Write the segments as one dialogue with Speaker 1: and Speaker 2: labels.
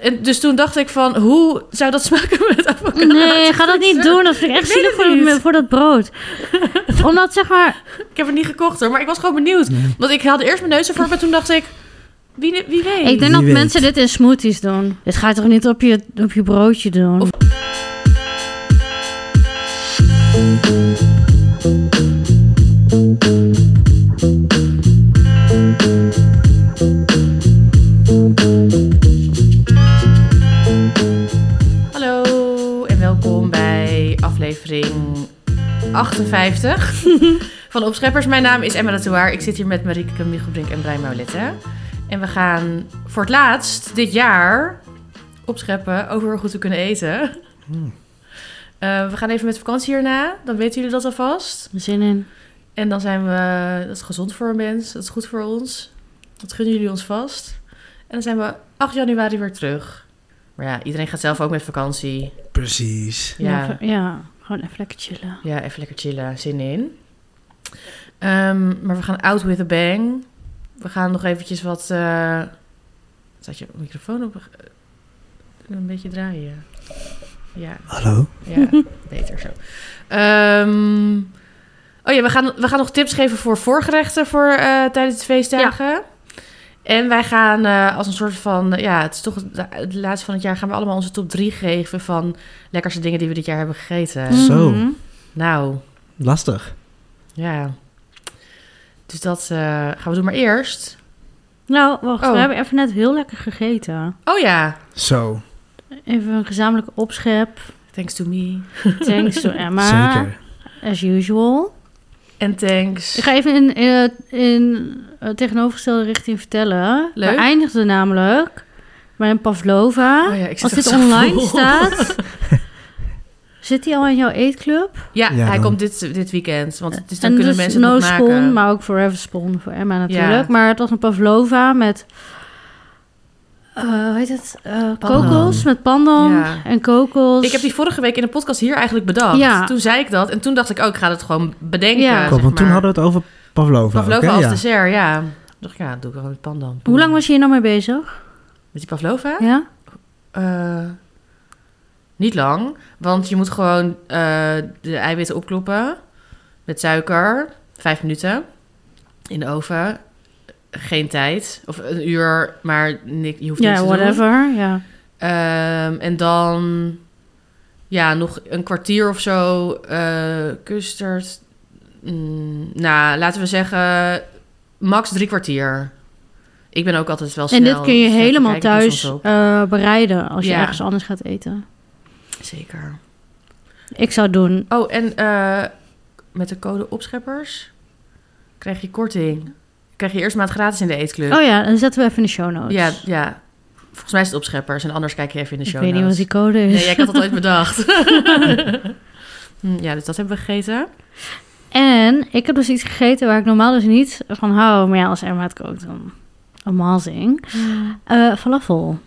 Speaker 1: En dus toen dacht ik van, hoe zou dat smaken met avocado?
Speaker 2: Nee, ga dat niet doen. Dat vind ik echt
Speaker 1: Ik weet
Speaker 2: zielig
Speaker 1: het
Speaker 2: voor,
Speaker 1: niet.
Speaker 2: voor dat brood. Omdat zeg maar...
Speaker 1: Ik heb het niet gekocht hoor, maar ik was gewoon benieuwd. Want ik haalde eerst mijn neus ervoor, maar toen dacht ik, wie, wie weet.
Speaker 2: Ik denk dat
Speaker 3: weet.
Speaker 2: mensen dit in smoothies doen. Dit ga je toch niet op je, op je broodje doen?
Speaker 1: Of- Hallo en welkom bij aflevering 58 van Opscheppers. Mijn naam is Emma Latouar. Ik zit hier met Marieke Michelbrink en Brian Maulette. En we gaan voor het laatst dit jaar opscheppen over hoe goed we kunnen eten. Eh, we gaan even met vakantie hierna. Dan weten jullie dat alvast.
Speaker 2: Zin in.
Speaker 1: En dan zijn we... Dat is gezond voor een mens. Dat is goed voor ons. Dat gunnen jullie ons vast. En dan zijn we 8 januari weer terug. Maar ja, iedereen gaat zelf ook met vakantie.
Speaker 3: Precies.
Speaker 1: Ja.
Speaker 2: Ja, ja, gewoon even lekker chillen.
Speaker 1: Ja, even lekker chillen, zin in. Ehm, maar we gaan out with a bang. We gaan nog eventjes wat. eh Zat je microfoon op? eh, Een beetje draaien. Ja,
Speaker 3: Hallo.
Speaker 1: ja beter zo. Ehm, oh ja, we gaan, we gaan nog tips geven voor voorgerechten voor, eh, tijdens de feestdagen. En wij gaan eh, als een soort van, eh, ja, het is toch de, het laatste van het jaar, gaan we allemaal onze top 3 geven van lekkerste dingen die we dit jaar hebben gegeten.
Speaker 3: Eh, Zo.
Speaker 2: Mhm.
Speaker 1: Nou,
Speaker 3: Lastig.
Speaker 1: ja. Dus dat eh, gaan we doen. Maar eerst...
Speaker 2: Nou, wacht.
Speaker 1: Oh.
Speaker 2: We hebben even net heel lekker gegeten.
Speaker 1: Oh ja,
Speaker 3: Zo.
Speaker 2: Even een gezamenlijke opschep.
Speaker 1: thanks to me.
Speaker 2: Thanks to Emma.
Speaker 3: Zeker.
Speaker 2: As usual.
Speaker 1: En thanks...
Speaker 2: Ik ga even in, in, in eh, tegenovergestelde richting vertellen.
Speaker 1: Leuk.
Speaker 2: We eindigden namelijk bij een pavlova.
Speaker 1: Oh ja, ik zit
Speaker 2: Als
Speaker 1: echt
Speaker 2: dit
Speaker 1: zo
Speaker 2: online
Speaker 1: vol.
Speaker 2: staat, zit die al in jouw eetclub?
Speaker 1: Ja,
Speaker 3: Ja,
Speaker 1: hij
Speaker 3: dan-
Speaker 1: komt dit, dit weekend. Want dus dan
Speaker 2: en
Speaker 1: kunnen
Speaker 2: dus
Speaker 1: mensen
Speaker 2: no
Speaker 1: het nog
Speaker 2: spawn,
Speaker 1: maken.
Speaker 2: maar ook forever spawn voor Emma natuurlijk.
Speaker 1: Ja.
Speaker 2: Maar het was een pavlova met, eh, hoe heet het? Eh, kokos, met pandan
Speaker 1: Ja.
Speaker 2: en kokos.
Speaker 1: Ik heb die vorige week in de podcast hier eigenlijk bedacht.
Speaker 2: Ja.
Speaker 1: Toen zei ik dat. En toen dacht ik, oh, ik ga het gewoon bedenken.
Speaker 2: Ja.
Speaker 1: zeg
Speaker 3: Klopt, want toen
Speaker 1: maar.
Speaker 3: hadden we het over Pavlova.
Speaker 1: Pavlova dus
Speaker 3: oké?
Speaker 1: als
Speaker 3: ja.
Speaker 1: dessert, ja. Toen dacht ik, ja, doe ik gewoon met pandan.
Speaker 2: Hoe lang was je hier nou mee bezig?
Speaker 1: Met die pavlova?
Speaker 2: Ja?
Speaker 1: Eh, niet lang, want je moet gewoon eh, de eiwitten opkloppen met suiker. Vijf minuten in de oven. Geen tijd. Of een uur, maar ni- je hoeft niks
Speaker 2: Ja,
Speaker 1: te doen.
Speaker 2: whatever. Ja.
Speaker 1: Ehm, en dan ja, nog een kwartier of zo eh custard. Mm, nou, laten we zeggen max drie kwartier. Ik ben ook altijd wel snel.
Speaker 2: En dit kun je
Speaker 1: dus even
Speaker 2: helemaal
Speaker 1: kijken, soms
Speaker 2: thuis
Speaker 1: ook.
Speaker 2: eh, bereiden als je
Speaker 1: Ja.
Speaker 2: ergens anders gaat eten.
Speaker 1: Zeker.
Speaker 2: Ik zou het doen.
Speaker 1: Oh, en eh, met de code opscheppers krijg je korting. Krijg je eerst maand gratis in de eetclub.
Speaker 2: Oh ja, dan zetten we even in de show notes.
Speaker 1: ja, ja. Volgens mij is het opscheppers en anders kijk je even in de
Speaker 2: ik
Speaker 1: show
Speaker 2: weet niet wat
Speaker 1: notes.
Speaker 2: die code is.
Speaker 1: Nee, ja, ik had dat ooit bedacht. Hm, ja, dus dat hebben we gegeten.
Speaker 2: En ik heb dus iets gegeten waar ik normaal dus niet van hou. Maar ja, als Emma het kookt, dan amazing.
Speaker 1: Mm.
Speaker 2: Eh falafel.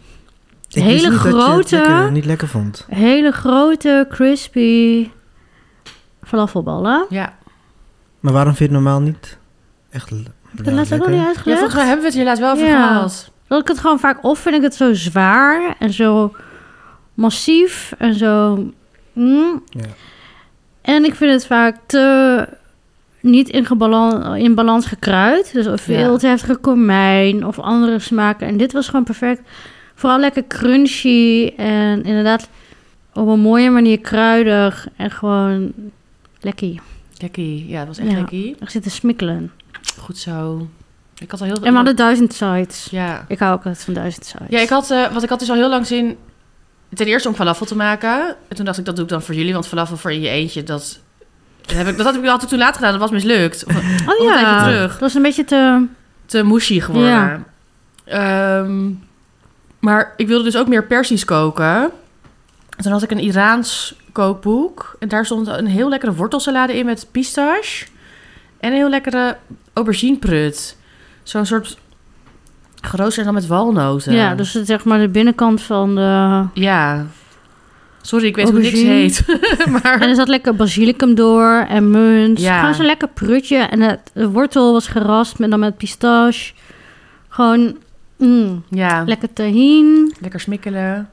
Speaker 3: Ik wist
Speaker 2: Hele
Speaker 3: niet dat je het
Speaker 2: grote-
Speaker 3: lekker- niet lekker vond.
Speaker 2: Hele grote, crispy falafelballen.
Speaker 1: Ja.
Speaker 3: Maar waarom vind je het normaal niet echt le- ja,
Speaker 2: Dat laat ik ook
Speaker 3: lekker?
Speaker 2: niet
Speaker 1: ja, volgens
Speaker 2: uitgelegd.
Speaker 1: mij hebben we het hier laatst wel over
Speaker 2: Ja.
Speaker 1: gehad.
Speaker 2: Dat ik het gewoon vaak... Of vind ik het zo zwaar en zo massief en zo... mm.
Speaker 3: Ja.
Speaker 2: En ik vind het vaak te... Niet in, gebalan- in balans gekruid. Dus of
Speaker 1: Ja.
Speaker 2: veel te heftige komijn of andere smaken. En dit was gewoon perfect. Vooral lekker crunchy en inderdaad op een mooie manier kruidig. En gewoon lekker.
Speaker 1: Lekkie. Ja, dat was echt
Speaker 2: Ja.
Speaker 1: lekkie.
Speaker 2: Er zitten smikkelen.
Speaker 1: Goed zo. Ik had al heel
Speaker 2: En we hadden duizend sites.
Speaker 1: Ja.
Speaker 2: Ik hou ook altijd van duizend sites.
Speaker 1: Ja, ik had, eh want ik had dus al heel lang zin... Ten eerste om falafel te maken. En toen dacht ik, dat doe ik dan voor jullie. Want falafel voor in je eentje, dat... Dat, heb ik, dat had ik altijd toen laat gedaan. Dat was mislukt. Of
Speaker 2: Oh
Speaker 1: een
Speaker 2: ja,
Speaker 1: tijdje terug.
Speaker 2: dat was een beetje te...
Speaker 1: Te mushy geworden.
Speaker 2: Ja.
Speaker 1: Ehm, maar ik wilde dus ook meer persies koken. En toen had ik een Iraans kookboek. En daar stond een heel lekkere wortelsalade in met pistache. En een heel lekkere aubergineprut. Zo'n soort geroosterd en dan met walnoten.
Speaker 2: Ja, dus het, zeg maar de binnenkant van de...
Speaker 1: Ja. Sorry, ik weet hoe niks
Speaker 2: Aubergine.
Speaker 1: heet.
Speaker 2: En er zat lekker basilicum door en munt.
Speaker 1: Ja.
Speaker 2: Gewoon zo'n lekker prutje. En het, de wortel was gerast met, dan met pistache. Gewoon Mm,
Speaker 1: Ja,
Speaker 2: Lekker tahin,
Speaker 1: lekker smikkelen.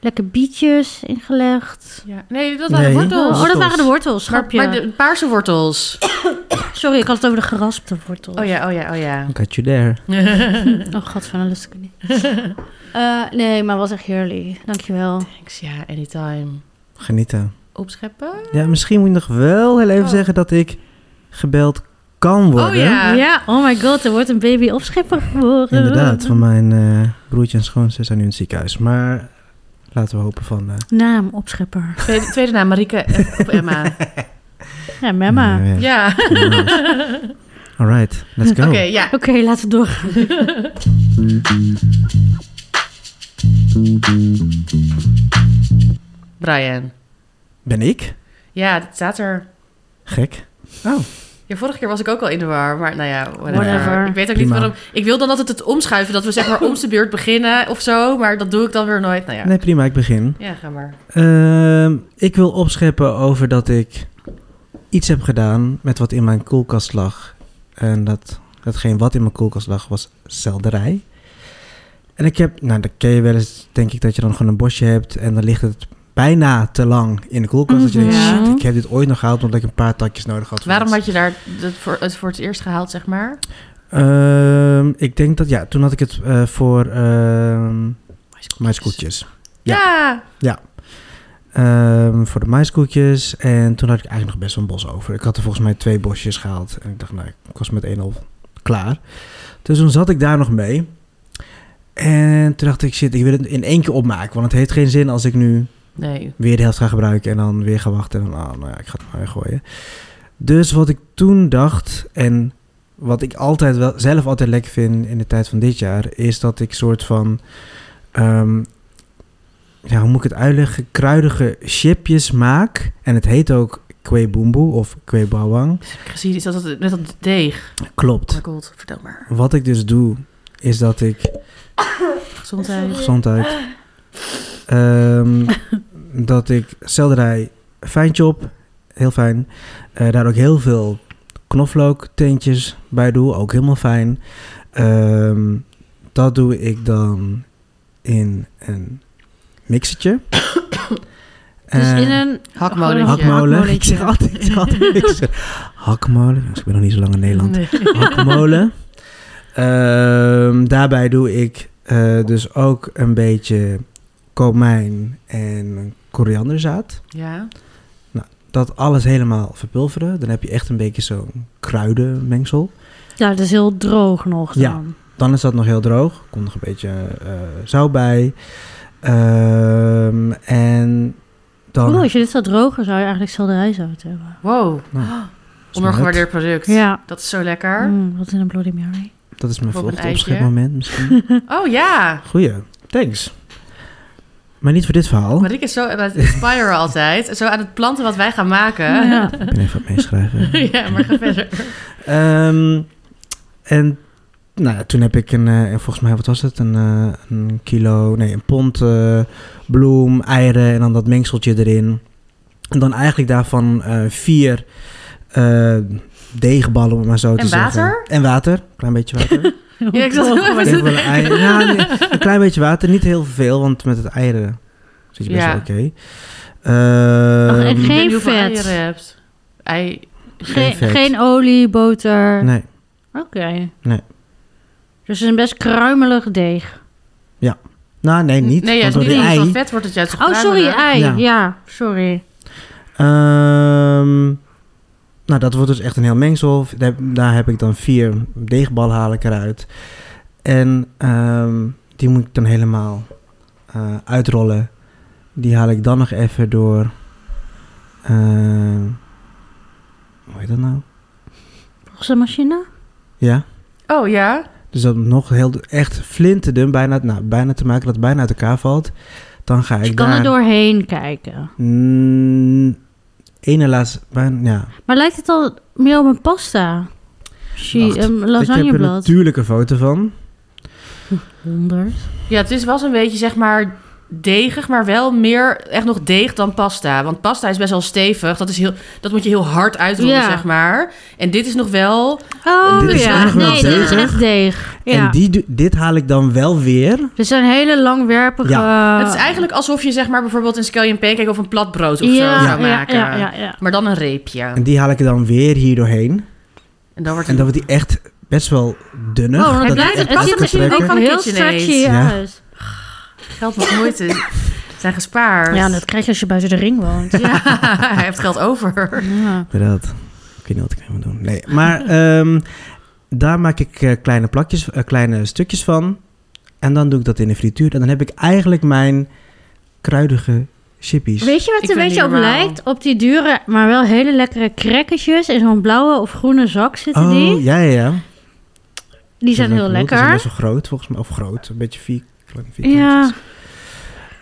Speaker 2: lekker bietjes ingelegd.
Speaker 1: Ja. Nee, dat waren
Speaker 3: Nee.
Speaker 1: wortels.
Speaker 2: Oh, dat
Speaker 3: Wortels.
Speaker 2: waren de wortels,
Speaker 1: Maar,
Speaker 2: grapje.
Speaker 1: maar de paarse wortels.
Speaker 2: Sorry, ik had het over de geraspte wortels.
Speaker 1: Oh ja, oh ja, oh ja.
Speaker 3: Got you there.
Speaker 2: Oh god, van een lust ik het niet. Eh, nee, maar was echt heerlijk. Dankjewel.
Speaker 1: Thanks, ja, anytime.
Speaker 3: Genieten.
Speaker 1: Opscheppen?
Speaker 3: Ja, misschien moet je nog wel heel even
Speaker 1: Oh.
Speaker 3: zeggen dat ik gebeld kan worden.
Speaker 1: Oh ja.
Speaker 2: Ja, oh my god, er wordt een baby opschepper geboren.
Speaker 3: Inderdaad, van mijn eh, broertje en schoonzus zijn nu in het ziekenhuis. Maar laten we hopen van... eh,
Speaker 2: Naam, opschepper.
Speaker 1: Tweede, tweede naam, Marieke eh, of Emma.
Speaker 2: Ja, mama.
Speaker 3: nou,
Speaker 1: Ja,
Speaker 3: All right, let's go.
Speaker 1: oké, ja.
Speaker 2: Oké, laten we door.
Speaker 1: Brian.
Speaker 3: Ben ik?
Speaker 1: Ja, dat staat er.
Speaker 3: Gek. Oh,
Speaker 1: Ja, vorige keer was ik ook al in de war, maar nou ja, whatever.
Speaker 2: Whatever.
Speaker 1: Ik weet ook niet
Speaker 3: Prima.
Speaker 1: waarom. Ik wil dan altijd het omschuiven, dat we zeg maar om de beurt beginnen of zo, maar dat doe ik dan weer nooit. Nou ja,
Speaker 3: nee prima, ik begin.
Speaker 1: ja ga maar.
Speaker 3: Ehm, ik wil opscheppen over dat ik iets heb gedaan met wat in mijn koelkast lag. En dat, datgene wat in mijn koelkast lag was selderij. En ik heb, nou dat ken je wel eens, denk ik dat je dan gewoon een bosje hebt en dan ligt het bijna te lang in de koelkast. Dat je denkt,
Speaker 2: Mhm.
Speaker 3: shit, ik heb dit ooit nog gehaald omdat ik een paar takjes nodig had. voor
Speaker 1: Waarom
Speaker 3: iets."
Speaker 1: had je daar dat voor, het voor het eerst gehaald, zeg maar?
Speaker 3: Ehm, ik denk dat, ja, toen had ik het eh, voor ehm maiskoekjes. Ja.
Speaker 1: Ja.
Speaker 3: Ehm, voor de maiskoekjes. En toen had ik eigenlijk nog best wel een bos over. Ik had er volgens mij twee bosjes gehaald. En ik dacht, nou, ik was met één al klaar. Dus toen zat ik daar nog mee. En toen dacht ik, shit, ik wil het in één keer opmaken. Want het heeft geen zin als ik nu
Speaker 1: Nee.
Speaker 3: weer de helft ga gebruiken en dan weer ga wachten. En dan, ah, nou ja, ik ga het maar weer gooien. Dus wat ik toen dacht en wat ik altijd wel, zelf altijd lekker vind in de tijd van dit jaar, is dat ik soort van, ehm, ja, hoe moet ik het uitleggen, kruidige chipjes maak. En het heet ook kwe boemboe of kwe bawang.
Speaker 1: Ik gezien is dat het- net dat deeg. Oh
Speaker 3: Klopt.
Speaker 1: my god, vertel maar.
Speaker 3: Wat ik dus doe, is dat ik
Speaker 1: Gezondheid.
Speaker 3: gezondheid. Ehm, dat ik selderij fijn chop, heel fijn. Eh, daar ook heel veel knoflookteentjes bij doe, ook helemaal fijn. Ehm, dat doe ik dan in een mixertje.
Speaker 2: Dus
Speaker 3: Eh,
Speaker 2: in een
Speaker 1: Hakmolen.
Speaker 2: Hakmolen.
Speaker 3: hakmolen. Ik
Speaker 2: hakmolentje.
Speaker 3: zeg altijd, ik zeg altijd mixer. Hakmolen, jongens, ik ben nog niet zo lang in Nederland
Speaker 1: Nee.
Speaker 3: hakmolen. Ehm, daarbij doe ik eh, dus ook een beetje komijn en korianderzaad.
Speaker 1: Ja.
Speaker 3: Dat alles helemaal verpulveren. Dan heb je echt een beetje zo'n kruidenmengsel.
Speaker 2: Ja, dat is heel droog nog dan.
Speaker 3: Ja. Dan is dat nog heel droog. Komt nog een beetje eh, zout bij. Ehm, en dan...
Speaker 2: Oeh, als je dit zou drogen, zou je eigenlijk selderijzout hebben.
Speaker 1: Wow. Oh.
Speaker 3: Nou,
Speaker 1: Ondergewaardeerd product.
Speaker 2: Ja.
Speaker 1: Dat is zo lekker.
Speaker 2: Mm, wat in een Bloody Mary.
Speaker 3: Dat is mijn
Speaker 1: Of op een
Speaker 3: volgende
Speaker 1: eitje.
Speaker 3: opschepmoment misschien.
Speaker 1: Oh ja.
Speaker 3: Goeie, thanks. Maar niet voor dit verhaal.
Speaker 1: Marieke is zo aan het inspiren altijd. Zo aan het planten wat wij gaan maken.
Speaker 2: Ja.
Speaker 3: Ik ben even aan het meeschrijven.
Speaker 1: ja, maar ga verder.
Speaker 3: Ehm, en nou ja, toen heb ik een, eh, volgens mij, wat was het? Een, eh, een kilo, nee, een pond eh, bloem, eieren en dan dat mengseltje erin. En dan eigenlijk daarvan eh, vier eh, deegballen, om het maar zo te
Speaker 1: En
Speaker 3: zeggen.
Speaker 1: water?
Speaker 3: En water, een klein beetje water.
Speaker 1: Ja, ik zat heel even
Speaker 3: Ik
Speaker 1: te
Speaker 3: wil een, ei- ja, nee, een klein beetje water, niet heel veel, want met het eieren zit je best
Speaker 1: Ja.
Speaker 3: wel oké. Ehm,
Speaker 2: Ach, en
Speaker 1: Ik weet
Speaker 2: Geen
Speaker 1: niet hoeveel
Speaker 2: vet.
Speaker 1: eieren je hebt. Ei.
Speaker 2: Geen,
Speaker 3: vet.
Speaker 2: geen olie, boter.
Speaker 3: Nee,
Speaker 2: Oké.
Speaker 3: Nee.
Speaker 2: Dus het is een best kruimelig deeg. Oh,
Speaker 3: nou, nee, niet.
Speaker 1: Nee,
Speaker 3: want
Speaker 1: juist
Speaker 3: door
Speaker 1: niet.
Speaker 3: die
Speaker 1: Als het
Speaker 3: ei-
Speaker 1: al vet wordt het juist
Speaker 2: Oh, sorry,
Speaker 1: kruimelig.
Speaker 2: ei. Ja,
Speaker 3: Ja.
Speaker 2: sorry.
Speaker 3: Ehm, nou, dat wordt dus echt een heel mengsel. Daar, daar heb ik dan vier deegballen haal ik eruit. En ehm, die moet ik dan helemaal eh, uitrollen. Die haal ik dan nog even door... ehm, hoe heet dat nou?
Speaker 2: Volgens de machine?
Speaker 3: Ja.
Speaker 1: Oh ja.
Speaker 3: Dus dat nog heel, echt flinterdun, bijna, nou, bijna te maken dat het bijna uit elkaar valt. Dan ga ik
Speaker 2: Dus je kan
Speaker 3: daar...
Speaker 2: er doorheen kijken.
Speaker 3: Mm, ene laatste... Bijna, ja,
Speaker 2: Maar lijkt het al meer op een pasta? She,
Speaker 3: Wacht,
Speaker 2: een
Speaker 3: Ik heb er
Speaker 2: lasagneblad.
Speaker 3: natuurlijk een foto van.
Speaker 2: 100.
Speaker 1: Ja, het is, was een beetje zeg maar degig, maar wel meer echt nog deeg dan pasta. Want pasta is best wel stevig. Dat, is heel, dat moet je heel hard uitrollen,
Speaker 2: Ja.
Speaker 1: zeg maar. En dit is nog wel...
Speaker 2: Oh
Speaker 3: Dit is
Speaker 2: ja,
Speaker 3: echt wel
Speaker 2: nee, dit is
Speaker 3: deeg.
Speaker 2: echt deeg. Ja.
Speaker 3: En die, do- dit haal ik dan wel weer.
Speaker 2: Dit zijn hele langwerpige...
Speaker 1: het
Speaker 2: Ah.
Speaker 1: is eigenlijk alsof je zeg maar bijvoorbeeld een scallion pancake of een plat brood of zo zou maken.
Speaker 2: Ja, ja, ja.
Speaker 1: Maar dan een reepje.
Speaker 3: En die haal ik er dan weer hier doorheen.
Speaker 1: En dan wordt
Speaker 3: En
Speaker 1: het...
Speaker 3: dan wordt die echt best wel dunner.
Speaker 2: Oh, dan
Speaker 3: dat
Speaker 1: blijft
Speaker 3: die
Speaker 1: het- het
Speaker 3: echt af
Speaker 1: zit
Speaker 3: kan
Speaker 1: misschien ook
Speaker 3: trekken.
Speaker 1: van een
Speaker 2: heel
Speaker 1: KitchenAid.
Speaker 2: stretchy
Speaker 3: Ja.
Speaker 2: uit.
Speaker 1: geld was moeite. Zijn gespaard.
Speaker 2: Ja, dat krijg je als je buiten de ring woont.
Speaker 1: Ja, hij heeft geld over.
Speaker 2: Ja.
Speaker 3: Inderdaad. Ik weet niet wat ik mee moet doen. Nee, maar ehm, daar maak ik eh, kleine plakjes, eh, kleine stukjes van. En dan doe ik dat in de frituur. En dan heb ik eigenlijk mijn kruidige chippies.
Speaker 2: Weet je wat
Speaker 1: Ik
Speaker 2: het een
Speaker 1: vind
Speaker 2: beetje
Speaker 1: die
Speaker 2: op
Speaker 1: normaal.
Speaker 2: lijkt? Op die dure, maar wel hele lekkere crackertjes. In zo'n blauwe of groene zak zitten
Speaker 3: oh,
Speaker 2: die.
Speaker 3: ja, ja, ja.
Speaker 2: Die zijn
Speaker 3: Dat
Speaker 2: heel
Speaker 3: is ook bedoeld. Die zijn
Speaker 2: lekker.
Speaker 3: best wel groot, volgens mij. Of groot, een beetje vier. kleine vierkantjes.
Speaker 2: Ja,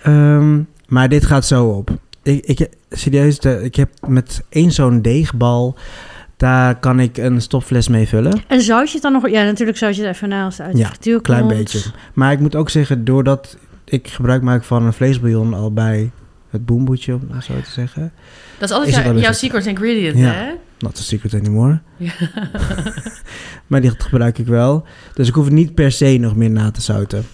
Speaker 3: Ehm, maar dit gaat zo op. Ik, ik, serieus, de- ik heb met één zo'n deegbal... daar kan ik een stopfles mee vullen.
Speaker 2: en zou je het dan nog... Ja, natuurlijk zou je het even naast uit de
Speaker 3: Ja,
Speaker 2: frituur
Speaker 3: Klein
Speaker 2: komt.
Speaker 3: beetje. Maar ik moet ook zeggen, doordat ik gebruik maak van een vleesbouillon al bij het boemboetje, om het zo te zeggen.
Speaker 1: Dat is altijd
Speaker 3: Is het
Speaker 1: jou-
Speaker 3: wel
Speaker 1: jouw
Speaker 3: eens-
Speaker 1: secret ingredient,
Speaker 3: Ja.
Speaker 1: hè?
Speaker 3: Not a secret anymore.
Speaker 1: Ja.
Speaker 3: maar die gebruik ik wel. Dus ik hoef het niet per se nog meer na te zouten.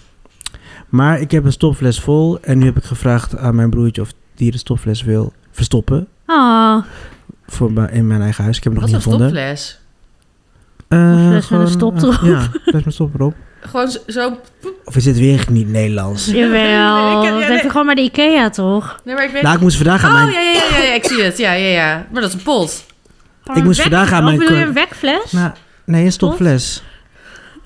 Speaker 3: Maar ik heb een stopfles vol en nu heb ik gevraagd aan mijn broertje of die de stopfles wil verstoppen
Speaker 2: Ah,
Speaker 3: voor bij- in mijn eigen huis. Ik heb hem
Speaker 1: Wat
Speaker 3: nog
Speaker 1: is een
Speaker 3: niet gevonden.
Speaker 1: stopfles?
Speaker 3: Eh,
Speaker 2: Een fles met een
Speaker 3: gewoon,
Speaker 2: stop erop.
Speaker 3: eh, ja, fles met een stop erop.
Speaker 1: Gewoon zo- zo...
Speaker 3: Of is dit weer niet Nederlands?
Speaker 2: jawel.
Speaker 1: Nee, ik heb- ja,
Speaker 2: dat
Speaker 1: nee.
Speaker 2: heb je gewoon bij de Ikea, toch?
Speaker 1: Nee, maar ik weet...
Speaker 3: Nou, ik moest vandaag aan mijn...
Speaker 1: Oh, ja, ja, ja, ja, ja, ik zie het. Ja, ja, ja. Maar dat is een pot.
Speaker 2: Gewoon een
Speaker 3: moest
Speaker 2: wek-
Speaker 3: vandaag aan
Speaker 2: Oh,
Speaker 3: mijn
Speaker 2: bedoel je
Speaker 3: kor-
Speaker 2: een wekfles?
Speaker 3: Nou, nee, een stopfles.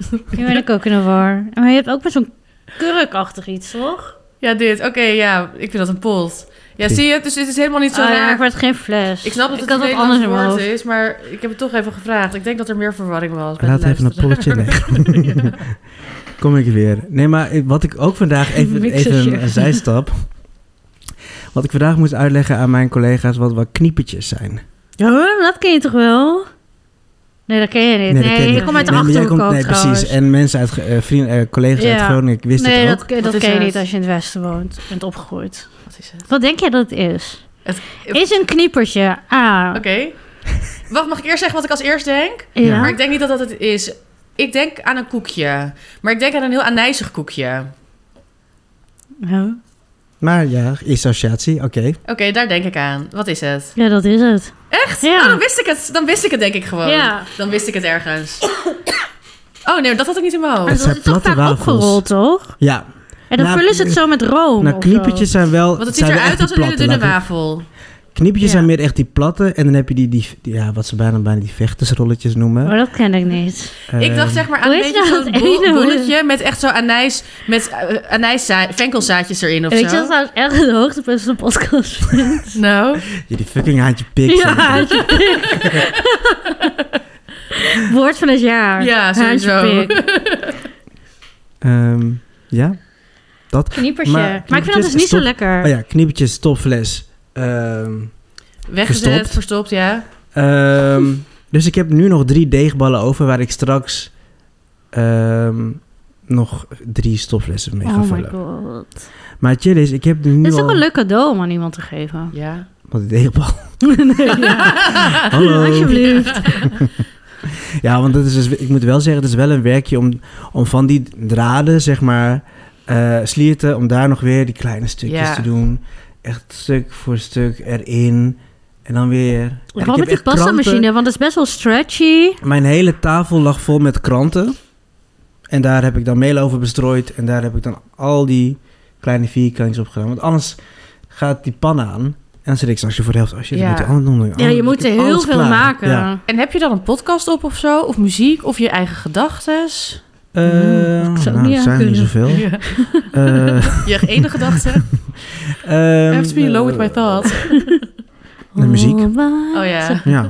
Speaker 2: Nu ben ik ook in de war. Maar je hebt ook met zo'n kurkachtig iets, toch?
Speaker 1: Ja, dit. Oké, ja. Ik vind dat een pot. Ja,
Speaker 3: Zie.
Speaker 1: zie je het? Dus dit is helemaal niet zo
Speaker 2: Ah, ja,
Speaker 1: raar.
Speaker 2: ik werd geen fles.
Speaker 1: Ik snap dat het
Speaker 2: had
Speaker 1: een
Speaker 2: wat anders
Speaker 1: Nederlands
Speaker 2: in mijn
Speaker 1: woord
Speaker 2: hoofd.
Speaker 1: is, maar ik heb het toch even gevraagd. Ik denk dat er meer verwarring was. bij
Speaker 3: Laat
Speaker 1: de
Speaker 3: even een polletje.
Speaker 1: luisteraar.
Speaker 3: Nee. Kom ik weer. Nee, maar ik- wat ik ook vandaag even,
Speaker 2: Mixertje.
Speaker 3: even een, een zijstap. Wat ik vandaag moest uitleggen aan mijn collega's wat, wat kniepetjes zijn.
Speaker 2: Ja, hoor, dat ken je toch wel? Nee, dat ken je niet.
Speaker 3: dat
Speaker 2: Nee,
Speaker 3: ken
Speaker 2: je
Speaker 3: niet.
Speaker 2: komt uit de
Speaker 3: Nee, maar jij
Speaker 2: Achterhoek
Speaker 3: komt-
Speaker 2: ook
Speaker 3: Nee,
Speaker 2: trouwens.
Speaker 3: precies. En mensen uit, Ge- eh, vrienden, eh, collega's uit
Speaker 2: Ja.
Speaker 3: Groningen, ik wist
Speaker 2: nee,
Speaker 3: het ook.
Speaker 2: dat, dat
Speaker 1: Wat is
Speaker 2: ken je
Speaker 1: het?
Speaker 2: niet als je in het Westen woont. Bent opgegroeid.
Speaker 1: Wat is het?
Speaker 2: Wat denk jij dat het is?
Speaker 1: Het-
Speaker 2: Is een kniepertje. Ah,
Speaker 1: Oké. Wacht, mag ik eerst zeggen wat ik als eerst denk?
Speaker 2: ja.
Speaker 1: Maar ik denk niet dat dat het is. Ik denk aan een koekje. Maar ik denk aan een heel aanijzig koekje.
Speaker 2: Ja.
Speaker 3: Maar ja, associatie, oké.
Speaker 1: Oké, daar denk ik aan. Wat is het?
Speaker 2: Ja, dat is het.
Speaker 1: Echt?
Speaker 2: Ja.
Speaker 1: Oh, dan wist ik het. Dan wist ik het denk ik gewoon.
Speaker 2: Ja.
Speaker 1: Dan wist ik het ergens. Oh nee, dat had ik niet in mijn
Speaker 2: Maar
Speaker 1: hoofd.
Speaker 3: Het
Speaker 2: dat
Speaker 3: zijn
Speaker 2: is toch
Speaker 3: platte
Speaker 2: vaak
Speaker 3: wafels.
Speaker 2: opgerold, toch?
Speaker 3: Ja,
Speaker 2: En dan
Speaker 3: Nou,
Speaker 2: vullen ze het zo met room
Speaker 3: nou
Speaker 2: of
Speaker 3: kniepetjes zijn wel...
Speaker 1: Oh Want het ziet
Speaker 3: zijn wel
Speaker 1: eruit
Speaker 3: echt
Speaker 1: als
Speaker 3: die
Speaker 1: een hele
Speaker 3: platte,
Speaker 1: dunne
Speaker 3: laat ik-
Speaker 1: wafel.
Speaker 3: Kniepetjes
Speaker 2: Ja.
Speaker 3: zijn meer echt die platte. En dan heb je die, die, die- ja, wat ze bijna, bijna die vechtersrolletjes
Speaker 2: zo.
Speaker 3: noemen.
Speaker 2: Maar dat ken ik niet.
Speaker 1: ik dacht
Speaker 3: Ehm,
Speaker 1: zeg maar aan
Speaker 2: hoe
Speaker 1: een
Speaker 2: heet
Speaker 1: beetje
Speaker 2: dat
Speaker 1: zo'n bol-
Speaker 2: ene hoe-
Speaker 1: bolletje met echt zo anijs... Met eh, anijszaa- venkelzaadjes erin of
Speaker 2: Weet je
Speaker 1: zo.
Speaker 2: dat trouwens echt het hoogtepunt van de podcast
Speaker 1: Nou,
Speaker 3: ja, die fucking haantje pik.
Speaker 2: Ja, haantje Woord van het jaar.
Speaker 1: Ja, sowieso.
Speaker 2: Haantje pik.
Speaker 3: Ehm, ja, dat.
Speaker 2: Kniepertje.
Speaker 3: Maar
Speaker 2: Maar, ik vind dat
Speaker 3: kniepertjes
Speaker 2: dus niet
Speaker 3: stop-
Speaker 2: zo lekker.
Speaker 3: Oh ja, kniepetjes, stopfles. Ehm
Speaker 1: weggezet,
Speaker 3: Verstopt.
Speaker 1: verstopt, ja.
Speaker 3: Ehm, dus ik heb nu nog drie deegballen over waar ik straks ehm, nog drie stoflessen mee ga
Speaker 2: Oh my
Speaker 3: vullen.
Speaker 2: god.
Speaker 3: Maar het chill is, ik heb nu
Speaker 2: Dit is ook
Speaker 3: al...
Speaker 2: een leuk cadeau om aan iemand te geven.
Speaker 1: Ja.
Speaker 3: Wat een deegbal.
Speaker 2: nee, ja.
Speaker 3: Hallo.
Speaker 2: Alsjeblieft.
Speaker 3: Ja, want dat is dus, ik moet wel zeggen, het is wel een werkje om, om van die draden, zeg maar, eh, slierten, om daar nog weer die kleine stukjes
Speaker 1: Ja.
Speaker 3: te doen. Echt stuk voor stuk erin. En dan weer. En ik
Speaker 2: Vooral
Speaker 3: heb
Speaker 2: met die
Speaker 3: echt kranten.
Speaker 2: pasta-machine, want het is best wel stretchy.
Speaker 3: Mijn hele tafel lag vol met kranten. En daar heb ik dan meel over bestrooid. En daar heb ik dan al die kleine vierkantjes op gedaan. Want anders gaat die pan aan. En dan zit ik straks weer voor de helft. Oh shit,
Speaker 1: Ja.
Speaker 3: ik moet die andere doen.
Speaker 2: Ja, je moet er
Speaker 3: Ik heb
Speaker 2: heel
Speaker 3: alles
Speaker 2: veel
Speaker 3: klaar.
Speaker 2: maken.
Speaker 3: Ja.
Speaker 1: En heb je dan een podcast op of zo? Of muziek? Of je eigen gedachtes?
Speaker 3: Eh,
Speaker 2: Mm, dat zou
Speaker 3: nou,
Speaker 2: niet
Speaker 3: er zijn er
Speaker 2: aankunnen.
Speaker 3: niet zoveel.
Speaker 1: Ja.
Speaker 3: Eh,
Speaker 1: Je ene gedachte?
Speaker 3: ehm,
Speaker 1: I have to be low with my
Speaker 3: eh,
Speaker 1: thoughts.
Speaker 3: De muziek.
Speaker 2: Oh, my-
Speaker 1: Oh ja. Oké,
Speaker 3: Ja.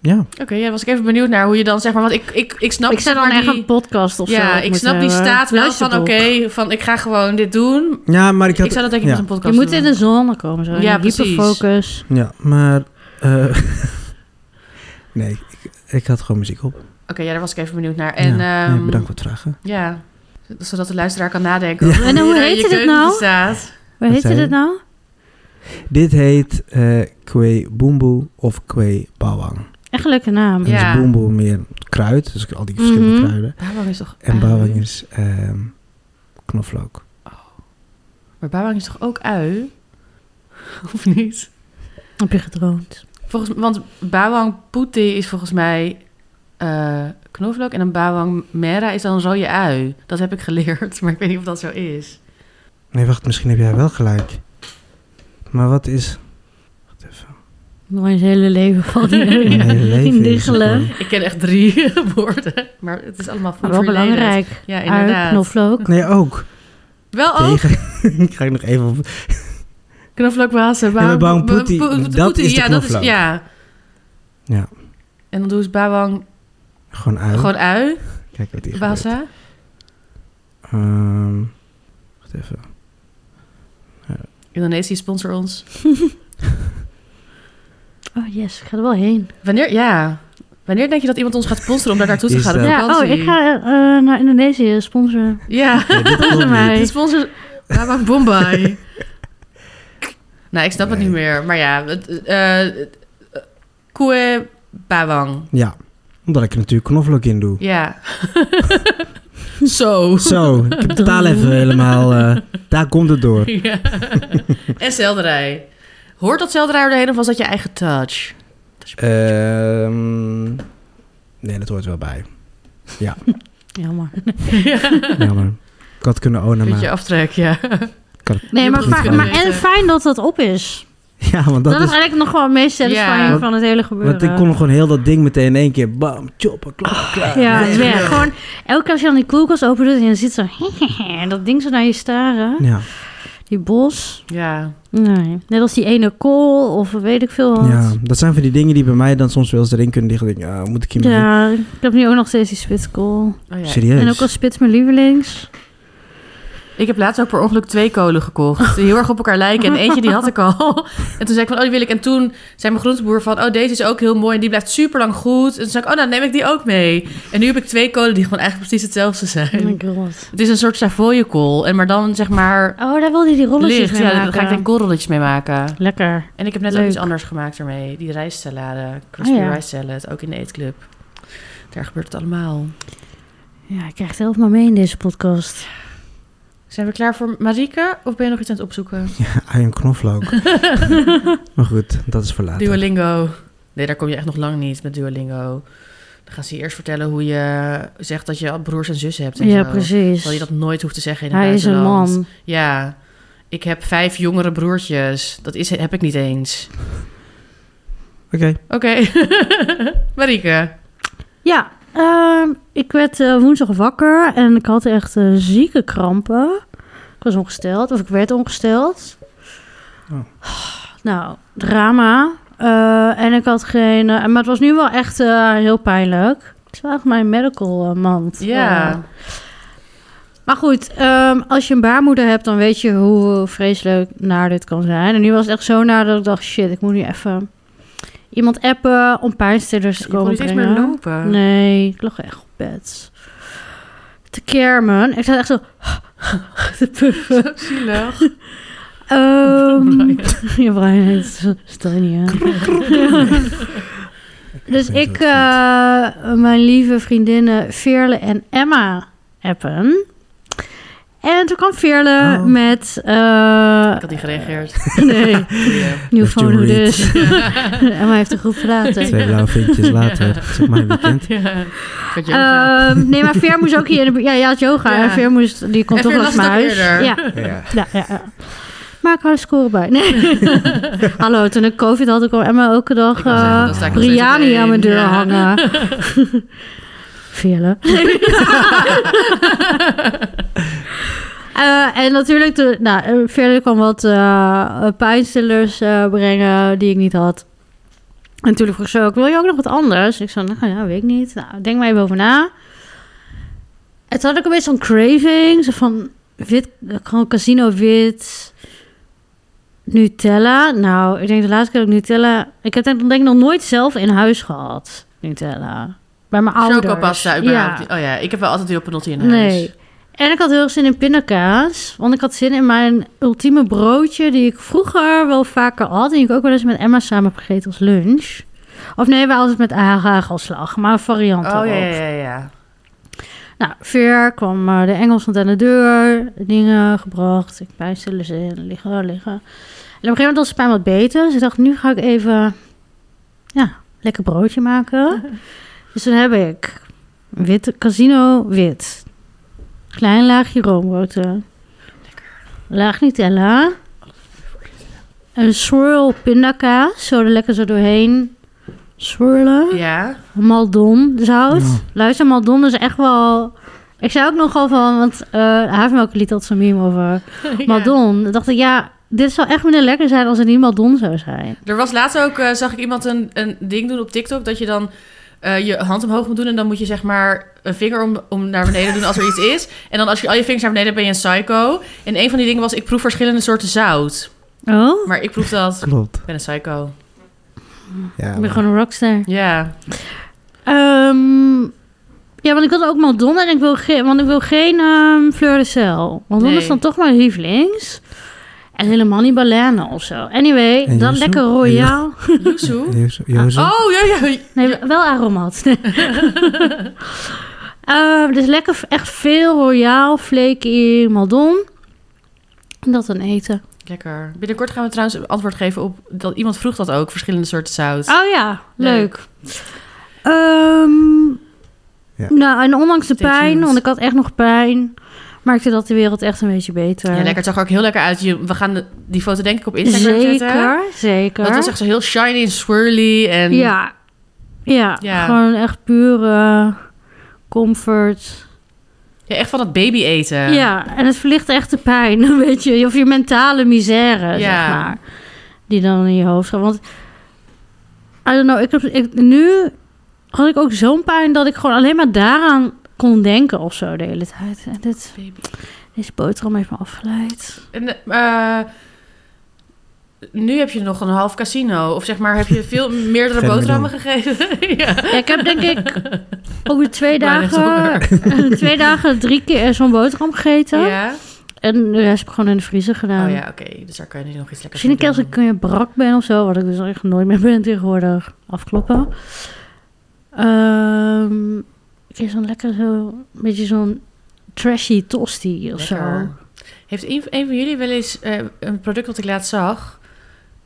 Speaker 3: Ja.
Speaker 1: ja, was ik even benieuwd naar hoe je dan zeg maar... Want ik, ik, ik snap
Speaker 2: Ik zou
Speaker 1: zeg
Speaker 2: dan
Speaker 1: maar
Speaker 2: echt
Speaker 1: die-
Speaker 2: een podcast of zo. eh,
Speaker 1: Ja,
Speaker 2: op
Speaker 1: ik
Speaker 2: moeten
Speaker 1: snap die
Speaker 2: hebben.
Speaker 1: staat wel van oké,
Speaker 2: Luisterboek.
Speaker 1: van ik ga gewoon dit doen.
Speaker 3: ja, maar ik
Speaker 1: Ik,
Speaker 3: had...
Speaker 1: zou dat denk ik
Speaker 3: ja.
Speaker 1: met een podcast
Speaker 2: Je moet
Speaker 1: doen.
Speaker 2: in de zone komen zo.
Speaker 1: Ja,
Speaker 2: Ja,
Speaker 1: precies.
Speaker 2: hyperfocus.
Speaker 3: Ja, maar... eh, nee, ik, ik had gewoon muziek op.
Speaker 1: Oké, ja, daar was ik even benieuwd naar. En, ehm,
Speaker 3: ja.
Speaker 1: ja,
Speaker 3: Ja, bedankt voor het vragen.
Speaker 1: Ja. Zodat de luisteraar kan nadenken.
Speaker 2: Ja.
Speaker 1: over
Speaker 2: En hoe
Speaker 1: je in
Speaker 2: heette
Speaker 1: je
Speaker 2: dit
Speaker 1: keuken
Speaker 2: nou?
Speaker 1: Staat.
Speaker 2: Waar
Speaker 3: Wat
Speaker 2: heette
Speaker 3: zei
Speaker 2: dit
Speaker 3: je?
Speaker 2: nou?
Speaker 3: Dit heet eh Kwe Boemboe of Kwe Bawang.
Speaker 2: Echt een leuke naam.
Speaker 3: En
Speaker 1: Ja.
Speaker 3: Dus Boemboe meer kruid, dus al die verschillende
Speaker 2: Mhm.
Speaker 3: kruiden.
Speaker 1: Bawang is toch...
Speaker 3: En
Speaker 1: ui?
Speaker 3: Bawang is ehm, knoflook.
Speaker 1: Maar bawang is toch ook ui? Of niet?
Speaker 2: Heb je gedroomd?
Speaker 1: Volgens, want bawang putih is volgens mij eh, knoflook. En een bawang mera is dan rode ui. Dat heb ik geleerd, maar ik weet niet of dat zo is.
Speaker 3: Nee, wacht, misschien heb jij wel gelijk. Maar wat is... Wacht even.
Speaker 2: Mijn hele leven valt hier
Speaker 3: Mijn hele leven
Speaker 2: in
Speaker 3: is
Speaker 2: diggelen.
Speaker 3: gewoon-
Speaker 1: Ik ken echt drie woorden, maar het is allemaal
Speaker 2: Maar
Speaker 1: food
Speaker 2: wel
Speaker 1: related.
Speaker 2: belangrijk.
Speaker 1: Ja,
Speaker 2: Ui,
Speaker 1: inderdaad.
Speaker 2: knoflook.
Speaker 3: Nee, ook.
Speaker 1: Wel ook
Speaker 3: Tegen. Ik ga je nog even op...
Speaker 1: knoflook wassen.
Speaker 3: maar bawang putih, dat is de
Speaker 1: ja, dat is,
Speaker 3: knoflook.
Speaker 1: ja.
Speaker 3: Ja.
Speaker 1: En dan doen ze bawang
Speaker 3: Gewoon uit.
Speaker 1: gewoon ui
Speaker 3: Kijk wat hier gebeurt.
Speaker 1: wassen.
Speaker 3: Ehm, wacht even.
Speaker 1: Indonesië sponsor ons.
Speaker 2: Oh yes, ik ga er wel heen.
Speaker 1: Wanneer, ja. Wanneer denk je dat iemand ons gaat sponsoren om daar naartoe te
Speaker 3: Is
Speaker 1: gaan op
Speaker 3: dat-
Speaker 2: Ja, oh,
Speaker 1: vakantie?
Speaker 2: ik ga eh, naar Indonesië sponsoren.
Speaker 1: Ja.
Speaker 3: Nee, dit oh,
Speaker 2: Volgens
Speaker 3: klopt niet.
Speaker 2: mij.
Speaker 1: De sponsor... Bawang Bombay. nou, ik snap het
Speaker 3: Nee.
Speaker 1: niet meer. Maar ja, het, eh, eh, Kue Bawang.
Speaker 3: Ja, omdat ik er natuurlijk knoflook in doe.
Speaker 1: Ja. Zo.
Speaker 3: Zo, ik heb de taal even helemaal... eh, daar komt het door.
Speaker 1: Ja. en selderij. Hoort dat selderij er doorheen of was dat je eigen touch?
Speaker 3: Ehm, nee, dat hoort wel bij.
Speaker 2: Jammer.
Speaker 3: Jammer. Ik had kunnen ownen,
Speaker 1: Beetje
Speaker 3: maar...
Speaker 1: aftrek, ja.
Speaker 2: Nee,
Speaker 1: Je
Speaker 2: maar,
Speaker 3: moet
Speaker 2: vaak-
Speaker 3: gewoon
Speaker 2: maar en
Speaker 1: weten.
Speaker 2: fijn dat dat op is.
Speaker 3: Ja, want
Speaker 2: Dat,
Speaker 3: dat
Speaker 2: is
Speaker 3: is...
Speaker 2: eigenlijk nog wel het meest satisfying
Speaker 1: Ja.
Speaker 2: van het hele gebeuren. Ah,
Speaker 3: Want ik kon gewoon heel dat ding meteen in één keer... Bam, choppen, klaar, klaar.
Speaker 2: Ja, het is weer gewoon elke keer als je dan die koelkast open doet en je ziet zo... en dat ding zo naar je staren.
Speaker 3: Ja,
Speaker 2: Die bos.
Speaker 1: Ja.
Speaker 2: Nee. Net als die ene kool of weet ik veel wat.
Speaker 3: ja, dat zijn van die dingen die bij mij dan soms wel eens erin kunnen liggen. Ik Denk, ah, moet ik hiermee...
Speaker 2: Ja, ik heb nu ook nog steeds die spitskool.
Speaker 1: Oh, ja.
Speaker 3: Serieus?
Speaker 2: En ook als spits mijn lievelings.
Speaker 1: Ik heb laatst ook per ongeluk twee kolen gekocht. Die heel erg op elkaar lijken. En eentje die had ik al. En toen zei ik van, oh die wil ik. En toen zei mijn groenteboer van, oh deze is ook heel mooi. En die blijft super lang goed. En toen zei ik, oh dan neem ik die ook mee. En nu heb ik twee kolen die gewoon eigenlijk precies hetzelfde
Speaker 2: Oh my
Speaker 1: zijn.
Speaker 2: god.
Speaker 1: Het is een soort Savoye-kool. En maar dan zeg maar
Speaker 2: Oh, daar wilde je die rolletjes
Speaker 1: licht.
Speaker 2: mee
Speaker 1: Ja, daar
Speaker 2: maken.
Speaker 1: ga ik denk korrelletjes mee maken.
Speaker 2: Lekker.
Speaker 1: En ik heb net ook
Speaker 2: Leuk.
Speaker 1: iets anders gemaakt ermee. Die rijstsalade, crispy
Speaker 2: Ah, ja.
Speaker 1: rice salad, ook in de eetclub. Daar gebeurt het allemaal.
Speaker 2: Ja, ik krijg het helft maar mee in deze podcast.
Speaker 1: Zijn we klaar voor Marieke? Of ben je nog iets aan het opzoeken?
Speaker 3: I am knoflook. maar goed, dat is voor later.
Speaker 1: Duolingo. Nee, daar kom je echt nog lang niet met Duolingo. Dan gaan ze je eerst vertellen hoe je zegt dat je broers en zussen hebt. En
Speaker 2: ja,
Speaker 1: zo.
Speaker 2: precies.
Speaker 1: Terwijl je dat nooit hoeft te zeggen in het
Speaker 2: Hij is een
Speaker 1: buitenland.
Speaker 2: man.
Speaker 1: Ja. Ik heb vijf jongere broertjes. Dat is, heb ik niet eens.
Speaker 3: Oké.
Speaker 1: Oké. Marieke.
Speaker 2: Ja, ehm, ik werd eh, woensdag wakker en ik had echt eh, zieke krampen. Ik was ongesteld, of ik werd ongesteld.
Speaker 3: Oh.
Speaker 2: Nou, drama. Eh, en ik had geen... eh, maar het was nu wel echt eh, heel pijnlijk. Het is wel echt mijn medical eh, mand.
Speaker 1: Ja.
Speaker 2: Eh, maar goed, ehm, als je een baarmoeder hebt, dan weet je hoe vreselijk naar dit kan zijn. En nu was het echt zo naar dat ik dacht, shit, ik moet nu even iemand appen om pijnstillers te
Speaker 1: je kon
Speaker 2: komen
Speaker 1: niet eens
Speaker 2: brengen.
Speaker 1: meer lopen.
Speaker 2: Nee, ik lag echt op bed. Te kermen. Ik zat echt zo... te puffen.
Speaker 1: Zielig.
Speaker 2: Ehm, ja, Brian, het- stel je niet aan. Dus
Speaker 3: vind
Speaker 2: ik
Speaker 3: het
Speaker 2: eh, mijn lieve vriendinnen Veerle en Emma appen. En toen kwam Veerle
Speaker 3: Oh.
Speaker 2: met... eh,
Speaker 1: Ik had niet gereageerd.
Speaker 2: nee,
Speaker 1: Goeie.
Speaker 2: nieuw
Speaker 3: Heeft
Speaker 2: phone
Speaker 3: John
Speaker 2: hoe
Speaker 3: Reed.
Speaker 2: dus. Emma heeft een groep verlaten.
Speaker 3: Twee blauwe vinkjes later. Het is ook mijn weekend.
Speaker 2: Eh,
Speaker 1: Ja. Ik had yoga.
Speaker 2: Ehm, nee, maar Veer moest ook hier in de buurt. Ja, je had yoga.
Speaker 1: Ja.
Speaker 2: En Veer moest, die komt
Speaker 1: En
Speaker 2: toch
Speaker 1: Veer
Speaker 2: langs
Speaker 1: las
Speaker 2: mijn
Speaker 1: het ook
Speaker 2: huis.
Speaker 1: eerder.
Speaker 2: Ja,
Speaker 3: Ja.
Speaker 2: ja, ja, ja. Maar ik had een score bij. Nee. Hallo, toen ik COVID had, kwam Emma elke dag
Speaker 1: Ik wou zeggen, dan sta ik
Speaker 2: eh
Speaker 1: nog steeds op
Speaker 2: Briani
Speaker 1: één.
Speaker 2: aan mijn deur
Speaker 1: Ja.
Speaker 2: hangen. eh, Veerle. Eh, en natuurlijk, toen, nou, eh, verder kwam wat eh, pijnstillers eh, brengen die ik niet had. En toen vroeg ze ook, wil je ook nog wat anders? Ik zei, nou ja, weet ik niet. Nou, denk maar even over na. Het had ik een beetje zo'n craving. Zo van wit, gewoon casino wit. Nutella. Nou, ik denk de laatste keer dat ik Nutella... Ik heb denk, denk ik nog nooit zelf in huis gehad, Nutella. Bij mijn ouders.
Speaker 1: Chocopasta,
Speaker 2: Ja.
Speaker 1: überhaupt. Oh ja, ik heb wel altijd die op in huis.
Speaker 2: Nee. En ik had heel erg zin in pindakaas. Want ik had zin in mijn ultieme broodje. die ik vroeger wel vaker had. En die ik ook wel eens met Emma samen heb gegeten als lunch. Of nee, wel altijd met hagelslag. Maar een variant
Speaker 1: Oh ja,
Speaker 2: daarop.
Speaker 1: ja, ja, ja.
Speaker 2: Nou, Veer kwam eh, de Engelsland aan de deur, dingen gebracht. Ik pijnstille ze in, liggen, liggen. En op een gegeven moment was het pijn wat beter. Dus ik dacht, nu ga ik even, ja, lekker broodje maken. Dus toen heb ik een wit, casino wit. Klein laagje roomboter. Laag Nutella. Een swirl pindakaas, zo er lekker zo doorheen swirlen.
Speaker 1: Ja,
Speaker 2: Maldon zout.
Speaker 3: Ja.
Speaker 2: Luister, Maldon is echt wel... Ik zei ook nogal van, want eh Havermelk liet dat zo'n meme over. Maldon. Dan dacht ik, ja, dit zou echt minder lekker zijn als het niet Maldon zou zijn.
Speaker 1: Er was laatst ook, eh, zag ik iemand een, een ding doen op TikTok, dat je dan eh, je hand omhoog moet doen en dan moet je zeg maar een vinger om, om naar beneden doen als er iets is. En dan als je al je vingers naar beneden hebt, ben je een psycho. En een van die dingen was, ik proef verschillende soorten zout.
Speaker 2: Oh?
Speaker 1: Maar ik proef dat, ik
Speaker 3: Klopt.
Speaker 1: ben een psycho.
Speaker 3: Ja,
Speaker 2: Ik ben
Speaker 3: maar-
Speaker 2: gewoon een rockster.
Speaker 1: Ja,
Speaker 2: Ehm, ja, want ik wilde ook Maldon en ik wil, geen, want ik wil geen ehm fleur de sel. Maldon
Speaker 1: Nee.
Speaker 2: is dan toch maar lievelings. En helemaal niet baleine of zo. Anyway,
Speaker 3: En
Speaker 2: dan
Speaker 3: Yuzu?
Speaker 2: lekker
Speaker 3: En
Speaker 2: royaal.
Speaker 1: Yuzu.
Speaker 3: Jozef- Jozef?
Speaker 2: Ah,
Speaker 1: Oh, ja, ja.
Speaker 2: Nee, wel aromat. Eh, dus lekker echt veel royaal, flaky, maldon. En dat dan eten.
Speaker 1: Lekker. Binnenkort gaan we trouwens antwoord geven op, dat iemand vroeg dat ook, verschillende soorten zout.
Speaker 2: Oh ja, leuk. Ehm,
Speaker 3: Ja.
Speaker 2: Nou, en ondanks de
Speaker 1: Stay
Speaker 2: pijn,
Speaker 1: tuned.
Speaker 2: want ik had echt nog pijn, maakte dat de wereld echt een beetje beter.
Speaker 1: Ja, lekker. Het zag er ook heel lekker uit. Je- We gaan de- die foto denk ik op Instagram zetten.
Speaker 2: Zeker, zeker.
Speaker 1: Dat was echt zo heel shiny en swirly. En...
Speaker 2: ja. ja,
Speaker 1: Ja.
Speaker 2: gewoon echt pure comfort.
Speaker 1: Ja, echt van dat baby eten.
Speaker 2: Ja, en het verlicht echt de pijn, weet je. Of je mentale
Speaker 1: Ja.
Speaker 2: misère, zeg maar. Die dan in je hoofd gaat. Want, I don't know, ik heb, ik, nu had ik ook zo'n pijn dat ik gewoon alleen maar daaraan kon denken of zo de hele tijd. En dit,
Speaker 1: Baby.
Speaker 2: deze boterham heeft me afgeleid.
Speaker 1: En, eh, nu heb je nog een half casino. Of zeg maar, heb je veel meerdere
Speaker 3: Verder
Speaker 1: boterhammen gegeten? ja.
Speaker 2: Ja, ik heb denk ik over twee
Speaker 1: Bijna
Speaker 2: dagen, twee dagen drie keer zo'n boterham gegeten.
Speaker 1: ja.
Speaker 2: En de rest heb ik gewoon in de vriezer gedaan.
Speaker 1: Oh ja, oké. Dus daar kan je nog iets lekkers
Speaker 2: Misschien een keer
Speaker 1: mee
Speaker 2: als
Speaker 1: doen.
Speaker 2: ik eh, brak ben of zo, wat ik dus echt nooit meer ben tegenwoordig. Afkloppen. Ehm een keer zo'n lekker zo, een beetje zo'n trashy tosti of zo.
Speaker 1: Lekker. Heeft een, een van jullie wel eens eh, een product dat ik laatst zag...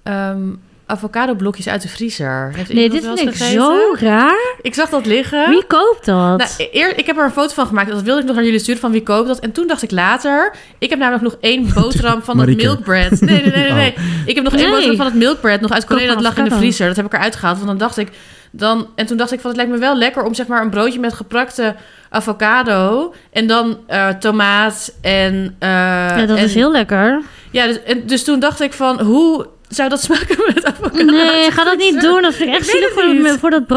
Speaker 1: ehm avocado blokjes uit de vriezer. Heeft
Speaker 2: Nee,
Speaker 1: iemand
Speaker 2: dit
Speaker 1: wel
Speaker 2: vind
Speaker 1: eens
Speaker 2: ik
Speaker 1: gegeten?
Speaker 2: zo raar.
Speaker 1: Ik zag dat liggen.
Speaker 2: Wie koopt dat?
Speaker 1: Nou, e- eer, ik heb er een foto van gemaakt. Dat wilde ik nog naar jullie sturen van wie koopt dat. En toen dacht ik later, ik heb namelijk nog één boterham van dat
Speaker 3: Marieke.
Speaker 1: milkbread. Nee, nee, nee, nee. nee. Ik heb nog één
Speaker 2: Oh. Nee.
Speaker 1: boterham van het milkbread nog uit Korea.
Speaker 2: Koop
Speaker 1: Dat
Speaker 2: maar
Speaker 1: lag in de
Speaker 2: avocado.
Speaker 1: vriezer. Dat heb ik eruit gehaald. Want dan dacht ik, dan, en toen dacht ik van het lijkt me wel lekker om zeg maar een broodje met geprakte avocado en dan eh, tomaat en... eh,
Speaker 2: ja, dat
Speaker 1: en-
Speaker 2: is heel lekker.
Speaker 1: Ja, dus, en, dus toen dacht ik van hoe zou dat smaken met avocado?
Speaker 2: Nee, ga dat niet doen. Dat vind ik echt
Speaker 1: Ik weet
Speaker 2: zielig
Speaker 1: het
Speaker 2: voor, dat-
Speaker 1: niet.
Speaker 2: voor dat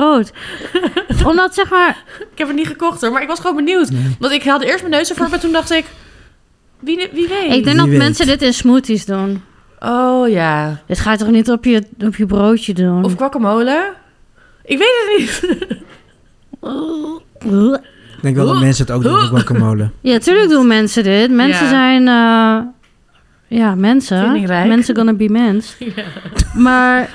Speaker 2: brood. Omdat zeg maar...
Speaker 1: Ik heb het niet gekocht hoor, maar ik was gewoon benieuwd. Want ik haalde eerst mijn neus ervoor, maar toen dacht ik, wie, wie weet?
Speaker 2: Ik denk
Speaker 3: Wie
Speaker 2: dat
Speaker 3: weet.
Speaker 2: mensen dit in smoothies doen.
Speaker 1: Oh ja.
Speaker 2: Dit ga je toch niet op je, op je broodje doen?
Speaker 1: Of guacamole? Ik weet het niet.
Speaker 2: oh.
Speaker 3: Ik denk wel dat mensen het ook doen met guacamole.
Speaker 2: Ja, tuurlijk doen mensen dit. Mensen
Speaker 1: Ja.
Speaker 2: zijn... eh, ja, mensen.
Speaker 1: Vindingrijk.
Speaker 2: Mensen gonna be mens. Maar...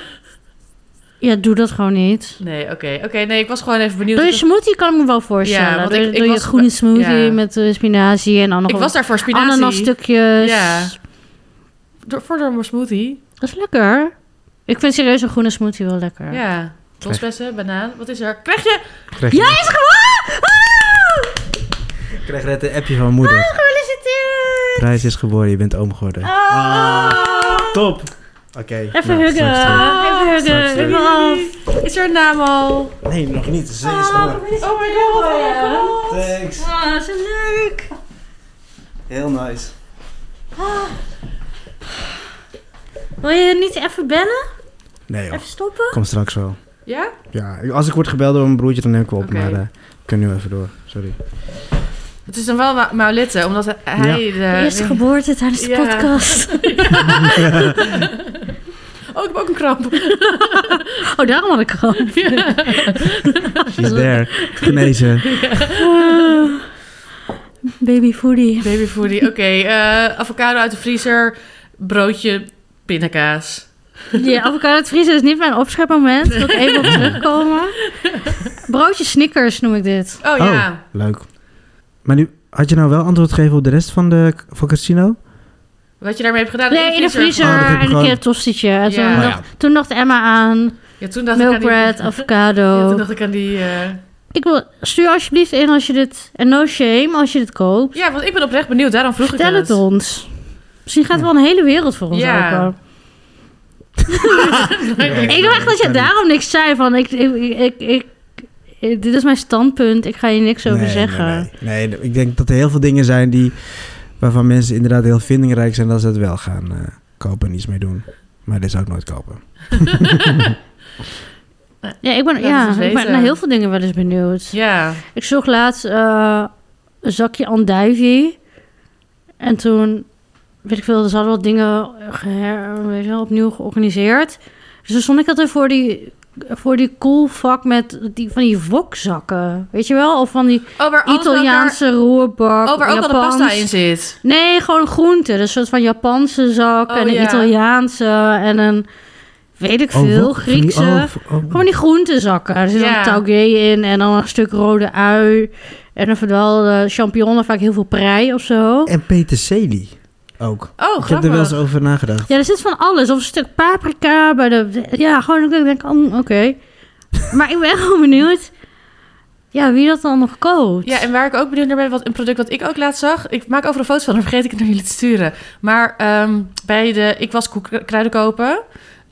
Speaker 2: Ja, doe dat gewoon niet.
Speaker 1: Nee, oké. Oké, nee, ik was gewoon even benieuwd.
Speaker 2: Door je
Speaker 1: Ik-
Speaker 2: smoothie kan ik me wel
Speaker 1: Ja,
Speaker 2: voorstellen.
Speaker 1: want
Speaker 2: Door
Speaker 1: ik- ik
Speaker 2: door je
Speaker 1: was-
Speaker 2: groene smoothie
Speaker 1: ja.
Speaker 2: met eh, spinazie en dan nog
Speaker 1: ik was daar voor
Speaker 2: wat
Speaker 1: spinazie.
Speaker 2: ananasstukjes.
Speaker 1: Ja. Door, voor de smoothie.
Speaker 2: Dat is lekker. Ik vind serieus een groene smoothie wel lekker.
Speaker 1: Ja. Rosbessen, banaan. Wat is er? Krijg je?
Speaker 3: Krijg
Speaker 2: Jij is gewoon... Ah!
Speaker 3: Ik krijg net een appje van mijn moeder.
Speaker 2: Ah, gefeliciteerd! Oh.
Speaker 3: Prijs is geboren, je bent oom geworden. Top! Oké.
Speaker 2: Even
Speaker 3: nou,
Speaker 2: huggen.
Speaker 3: straks dan.
Speaker 2: Even huggen.
Speaker 3: Straks eh.
Speaker 2: Even af.
Speaker 1: Is er een naam al?
Speaker 2: Ah.
Speaker 3: Nee, nog niet. Ze is geworden.
Speaker 1: Oh my god.
Speaker 3: Thanks.
Speaker 2: Ah, zo leuk.
Speaker 3: Heel nice.
Speaker 2: Ah. Wil je niet even bellen?
Speaker 3: Nee joh,
Speaker 2: Even stoppen?
Speaker 3: kom straks wel.
Speaker 1: Ja?
Speaker 3: Ja, ik- als ik word gebeld door mijn broertje, dan neem ik wel op.
Speaker 1: Oké.
Speaker 3: Maar eh, ik kan nu even door. Sorry.
Speaker 1: Het is dan wel Ma- Maulette, omdat hij... eh, De...
Speaker 2: Eerste geboorte tijdens de
Speaker 1: Ja.
Speaker 2: podcast.
Speaker 1: Oh, ik heb ook een kramp.
Speaker 2: Oh, daarom had ik gewoon. Ah.
Speaker 3: She's there. Genezen.
Speaker 2: Baby foodie.
Speaker 1: Baby foodie. Oké, eh, avocado uit de vriezer, broodje, pindakaas.
Speaker 2: Ja, avocado uit vriezen is niet mijn opschepmoment. Ik wil er even op terugkomen. Broodje Snickers noem ik dit.
Speaker 1: Oh, ja.
Speaker 3: Leuk. Maar nu, had je nou wel antwoord gegeven op de rest van, de, van Casino?
Speaker 1: Wat je daarmee hebt gedaan?
Speaker 2: Nee, in de vriezer
Speaker 3: Oh, dat heb ik
Speaker 2: en een
Speaker 3: gewoon-
Speaker 2: keer een tostietje. En toen,
Speaker 1: Ja.
Speaker 3: Oh, ja.
Speaker 2: dacht, toen dacht Emma aan
Speaker 1: Ja, toen dacht ik aan
Speaker 2: milkbread,
Speaker 1: die... Ja,
Speaker 2: avocado.
Speaker 1: toen dacht ik aan die... eh,
Speaker 2: Ik wil, stuur alsjeblieft in als je dit... En no shame als je dit koopt.
Speaker 1: Ja, want ik ben oprecht benieuwd. Daarom vroeg
Speaker 2: Vertel
Speaker 1: ik
Speaker 2: het ons. Misschien gaat er wel een hele wereld voor ons
Speaker 1: Ja.
Speaker 2: open.
Speaker 1: het.
Speaker 2: Ik dacht echt dat je daarom niks zei van... Ik, ik, ik, ik- ik- dit is mijn standpunt, ik ga hier niks over
Speaker 3: nee,
Speaker 2: zeggen.
Speaker 3: Nee, nee. Nee, ik denk dat er heel veel dingen zijn die, waarvan mensen inderdaad heel vindingrijk zijn dat ze het wel gaan eh, kopen en iets mee doen. Maar dit zou ik nooit kopen.
Speaker 2: Ja, ik ben,
Speaker 1: Laat het
Speaker 2: ja,
Speaker 1: ons
Speaker 2: ik ben
Speaker 1: weten.
Speaker 2: naar heel veel dingen wel eens benieuwd.
Speaker 1: Ja.
Speaker 2: Ik zocht laatst eh, een zakje andijvie. En toen, weet ik veel, er hadden wat dingen geher, weet je wel, opnieuw georganiseerd. Dus toen stond ik altijd voor die, voor die cool vak met die, van die wokzakken. Weet je wel? Of van die
Speaker 1: Oh, waar alles bij elkaar-
Speaker 2: Italiaanse roerbak.
Speaker 1: Oh, waar ook al de
Speaker 2: Japans.
Speaker 1: pasta in zit.
Speaker 2: Nee, gewoon groenten. Dus een soort van Japanse zak
Speaker 1: Oh,
Speaker 2: en een
Speaker 1: ja.
Speaker 2: Italiaanse en een, weet ik veel,
Speaker 3: wat? Van die-
Speaker 2: Griekse.
Speaker 3: oh, v- oh.
Speaker 2: Gewoon die groentezakken. Er zit dan
Speaker 1: Ja.
Speaker 2: taugé in en dan een stuk rode ui. En dan verdwaalde champignon, vaak heel veel prei of zo.
Speaker 3: En peterselie ook.
Speaker 1: Oh,
Speaker 3: ik heb er
Speaker 1: grappig.
Speaker 3: wel eens over nagedacht.
Speaker 2: Ja, er zit van alles. Of een stuk paprika bij de... Ja, gewoon, ik denk, oh, oké. maar ik ben gewoon benieuwd... Ja, wie dat dan nog koopt.
Speaker 1: Ja, en waar ik ook benieuwd naar ben, wat een product wat ik ook laatst zag. Ik maak overal foto's van, dan vergeet ik het naar jullie te sturen. Maar ehm, bij de, ik was koek- kruiden kopen.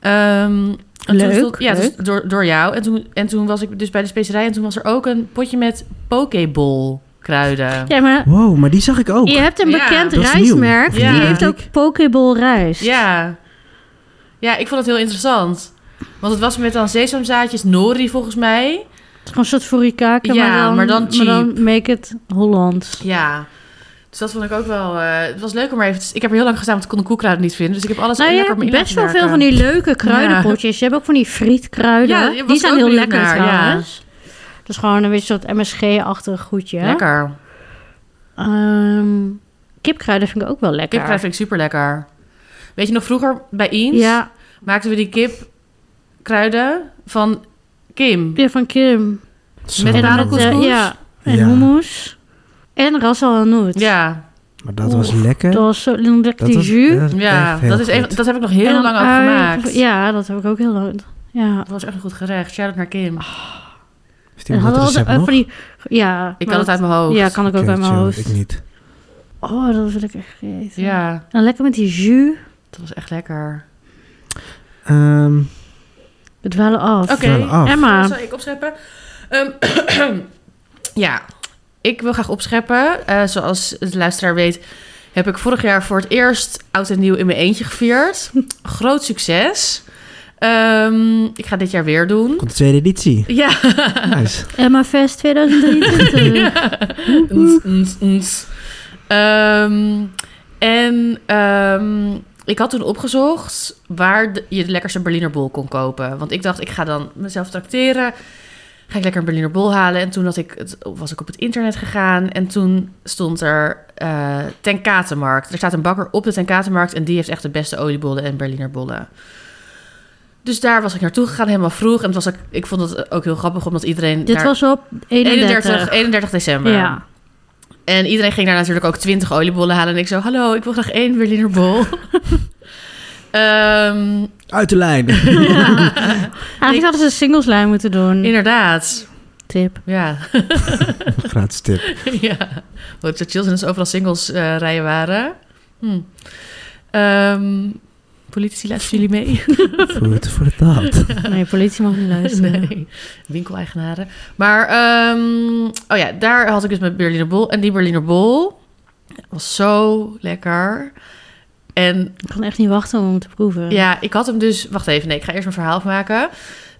Speaker 1: Ehm, en
Speaker 2: Leuk,
Speaker 1: toen stond- ja,
Speaker 2: leuk.
Speaker 1: dus door, door jou. En toen, en toen was ik dus bij de specerij en toen was er ook een potje met pokeball kruiden.
Speaker 2: Ja, maar
Speaker 3: Wow, maar die zag ik ook.
Speaker 2: je hebt een
Speaker 1: Ja.
Speaker 2: bekend
Speaker 3: Dat is nieuw.
Speaker 2: rijstmerk.
Speaker 1: Ja.
Speaker 2: Die heeft ook pokeball rijst.
Speaker 1: Ja. Ja, ik vond het heel interessant. Want het was met dan sesamzaadjes, nori volgens mij.
Speaker 2: Het is Gewoon een soort furikake,
Speaker 1: Ja,
Speaker 2: maar, dan,
Speaker 1: maar dan
Speaker 2: make it Hollands.
Speaker 1: Ja. Dus dat vond ik ook wel... eh, het was leuk om maar even... te- Ik heb er heel lang gestaan, want ik kon de koelkruiden niet vinden. Dus ik heb alles
Speaker 2: Nou, je
Speaker 1: lekker op
Speaker 2: hebt
Speaker 1: mijn
Speaker 2: best wel
Speaker 1: inlaat
Speaker 2: veel van
Speaker 1: werken.
Speaker 2: die leuke kruidenpotjes. Je hebt ook van die frietkruiden.
Speaker 1: Ja, die was
Speaker 2: die
Speaker 1: ik
Speaker 2: zijn
Speaker 1: ook
Speaker 2: heel
Speaker 1: benieuwd
Speaker 2: lekker
Speaker 1: naar, ja.
Speaker 2: trouwens. Dus gewoon een beetje soort MSG-achtig goedje.
Speaker 1: Lekker.
Speaker 2: Ehm, kipkruiden vind ik ook wel lekker.
Speaker 1: Kipvrij vind ik super lekker. Weet je nog, vroeger bij Eens
Speaker 2: Ja,
Speaker 1: maakten we die kipkruiden van Kim.
Speaker 2: die van Kim.
Speaker 3: Zo.
Speaker 1: Met
Speaker 2: En
Speaker 1: parel-
Speaker 2: met, eh,
Speaker 1: couscous?
Speaker 2: ja, en
Speaker 3: Ja.
Speaker 2: hummus. En ras al hanout.
Speaker 1: Ja,
Speaker 3: Maar dat was
Speaker 2: Oeh,
Speaker 3: lekker.
Speaker 2: Dat was zo dan dacht ik die jus.
Speaker 3: dat is
Speaker 1: ja
Speaker 3: echt heel
Speaker 1: dat, is
Speaker 3: goed.
Speaker 1: even, dat heb ik nog
Speaker 2: En
Speaker 1: heel
Speaker 2: dan
Speaker 1: lang over
Speaker 2: ui.
Speaker 1: gemaakt.
Speaker 2: Ja, dat heb ik ook heel lang. Ja.
Speaker 1: Dat was echt een goed gerecht. Shout-out naar Kim.
Speaker 3: Heeft
Speaker 2: En hadden
Speaker 3: iemand dat
Speaker 2: we
Speaker 3: recept
Speaker 2: altijd
Speaker 3: nog?
Speaker 2: van die... Ja.
Speaker 1: Ik
Speaker 2: maar
Speaker 1: kan het
Speaker 2: dat-
Speaker 1: uit mijn hoofd.
Speaker 2: Ja, kan ik ook
Speaker 3: Oké,
Speaker 2: uit mijn
Speaker 3: chill,
Speaker 2: hoofd.
Speaker 3: Ik niet.
Speaker 2: Oh, dat wil ik echt eten.
Speaker 1: Ja,
Speaker 2: En lekker met die jus.
Speaker 1: dat was echt lekker.
Speaker 3: Ehm,
Speaker 2: We dwalen af.
Speaker 1: Oké.
Speaker 3: wel af.
Speaker 2: Emma.
Speaker 1: Zal ik opscheppen? Ehm, ja, ik wil graag opscheppen. Eh, zoals de luisteraar weet, heb ik vorig jaar voor het eerst oud en nieuw in mijn eentje gevierd. Groot succes. Ehm, ik ga dit jaar weer doen.
Speaker 3: Komt de tweede editie.
Speaker 1: Ja.
Speaker 3: Nice.
Speaker 2: Emma Fest 2023.
Speaker 1: Mm. Ns, ns, ns. Mm, Ehm, en ehm, ik had toen opgezocht waar de- je de lekkerste Berliner Bol kon kopen. Want ik dacht, ik ga dan mezelf tracteren. Ga ik lekker een Berliner Bol halen. En toen had ik het, was ik op het internet gegaan. En toen stond er eh Ten Katenmarkt. Er staat een bakker op de Ten Katenmarkt. En die heeft echt de beste oliebollen en Berliner Bollen. Dus daar was ik naartoe gegaan, helemaal vroeg. En het was ook, ik vond het ook heel grappig, omdat iedereen...
Speaker 2: Dit
Speaker 1: daar-
Speaker 2: was op 31.
Speaker 1: 31, 31 december.
Speaker 2: Ja.
Speaker 1: En iedereen ging daar natuurlijk ook 20 oliebollen halen. En ik zo, hallo, ik wil graag één Berliner bol. Ehm,
Speaker 3: Uit de lijn.
Speaker 2: Eigenlijk
Speaker 1: Ik-
Speaker 2: hadden ze een singlesline moeten doen.
Speaker 1: inderdaad.
Speaker 2: Tip.
Speaker 1: Ja.
Speaker 3: Gratis tip.
Speaker 1: ja. Wat zo chill zijn dat ze overal singles eh, rijen waren. Hm. Ehm, politici, luisteren jullie mee?
Speaker 3: Food for thought.
Speaker 2: Nee, politie mag niet luisteren.
Speaker 1: Nee, winkeleigenaren. Maar, ehm, oh ja, daar had ik dus mijn Berliner Bol. En die Berliner Bol was zo lekker. En
Speaker 2: Ik kon echt niet wachten om hem te proeven.
Speaker 1: Ja, ik had hem dus... Wacht even, nee, ik ga eerst mijn verhaal afmaken.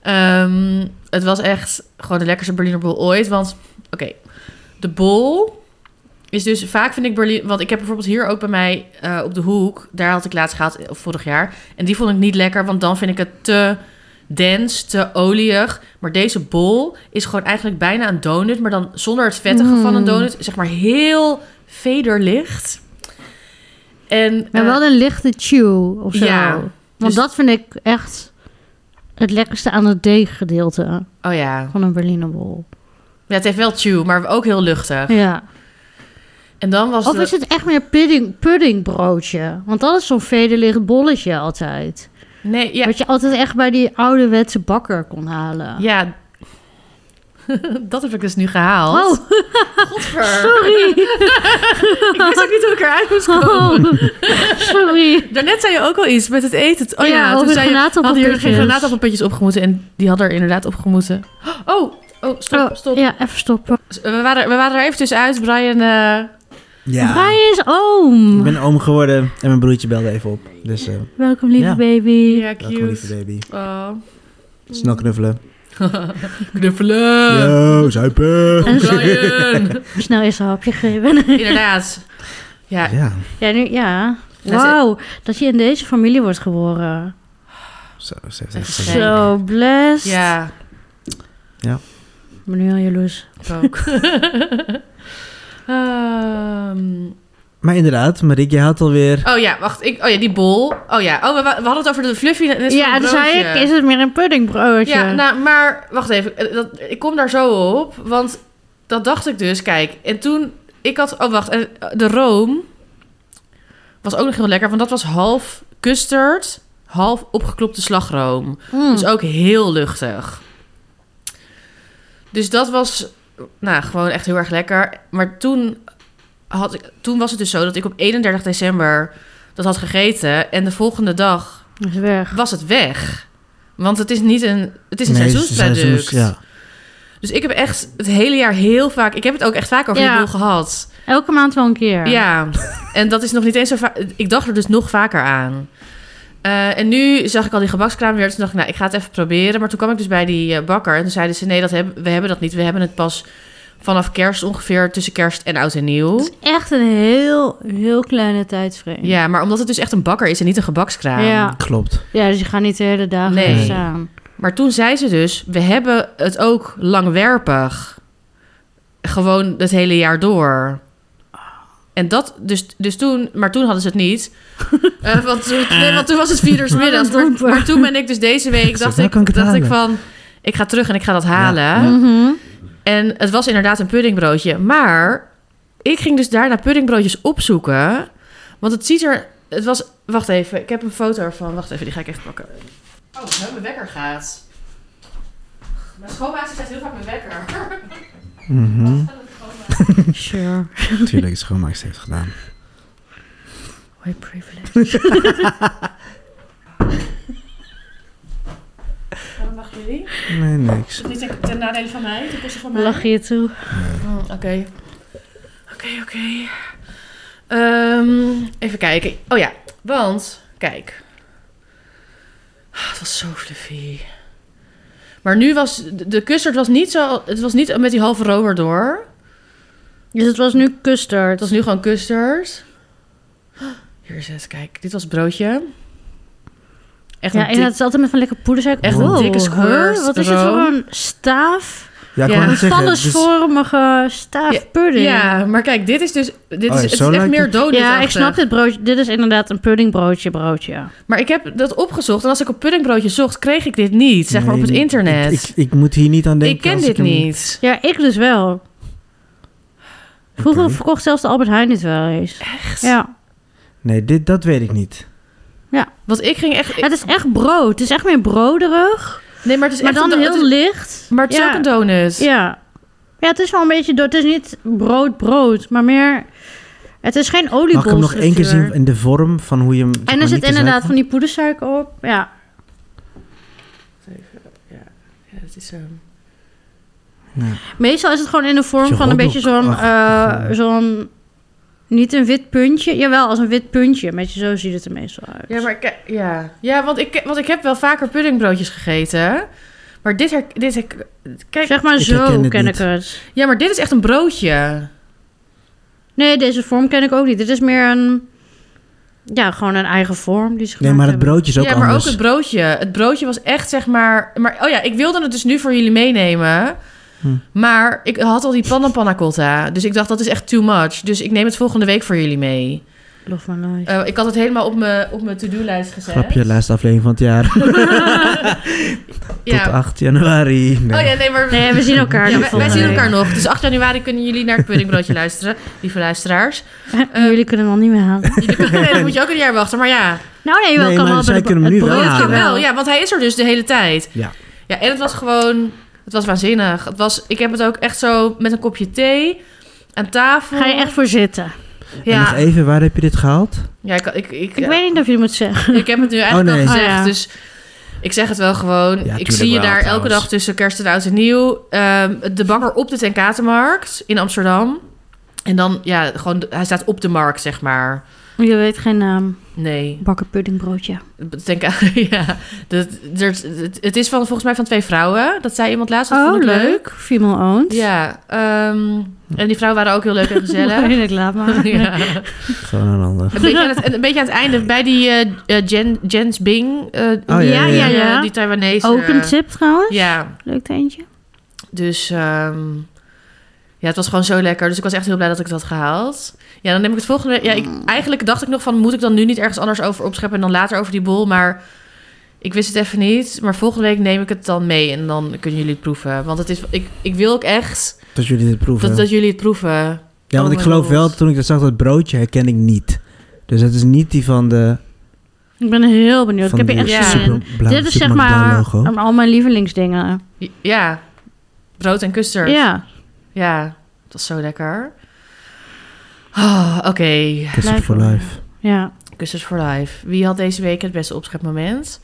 Speaker 1: Ehm, het was echt gewoon de lekkerste Berliner bol ooit. Want, oké, de bol is dus... Vaak vind ik Berlin... Want ik heb bijvoorbeeld hier ook bij mij eh, op de hoek... Daar had ik laatst gehad, of vorig jaar. En die vond ik niet lekker, want dan vind ik het te dens, te olieig. Maar deze bol is gewoon eigenlijk bijna een donut... maar dan zonder het vettige
Speaker 2: Mm.
Speaker 1: van een donut. Zeg maar heel vederlicht. En,
Speaker 2: Maar
Speaker 1: eh,
Speaker 2: wel een lichte chew of zo.
Speaker 1: ja,
Speaker 2: Want
Speaker 1: dus-
Speaker 2: dat vind ik echt het lekkerste aan het deeggedeelte
Speaker 1: oh ja.
Speaker 2: van een Berliner bol.
Speaker 1: ja, het heeft wel chew, maar ook heel luchtig.
Speaker 2: Ja.
Speaker 1: En dan was
Speaker 2: Of
Speaker 1: de-
Speaker 2: is het echt meer pudding, puddingbroodje? Want dat is zo'n vederlicht bolletje altijd.
Speaker 1: Nee, ja,
Speaker 2: Wat je altijd echt bij die ouderwetse bakker kon halen.
Speaker 1: ja. dat heb ik dus nu gehaald.
Speaker 2: Oh,
Speaker 1: Godver.
Speaker 2: sorry.
Speaker 1: ik wist ook niet hoe ik eruit moest komen.
Speaker 2: Oh, sorry.
Speaker 1: Daarnet zei je ook al iets met het eten. Oh ja,
Speaker 2: Ja, over
Speaker 1: toen
Speaker 2: de
Speaker 1: zei je, we hadden hier geen
Speaker 2: granaatappelpitjes.
Speaker 1: granaatappelpitjes opgemoeten. En die hadden er inderdaad opgemoeten. Oh, oh stop,
Speaker 2: Oh,
Speaker 1: stop.
Speaker 2: Ja, even stoppen.
Speaker 1: We, waren, we waren er even tussenuit, Brian. eh,
Speaker 3: Ja.
Speaker 2: Brian is oom.
Speaker 3: Ik ben
Speaker 1: Mm.
Speaker 3: oom geworden en mijn broertje belde even op. Dus eh
Speaker 2: Welkom, lieve
Speaker 3: Ja.
Speaker 2: baby.
Speaker 1: ja,
Speaker 3: welkom lieve
Speaker 1: eh, cute.
Speaker 3: baby.
Speaker 1: Oh.
Speaker 3: Snel knuffelen.
Speaker 1: Knuffelen.
Speaker 3: Yo, zuipen!
Speaker 1: Kom, Brian.
Speaker 2: Snel eerst een hapje geven.
Speaker 1: inderdaad. Ja,
Speaker 3: Ja,
Speaker 2: ja, nu, ja.
Speaker 1: Dat is-
Speaker 2: Wauw, dat je in deze familie wordt geboren.
Speaker 3: zo, ze heeft
Speaker 1: Dat
Speaker 3: echt
Speaker 1: is
Speaker 3: gezien.
Speaker 1: Kijk. zo.
Speaker 2: Zo blessed.
Speaker 1: ja,
Speaker 2: Ik ben nu al jaloers.
Speaker 1: ik ook. Ehm,
Speaker 3: Maar inderdaad, Marieke, je had alweer...
Speaker 1: oh ja, wacht. Ik, oh ja, die bol. Oh ja, oh, we, we hadden het over de fluffy.
Speaker 2: Ja, toen zei ik, is het meer een puddingbroodje?
Speaker 1: Ja, nou, maar wacht even. Eh, Dat, ik kom daar zo op, want dat dacht ik dus. Kijk, en toen ik had... Oh, wacht. en, eh, De room was ook nog heel lekker, want dat was half custard, half opgeklopte slagroom.
Speaker 2: Mm.
Speaker 1: Dus ook heel luchtig. Dus dat was nou, gewoon echt heel erg lekker. Maar toen, had ik, toen was het dus zo dat ik op 31 december dat had gegeten. En de volgende dag
Speaker 2: is weg.
Speaker 1: was het weg. Want het is niet een, het is een
Speaker 3: Nee,
Speaker 1: seizoensproduct.
Speaker 3: seizoens- ja.
Speaker 1: Dus ik heb echt het hele jaar heel vaak... Ik heb het ook echt vaak over
Speaker 2: Ja.
Speaker 1: die boel gehad.
Speaker 2: Elke maand wel een keer.
Speaker 1: Ja. En dat is nog niet eens zo vaak... Ik dacht er dus nog vaker aan. Eh, en nu zag ik al die gebakskraam weer. Toen dacht ik, nou, ik ga het even proberen. Maar toen kwam ik dus bij die eh, bakker. En toen zeiden ze, nee, dat hebben, we hebben dat niet. We hebben het pas vanaf kerst ongeveer. Tussen kerst en oud en nieuw.
Speaker 2: Het is echt een heel, heel kleine tijdsframe.
Speaker 1: Ja, maar omdat het dus echt een bakker is en niet een gebakskraam.
Speaker 2: Ja.
Speaker 3: Klopt.
Speaker 2: Ja, dus je gaat niet de hele dag
Speaker 1: Nee.
Speaker 2: nee. staan.
Speaker 1: Maar toen zei ze dus, we hebben het ook langwerpig. Gewoon het hele jaar door. En dat, dus, dus toen, maar toen hadden ze het niet. Eh, want, toen, nee, want toen was het vier uur 's middags. Maar,
Speaker 2: domper.
Speaker 1: maar toen ben ik dus deze week,
Speaker 3: zei,
Speaker 1: dacht,
Speaker 3: waar
Speaker 1: ik,
Speaker 3: kan ik het
Speaker 1: dacht ik
Speaker 3: halen?
Speaker 1: van, ik ga terug en ik ga dat halen.
Speaker 3: Ja.
Speaker 2: Mhm.
Speaker 1: En het was inderdaad een puddingbroodje. Maar ik ging dus daarna puddingbroodjes opzoeken. Want het ziet er... Het was... Wacht even, ik heb een foto ervan. Wacht even, die ga ik even pakken. Oh, nou, mijn wekker gaat. Mijn schoonmaakster zet heel vaak mijn wekker.
Speaker 3: Mhm.
Speaker 2: Sure.
Speaker 3: Tuurlijk, schoonmaakster heeft gedaan.
Speaker 2: My privilege.
Speaker 1: Waarom lachen jullie? Is
Speaker 3: Nee, niks.
Speaker 1: het niet ten, ten nadele van mij? Ten koste van mij?
Speaker 2: Lach je toe.
Speaker 1: Oh, Oké. Oké, oké. Ehm, even kijken. Oh ja, want, kijk. Ah, Het was zo fluffy. Maar nu was, de- de custard was niet zo, het was niet met die halve romer door.
Speaker 2: Dus het was nu custard.
Speaker 1: Het was nu gewoon custard. Hier is het, kijk. Dit was het broodje. Echt
Speaker 2: ja,
Speaker 1: een
Speaker 2: en
Speaker 1: dik-
Speaker 2: het is altijd met van lekker poedersuiker.
Speaker 1: Echt een dikke
Speaker 2: huh?
Speaker 1: squirt
Speaker 2: Wat is het voor
Speaker 1: room.
Speaker 2: een staaf?
Speaker 3: Ja, ik
Speaker 1: Ja.
Speaker 3: wou
Speaker 2: Een
Speaker 3: net zeggen, dus- het is-
Speaker 2: vallesvormige staaf
Speaker 1: Ja,
Speaker 2: pudding.
Speaker 1: Ja, maar kijk, dit is dus, dit
Speaker 3: Oh,
Speaker 1: is,
Speaker 3: ja,
Speaker 1: het is
Speaker 3: zo
Speaker 1: echt
Speaker 3: lijkt
Speaker 1: meer
Speaker 3: het.
Speaker 1: donut
Speaker 2: Ja, ik snap dit broodje. Dit is inderdaad een puddingbroodje broodje.
Speaker 1: Maar ik heb dat opgezocht en als ik op puddingbroodje zocht, kreeg ik dit niet. Zeg maar
Speaker 3: Nee,
Speaker 1: op het
Speaker 3: ik-
Speaker 1: internet.
Speaker 3: Ik, ik, moet hier niet aan denken.
Speaker 1: ik ken
Speaker 3: als
Speaker 1: dit
Speaker 3: hem-
Speaker 1: niet.
Speaker 2: Ja, ik dus wel. Vroeger
Speaker 3: Oké.
Speaker 2: verkocht zelfs de Albert Heijn dit wel eens. Echt? Ja.
Speaker 3: Nee, dit, dat weet ik niet.
Speaker 1: Want ik ging echt.
Speaker 2: Het is echt brood. Het is echt meer brooderig.
Speaker 1: nee, maar het is
Speaker 2: Maar
Speaker 1: echt
Speaker 2: dan
Speaker 1: een do-
Speaker 2: heel
Speaker 1: het is-
Speaker 2: licht.
Speaker 1: Maar het is
Speaker 2: ja.
Speaker 1: ook een donut.
Speaker 2: Ja. Ja, het is wel een beetje... do- Het is niet brood-brood, maar meer... Het is geen
Speaker 3: Mag ik hem
Speaker 2: oliebolstructuur.
Speaker 3: nog één keer zien in de vorm van hoe je hem... zeg
Speaker 2: En
Speaker 3: maar,
Speaker 2: er zit
Speaker 3: niet te
Speaker 2: inderdaad van
Speaker 3: zuipen?
Speaker 2: die poedersuiker op. Ja.
Speaker 1: Ja, het is, ehm,
Speaker 3: Ja.
Speaker 2: Meestal is het gewoon in de vorm
Speaker 3: Zo'n
Speaker 2: van een beetje zo'n...
Speaker 3: hotdog-achtig,
Speaker 2: eh,
Speaker 3: eh.
Speaker 2: zo'n... Niet een wit puntje. Jawel, als een wit puntje. Met je zo ziet het er meestal uit.
Speaker 1: ja, maar ik, ja. ja want, ik, want ik heb wel vaker puddingbroodjes gegeten. Maar dit, her, dit her- kijk,
Speaker 2: Zeg maar
Speaker 3: Ik
Speaker 2: zo
Speaker 3: herken
Speaker 2: ken
Speaker 3: het niet.
Speaker 2: ik het.
Speaker 1: ja, maar dit is echt een broodje.
Speaker 2: Nee, deze vorm ken ik ook niet. Dit is meer een... Ja, gewoon een eigen vorm die ze
Speaker 3: Nee,
Speaker 2: gemaakt
Speaker 3: maar het
Speaker 2: hebben.
Speaker 3: broodje is ook
Speaker 1: ja, maar
Speaker 3: anders.
Speaker 1: ook het broodje. Het broodje was echt zeg maar. Maar oh ja, ik wilde het dus nu voor jullie meenemen.
Speaker 3: Hm.
Speaker 1: Maar ik had al die panna panna cotta. Dus ik dacht, dat is echt too much. Dus ik neem het volgende week voor jullie mee.
Speaker 2: Love my life.
Speaker 1: Eh, ik had het helemaal op mijn op mijn to-do-lijst gezet.
Speaker 3: Grapje, laatste aflevering van het jaar.
Speaker 1: ja.
Speaker 3: Tot 8 januari. Nee.
Speaker 1: Oh ja, nee, maar...
Speaker 2: Nee, we zien elkaar
Speaker 1: Ja, wij,
Speaker 2: nog
Speaker 1: wij
Speaker 2: volgende
Speaker 1: zien
Speaker 2: week.
Speaker 1: elkaar nog. Dus 8 januari kunnen jullie naar het puddingbroodje luisteren, lieve luisteraars.
Speaker 2: En jullie kunnen hem al niet meer halen.
Speaker 1: Jullie kunnen, nee, dan moet je ook een jaar wachten, maar ja.
Speaker 2: Nou nee, wel
Speaker 3: Nee,
Speaker 2: kan
Speaker 3: maar
Speaker 2: wel.
Speaker 3: zij
Speaker 2: bij de-
Speaker 3: kunnen hem
Speaker 2: het
Speaker 3: nu wel
Speaker 1: Oh,
Speaker 2: broodje
Speaker 1: dat
Speaker 3: halen.
Speaker 1: kan wel, ja, want hij is er dus de hele tijd.
Speaker 3: Ja.
Speaker 1: Ja, en het was gewoon... Het was waanzinnig. Het was, ik heb het ook echt zo met een kopje thee aan tafel.
Speaker 2: Ga je echt voor zitten.
Speaker 3: En nog
Speaker 1: Ja,
Speaker 3: even, waar heb je dit gehaald?
Speaker 1: ja ik, ik, ik,
Speaker 2: Ik weet niet of je het moet zeggen.
Speaker 1: ik heb het nu eigenlijk
Speaker 3: Oh, nee.
Speaker 1: al gezegd,
Speaker 2: Oh, ja.
Speaker 1: dus... Ik zeg het wel gewoon.
Speaker 3: Ja,
Speaker 1: ik
Speaker 3: tuurlijk
Speaker 1: zie je
Speaker 3: wel,
Speaker 1: daar elke
Speaker 3: trouwens.
Speaker 1: dag tussen kerst en oud en nieuw. Ehm, de bakker op de Tenkatenmarkt in Amsterdam. En dan, ja, gewoon... Hij staat op de markt, zeg maar.
Speaker 2: Je weet geen ehm, naam.
Speaker 1: Nee,
Speaker 2: Bakker puddingbroodje.
Speaker 1: ik denk aan, ja. Dat, dat- het- het is van, volgens mij van twee vrouwen. Dat zei iemand laatst. Dat
Speaker 2: Oh,
Speaker 1: vond ik
Speaker 2: leuk.
Speaker 1: leuk.
Speaker 2: Female owned.
Speaker 1: Ja, ehm, en die vrouwen waren ook heel leuk en gezellig.
Speaker 2: Heerlijk, laat maar.
Speaker 1: ja.
Speaker 3: Gewoon een ander.
Speaker 1: een, beetje aan het, een beetje aan het einde bij die eh, eh, Jen, Jens Bing. eh,
Speaker 3: ja, Oh, ja, ja.
Speaker 1: eh, Die Taiwanese.
Speaker 2: Ook een tip trouwens.
Speaker 1: Ja,
Speaker 2: Leuk eentje.
Speaker 1: dus ehm, ja, het was gewoon zo lekker. Dus ik was echt heel blij dat ik dat had gehaald. Ja, dan neem ik het volgende. Ja, ik, eigenlijk dacht ik nog van, moet ik dan nu niet ergens anders over opscheppen en dan later over die bol? Maar ik wist het even niet. Maar volgende week neem ik het dan mee en dan kunnen jullie het proeven. Want het is, ik, ik wil ook echt
Speaker 3: Dat jullie dit proeven.
Speaker 1: dat, dat jullie het proeven.
Speaker 3: ja, want
Speaker 1: Oh
Speaker 3: ik
Speaker 1: my
Speaker 3: geloof
Speaker 1: God.
Speaker 3: wel, toen ik dat zag, dat broodje herken ik niet. Dus het is niet die van de...
Speaker 2: Ik ben heel benieuwd. Ik
Speaker 3: van
Speaker 2: heb je
Speaker 3: die
Speaker 2: echt
Speaker 1: Ja.
Speaker 2: zin in.
Speaker 3: super- blauw-
Speaker 2: Dit is zeg
Speaker 3: supermarkt blauw
Speaker 2: maar
Speaker 3: logo.
Speaker 2: um, al mijn lievelingsdingen.
Speaker 1: Ja, brood en custard.
Speaker 2: Ja.
Speaker 1: Ja, dat is zo lekker. Ah, Oké,
Speaker 3: Kussen
Speaker 2: blijf
Speaker 3: for
Speaker 2: wel.
Speaker 3: life.
Speaker 2: ja.
Speaker 1: Kussers for Life. Wie had deze week het beste opschepmoment?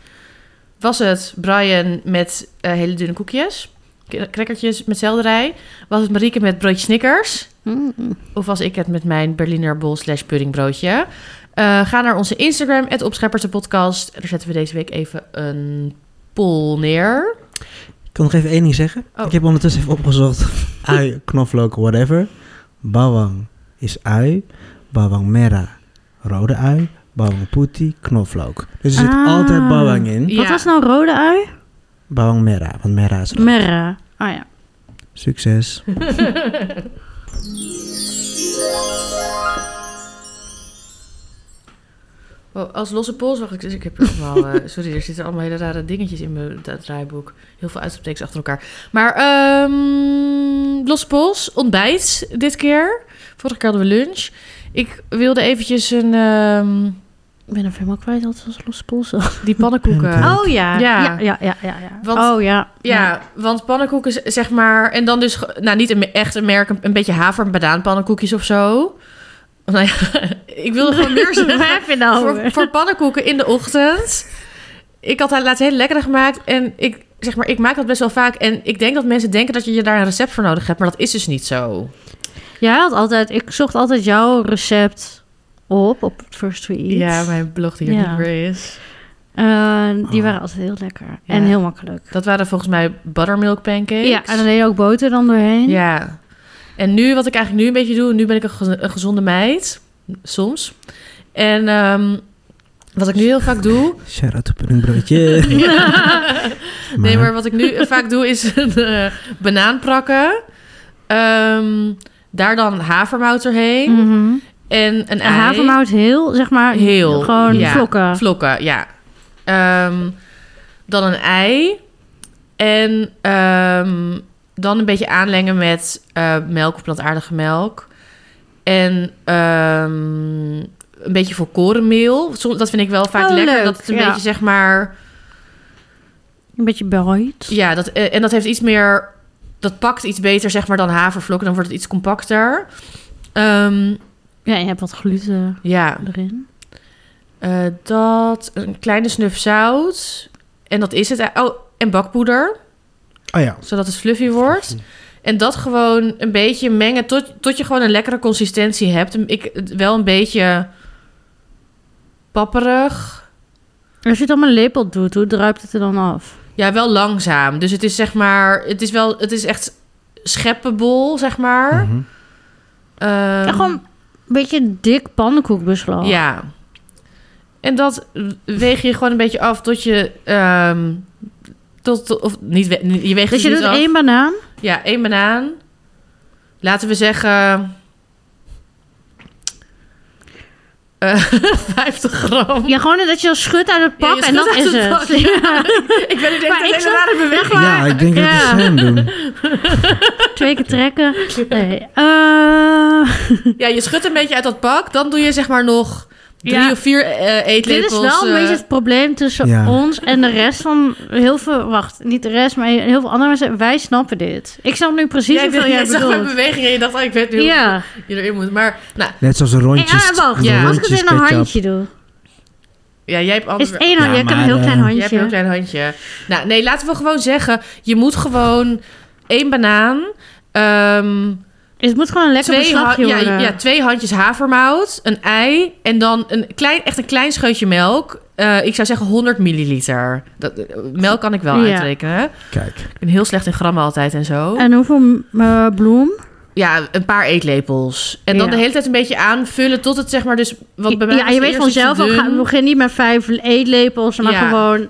Speaker 1: Was het Brian met eh, hele dunne koekjes? K- Crackertjes met selderij? Was het Marieke met broodje Snickers?
Speaker 2: Mm.
Speaker 1: Of was ik het met mijn Berliner bol slash puddingbroodje? Eh, ga naar onze Instagram, het Opscheppers de podcast. Daar zetten we deze week even een poll neer.
Speaker 3: Ik kan nog even één ding zeggen.
Speaker 1: Oh.
Speaker 3: Ik heb ondertussen even opgezocht. ui, knoflook, whatever. Bawang is ui. Bawang mera, rode ui. Bawang puti, knoflook. Dus er zit
Speaker 2: Ah.
Speaker 3: altijd bawang in.
Speaker 1: Ja.
Speaker 2: Wat was nou rode ui?
Speaker 3: Bawang mera, want mera is rood.
Speaker 2: Merra. Ah ja.
Speaker 3: Succes.
Speaker 1: Oh, als losse pols zag ik dus. Ik heb er allemaal. eh, sorry, er zitten allemaal hele rare dingetjes in mijn da- draaiboek. Heel veel uitroeptekens achter elkaar. Maar ehm, losse pols, ontbijt dit keer. Vorige keer hadden we lunch. Ik wilde eventjes een, ehm,
Speaker 2: Ik ben er helemaal kwijt. Dat was losse polsen.
Speaker 1: die pannenkoeken.
Speaker 3: Ja.
Speaker 2: Oh ja.
Speaker 1: Ja.
Speaker 2: Ja, ja, ja, ja. ja.
Speaker 1: Want-
Speaker 2: oh ja.
Speaker 1: Ja, want pannenkoeken, z- zeg maar. En dan dus, ge- nou niet een, echt een merk, een, een beetje haver- en banaanpannenkoekjes of zo. Nou ja, ik wilde gewoon meer zeggen.
Speaker 2: Waar heb je nou
Speaker 1: voor,
Speaker 2: over?
Speaker 1: voor pannenkoeken in de ochtend. Ik had daar laatst hele lekkere gemaakt. En ik, zeg maar, ik maak dat best wel vaak. En ik denk dat mensen denken dat je je daar een recept voor nodig hebt. Maar dat is dus niet zo.
Speaker 2: Jij had altijd, ik zocht altijd jouw recept op, op het First We Eat.
Speaker 1: mijn blog
Speaker 2: die er Ja. niet
Speaker 1: meer is.
Speaker 2: Eh, die
Speaker 3: Oh.
Speaker 2: waren altijd heel lekker
Speaker 1: Ja.
Speaker 2: en heel makkelijk.
Speaker 1: Dat waren volgens mij buttermilk pancakes.
Speaker 2: Ja, en dan deed je ook boter dan doorheen.
Speaker 1: Ja. En nu, wat ik eigenlijk nu een beetje doe... Nu ben ik een, gez- een gezonde meid. Soms. En ehm, wat ik nu heel vaak doe...
Speaker 3: Shout-out op een broodje.
Speaker 1: Nee, maar wat ik nu vaak doe is een eh, banaan prakken. Ehm, daar dan havermout erheen.
Speaker 2: Mhm.
Speaker 1: En een
Speaker 2: En
Speaker 1: ei.
Speaker 2: havermout heel, zeg maar,
Speaker 1: Heel,
Speaker 2: gewoon
Speaker 1: ja.
Speaker 2: vlokken.
Speaker 1: Vlokken, ja. Ehm, dan een ei. En ehm, dan een beetje aanlengen met eh, melk of plantaardige melk. En ehm, een beetje volkorenmeel. Soms, dat vind ik wel vaak
Speaker 2: Oh,
Speaker 1: lekker.
Speaker 2: leuk,
Speaker 1: dat het een
Speaker 2: ja.
Speaker 1: beetje zeg maar...
Speaker 2: Een beetje bruid.
Speaker 1: Ja, dat, eh, en dat heeft iets meer. Dat pakt iets beter, zeg maar, dan havervlokken. Dan wordt het iets compacter. Ehm,
Speaker 2: Ja, en je hebt wat gluten
Speaker 1: ja,
Speaker 2: erin.
Speaker 1: eh, dat. Een kleine snuf zout. En dat is het. Oh, en bakpoeder,
Speaker 3: Oh ja.
Speaker 1: zodat het fluffy wordt. En dat gewoon een beetje mengen tot, tot je gewoon een lekkere consistentie hebt. Ik, het wel een beetje papperig.
Speaker 2: Als je het dan met een lepel doet, hoe druipt het er dan af?
Speaker 1: Ja, wel langzaam. Dus het is zeg maar, het is wel, het is echt scheppenbol, zeg maar.
Speaker 3: Mhm.
Speaker 1: Ehm,
Speaker 2: ja, gewoon een beetje dik pannenkoekbeslag.
Speaker 1: Ja. En dat weeg je gewoon een beetje af tot je... ehm, tot, tot- of niet, we- je weegt
Speaker 2: Dus je
Speaker 1: het
Speaker 2: doet
Speaker 1: niet af.
Speaker 2: één banaan,
Speaker 1: Ja, één banaan. Laten we zeggen... eh, 50 gram.
Speaker 2: Ja, gewoon dat je dat schudt uit het
Speaker 1: Ja,
Speaker 2: pak
Speaker 1: je
Speaker 2: en dat
Speaker 1: schudt
Speaker 2: is
Speaker 1: uit
Speaker 2: het.
Speaker 1: het pak, ja. Ik ben nu de
Speaker 2: Maar ik
Speaker 1: hele tijd
Speaker 2: snap-
Speaker 1: een rare beweging.
Speaker 3: Ja, ik denk dat
Speaker 2: Ja.
Speaker 3: we het doen.
Speaker 2: Twee keer trekken. Nee. eh,
Speaker 1: Ja, je schudt een beetje uit dat pak. Dan doe je zeg maar nog drie
Speaker 2: Ja.
Speaker 1: of vier eh
Speaker 2: dit
Speaker 1: eetlepels.
Speaker 2: is wel een
Speaker 1: eh,
Speaker 2: beetje het probleem tussen
Speaker 3: Ja.
Speaker 2: ons en de rest van heel veel... Wacht, niet de rest, maar heel veel andere mensen. Wij snappen dit. Ik snap nu precies
Speaker 1: jij,
Speaker 2: hoeveel
Speaker 1: jij
Speaker 2: jij
Speaker 1: zag mijn
Speaker 2: bedoelt.
Speaker 1: bewegingen en je dacht, oh, ik weet nu hoe
Speaker 2: Ja.
Speaker 1: je erin moet. Maar nou,
Speaker 3: Net zoals de rondjes.
Speaker 2: ja, wacht.
Speaker 3: de
Speaker 1: Ja.
Speaker 2: Als ik het
Speaker 3: rondjes
Speaker 2: in een
Speaker 3: ketchup.
Speaker 2: handje doe.
Speaker 1: ja, jij hebt
Speaker 2: Is
Speaker 1: anders.
Speaker 2: het één handje?
Speaker 3: Ja,
Speaker 2: ik heb een
Speaker 3: maar,
Speaker 2: heel klein
Speaker 3: eh,
Speaker 1: Jij hebt een heel
Speaker 2: handje.
Speaker 1: klein handje. Nou, nee, laten we gewoon zeggen, je moet gewoon één banaan, ehm,
Speaker 2: Dus Het moet gewoon een lekker
Speaker 1: twee, ha-
Speaker 2: beslagje
Speaker 1: ja,
Speaker 2: worden.
Speaker 1: ja, twee handjes havermout, een ei en dan een klein, echt een klein scheutje melk. Eh, ik zou zeggen 100 milliliter. Dat, eh, melk kan ik wel
Speaker 2: Ja.
Speaker 1: uitrekenen.
Speaker 3: Kijk,
Speaker 1: Ik ben heel slecht in grammen altijd en zo.
Speaker 2: En hoeveel eh, bloem?
Speaker 1: Ja, een paar eetlepels. En dan
Speaker 2: Ja.
Speaker 1: de hele tijd een beetje aanvullen tot het zeg maar dus... Wat bij mij
Speaker 2: ja,
Speaker 1: was
Speaker 2: je
Speaker 1: het
Speaker 2: weet
Speaker 1: eerst iets
Speaker 2: vanzelf,
Speaker 1: te
Speaker 2: al, ga,
Speaker 1: dun.
Speaker 2: begin niet met vijf eetlepels, maar
Speaker 1: Ja.
Speaker 2: gewoon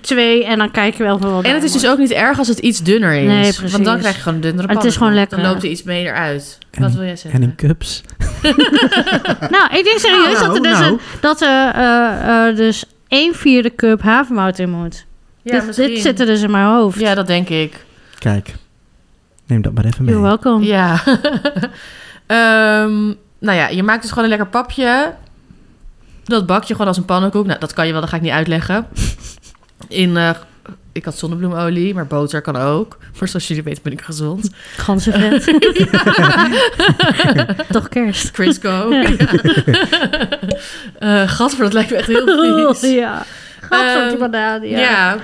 Speaker 2: twee en dan kijk je wel van wat
Speaker 1: En het is dus ook niet erg als het iets dunner is.
Speaker 2: Nee, precies.
Speaker 1: Want dan krijg je gewoon een dunnere
Speaker 2: Het is
Speaker 1: pannenkoek.
Speaker 2: gewoon lekker.
Speaker 1: Dan loopt er iets meer uit.
Speaker 3: En-
Speaker 1: Wat wil jij
Speaker 3: en
Speaker 1: zeggen?
Speaker 3: in cups.
Speaker 2: Nou, ik denk serieus
Speaker 3: Nou,
Speaker 2: dat er dus,
Speaker 3: nou.
Speaker 2: een, dat er, eh, eh, dus één vierde cup havermout in moet.
Speaker 1: ja,
Speaker 2: dit,
Speaker 1: misschien.
Speaker 2: dit zit er dus in mijn hoofd.
Speaker 1: Ja, dat denk ik.
Speaker 3: Kijk, neem dat maar even mee.
Speaker 2: You're welcome.
Speaker 1: Ja. Ehm, nou ja, je maakt dus gewoon een lekker papje. Dat bak je gewoon als een pannenkoek. Nou, dat kan je wel, dat ga ik niet uitleggen. In... eh, ik had zonnebloemolie, maar boter kan ook. Maar zoals jullie weten ben ik gezond.
Speaker 2: Ganzenvet. Toch kerst.
Speaker 1: Crisco. Ja. Eh, gadver, dat lijkt me echt heel vies.
Speaker 2: Oh, ja. Gadver, die
Speaker 1: Ehm,
Speaker 2: banaan, ja.
Speaker 1: Ja.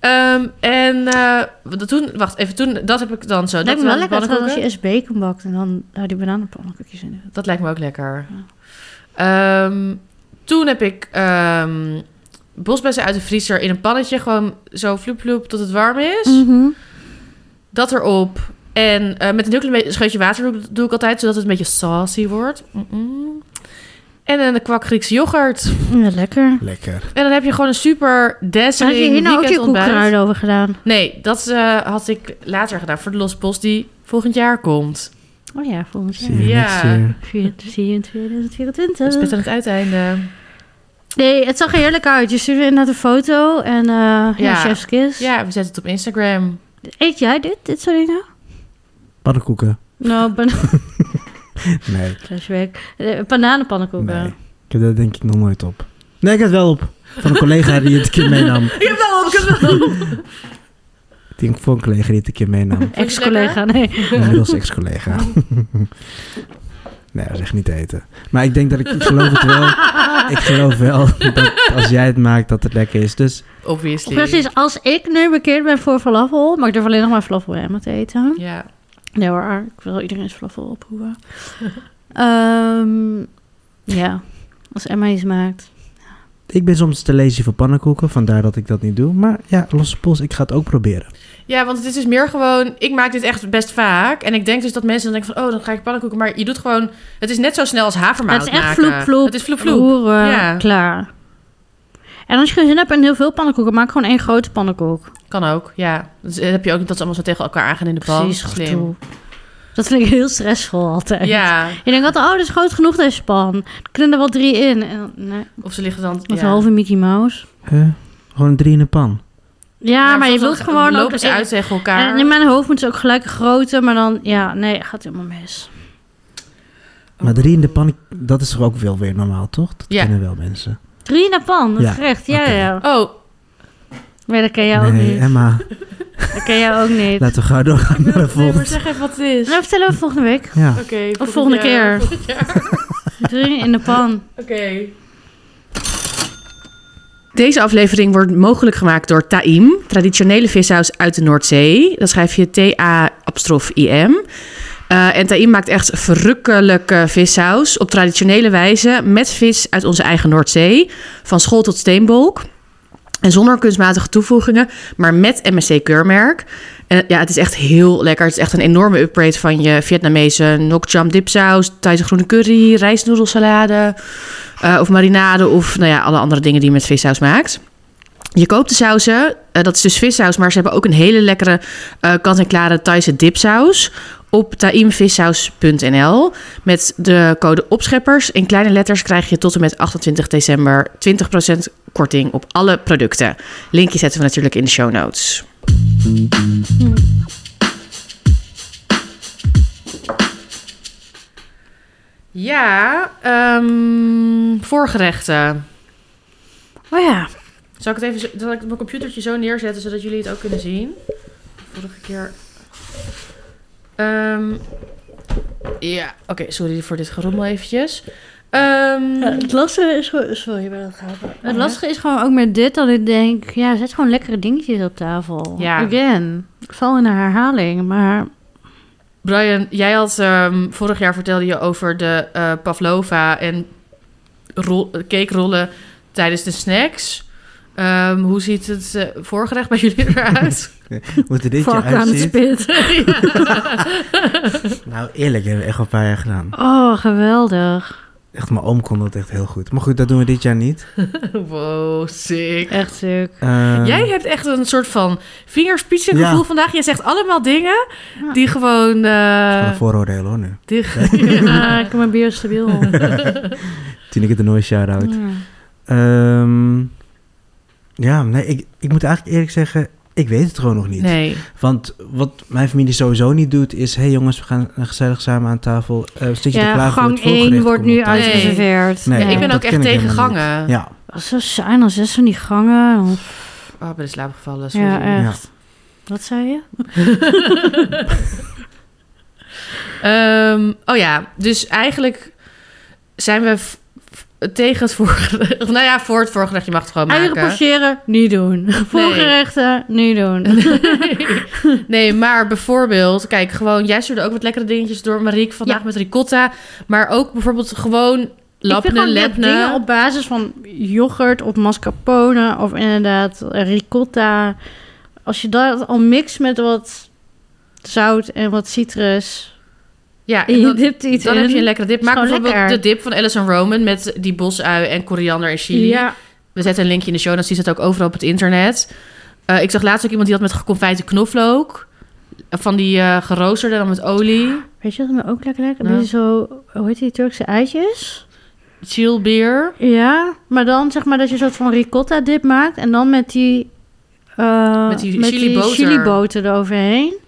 Speaker 1: Ehm, en eh, wat- toen, wacht even, toen, dat heb ik dan zo.
Speaker 2: Lijkt me
Speaker 1: dat
Speaker 2: wel lekker
Speaker 1: waren de
Speaker 2: trouwens als je
Speaker 1: pannenkoeken.
Speaker 2: eens bacon bakt en dan daar die bananenpannenkoekjes in doet.
Speaker 1: Dat lijkt me ook lekker. Ehm, toen heb ik ehm bosbessen uit de vriezer in een pannetje. Gewoon zo vloep vloep tot het warm is.
Speaker 2: Mhm.
Speaker 1: Dat erop. En eh, met een heel klein beetje- scheutje water doe, ik- doe ik altijd, zodat het een beetje saucy wordt. Mm-mm. En een kwak Griekse yoghurt.
Speaker 2: Ja, Mm, lekker.
Speaker 3: Lekker.
Speaker 1: En dan heb je gewoon een super
Speaker 2: Had je
Speaker 1: dessering
Speaker 2: hier nou ook je
Speaker 1: weekendontbijt.
Speaker 2: koekkruiden over gedaan?
Speaker 1: Nee, dat eh, had ik later gedaan voor de Lost Post die volgend jaar komt.
Speaker 2: Oh ja, volgens
Speaker 3: See
Speaker 2: mij.
Speaker 3: you
Speaker 1: Ja.
Speaker 3: next year.
Speaker 2: Vier- Zie je in 2024.
Speaker 1: Dat is best aan het uiteinde.
Speaker 2: Nee, het zag er heerlijk uit. Je stuurde inderdaad een foto en eh ja.
Speaker 1: Ja.
Speaker 2: chef's kiss.
Speaker 1: Ja, we zetten het op Instagram.
Speaker 2: Eet jij dit, dit soort dingen?
Speaker 3: Pannenkoeken.
Speaker 2: Nou, bana-
Speaker 3: Nee,
Speaker 2: flashback. Eh, bananenpannenkoeken.
Speaker 3: nee. Ik heb dat denk ik nog nooit op. Nee, ik had het wel op. Van een collega die het een keer meenam.
Speaker 1: Ik heb wel, ik heb wel.
Speaker 3: Die voor een collega die het een keer meenam.
Speaker 1: je het
Speaker 2: Ex-collega, nee.
Speaker 3: Inmiddels ex-collega. Nee, dat is echt niet te eten. Maar ik denk dat ik, ik geloof het wel. Ik geloof wel dat als jij het maakt dat het lekker is. Dus
Speaker 1: Obviously.
Speaker 2: Precies, als ik nu bekeerd ben voor falafel, maar ik durf alleen nog maar falafel en te eten.
Speaker 1: Ja.
Speaker 2: Nee hoor, ik wil iedereen zijn falafel oproepen. Ehm, ja, als Emma iets maakt.
Speaker 3: ik ben soms te lazy voor pannenkoeken. Vandaar dat ik dat niet doe. Maar ja, losse pols. Ik ga het ook proberen.
Speaker 1: ja, want het is dus meer gewoon... Ik maak dit echt best vaak. En ik denk dus dat mensen dan denken van... Oh, dan ga ik pannenkoeken. Maar je doet gewoon... Het is net zo snel als havermout
Speaker 2: het is echt
Speaker 1: maken.
Speaker 2: vloep, vloep.
Speaker 1: Het is vloep, vloep.
Speaker 2: roeren,
Speaker 1: Ja.
Speaker 2: klaar. En als je geen zin hebt in heel veel pannenkoeken, maak gewoon één grote pannenkoek.
Speaker 1: Kan ook, ja. Dus eh, heb je ook niet dat ze allemaal zo tegen elkaar aangaan in de pan. Slim.
Speaker 2: gedoe. Dat vind ik heel stressvol altijd.
Speaker 1: Ja.
Speaker 2: Je denkt altijd, oh, dit is groot genoeg deze pan. Er kunnen er wel drie in. En, dan- nee,
Speaker 1: Of ze liggen dan...
Speaker 2: met
Speaker 1: ja.
Speaker 2: een halve Mickey Mouse.
Speaker 3: Huh? Gewoon drie in een pan.
Speaker 2: Ja, maar je
Speaker 1: soms
Speaker 2: wilt
Speaker 1: dan
Speaker 2: gewoon...
Speaker 1: Lopen
Speaker 2: ook-
Speaker 1: ze uit tegen elkaar.
Speaker 2: En in mijn hoofd moeten ze ook gelijk grote, maar dan... Ja, nee, gaat helemaal mis.
Speaker 3: Maar drie in de pan, dat is toch ook wel weer normaal, toch? Dat
Speaker 1: Ja.
Speaker 3: kennen wel mensen.
Speaker 2: Drie in een pan, dat
Speaker 3: Ja,
Speaker 2: gerecht. Ja,
Speaker 3: oké.
Speaker 2: ja.
Speaker 1: Oh,
Speaker 2: Maar dat ken jij ook
Speaker 3: nee,
Speaker 2: niet.
Speaker 3: Emma,
Speaker 2: Dat ken jij ook niet.
Speaker 3: laten we gauw doorgaan naar de
Speaker 1: nee, maar
Speaker 3: volgende.
Speaker 1: zeg even wat het is.
Speaker 2: Nou, vertellen we volgende week.
Speaker 3: Ja,
Speaker 1: Oké, volgend
Speaker 2: volgende
Speaker 1: jaar,
Speaker 2: keer.
Speaker 1: volgend jaar.
Speaker 2: Drie in de pan.
Speaker 1: Oké. Deze aflevering wordt mogelijk gemaakt door Taim, traditionele vissaus uit de Noordzee. Dat schrijf je T-A-I-M. Eh, en Taim maakt echt verrukkelijke vissaus op traditionele wijze met vis uit onze eigen Noordzee, van school tot steenbolk. En zonder kunstmatige toevoegingen, maar met MSC-keurmerk. En ja, het is echt heel lekker. Het is echt een enorme upgrade van je Vietnamese nokjam dipsaus, Thaise groene curry, rijstnoedelsalade. Eh, of marinade of nou ja, alle andere dingen die je met vissaus maakt. Je koopt de sauzen, eh, dat is dus vissaus, maar ze hebben ook een hele lekkere eh, kant-en-klare Thaise dipsaus op taimvissaus.nl. Met de code opscheppers in kleine letters krijg je tot en met 28 december 20% korting op alle producten. Linkje zetten we natuurlijk in de show notes. Ja, ehm, voorgerechten.
Speaker 2: Oh ja.
Speaker 1: Zal ik het even, zo- zal ik mijn computertje zo neerzetten zodat jullie het ook kunnen zien? Vorige keer. Ehm, ja, oké, sorry voor dit gerommel eventjes. Ehm,
Speaker 4: het lastige is gewoon... Sorry, maar dat gaat wel.
Speaker 2: Het lastige is gewoon ook met dit dat ik denk, ja, zet gewoon lekkere dingetjes op tafel.
Speaker 1: Ja.
Speaker 2: Again. Ik val in de herhaling, maar
Speaker 1: Brian, jij had ehm, vorig jaar vertelde je over de eh, pavlova en rol, cakerollen tijdens de snacks. Ehm, hoe ziet het eh, voorgerecht bij jullie eruit?
Speaker 3: Hoe het er dit
Speaker 2: fuck
Speaker 3: jaar
Speaker 2: aan het
Speaker 3: uitziet.
Speaker 2: spit.
Speaker 3: Nou, eerlijk, hebben we echt wel een paar jaar gedaan.
Speaker 2: Oh, geweldig.
Speaker 3: Echt, mijn oom kon dat echt heel goed. Maar goed, dat doen we dit jaar niet.
Speaker 1: wow, sick.
Speaker 2: Echt sick.
Speaker 3: Eh,
Speaker 1: Jij hebt echt een soort van vingerspitsen gevoel
Speaker 3: Ja.
Speaker 1: vandaag. Jij zegt allemaal dingen
Speaker 2: Ja.
Speaker 1: die gewoon... eh,
Speaker 3: Van een vooroordeel hoor nu.
Speaker 1: die-
Speaker 2: Ja, ik heb mijn bier stabiel.
Speaker 3: Tineke de Nooi shout-out.
Speaker 2: Ja.
Speaker 3: Ehm, ja, nee, ik, ik moet eigenlijk eerlijk zeggen, ik weet het gewoon nog niet.
Speaker 1: Nee,
Speaker 3: Want wat mijn familie sowieso niet doet is... hé hey jongens, we gaan eh, gezellig samen aan tafel. Eh zit je te
Speaker 2: Ja,
Speaker 3: klagen voor
Speaker 2: gang
Speaker 3: het voorgerecht
Speaker 2: 1 wordt
Speaker 3: komt op
Speaker 2: nu
Speaker 3: tafel?
Speaker 1: uit-
Speaker 2: uitgereserveerd.
Speaker 3: Nee,
Speaker 2: Ja.
Speaker 1: ik ben
Speaker 3: dat
Speaker 1: ook echt
Speaker 3: ken ik
Speaker 1: tegen
Speaker 3: helemaal niet.
Speaker 1: gangen.
Speaker 3: Ja,
Speaker 2: Dat is zo saai, dan zes van die gangen.
Speaker 1: Oh, ik ben in slaap gevallen, sorry.
Speaker 2: Ja,
Speaker 3: Ja.
Speaker 2: echt. Wat zei je?
Speaker 1: Ehm, oh ja, dus eigenlijk zijn we f- f- tegen het voorgerecht. Nou ja, voor het voorgerecht, je mag het gewoon
Speaker 2: Eieren
Speaker 1: maken.
Speaker 2: pocheren, niet doen. Voorgerechten, niet doen.
Speaker 1: Nee, maar bijvoorbeeld, kijk, gewoon, jij stuurde ook wat lekkere dingetjes door, Marieke, vandaag met ricotta. Maar ook bijvoorbeeld gewoon
Speaker 2: ik vind
Speaker 1: lapne,
Speaker 2: gewoon dat dingen
Speaker 1: lepne.
Speaker 2: op basis van yoghurt of mascarpone of inderdaad ricotta. Als je dat al mixt met wat zout en wat citrus.
Speaker 1: Ja,
Speaker 2: En
Speaker 1: en
Speaker 2: je
Speaker 1: dan,
Speaker 2: dipt iets
Speaker 1: dan
Speaker 2: in.
Speaker 1: heb je een lekkere dip.
Speaker 2: Is
Speaker 1: Maak
Speaker 2: gewoon
Speaker 1: bijvoorbeeld
Speaker 2: lekker.
Speaker 1: de dip van Alison Roman met die bosui en koriander en chili.
Speaker 2: Ja,
Speaker 1: We zetten een linkje in de show, dan zie je het ook overal op het internet. Eh, ik zag laatst ook iemand die had met geconfijte knoflook. Van die eh, geroosterde, dan met olie.
Speaker 2: weet je wat me ook lekker lekker?
Speaker 1: Ja.
Speaker 2: Een beetje zo, hoe heet die Turkse eitjes?
Speaker 1: Chill beer.
Speaker 2: Ja, maar dan zeg maar dat je een soort van ricotta dip maakt en dan met die, eh,
Speaker 1: Met die chiliboter.
Speaker 2: chiliboter eroverheen.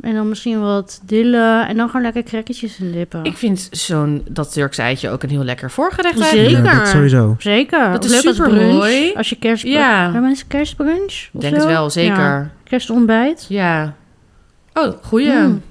Speaker 2: En dan misschien wat dille en dan gewoon lekker crackertjes in dippen.
Speaker 1: Ik vind zo'n dat Turks eitje ook een heel lekker voorgerecht
Speaker 2: Zeker.
Speaker 1: eigenlijk.
Speaker 3: ja, dat
Speaker 2: Zeker.
Speaker 3: sowieso.
Speaker 2: Zeker.
Speaker 1: Dat is
Speaker 2: Of leuk als
Speaker 1: supermooi.
Speaker 2: brunch, Als je kerstbrunch...
Speaker 1: Ja.
Speaker 2: Ja. Maar mensen kerstbrunch?
Speaker 1: Ik
Speaker 2: of
Speaker 1: denk
Speaker 2: zo?
Speaker 1: het wel, zeker.
Speaker 2: Ja.
Speaker 1: Ja.
Speaker 2: Kerstontbijt.
Speaker 1: Oh, goeie.
Speaker 2: Mm.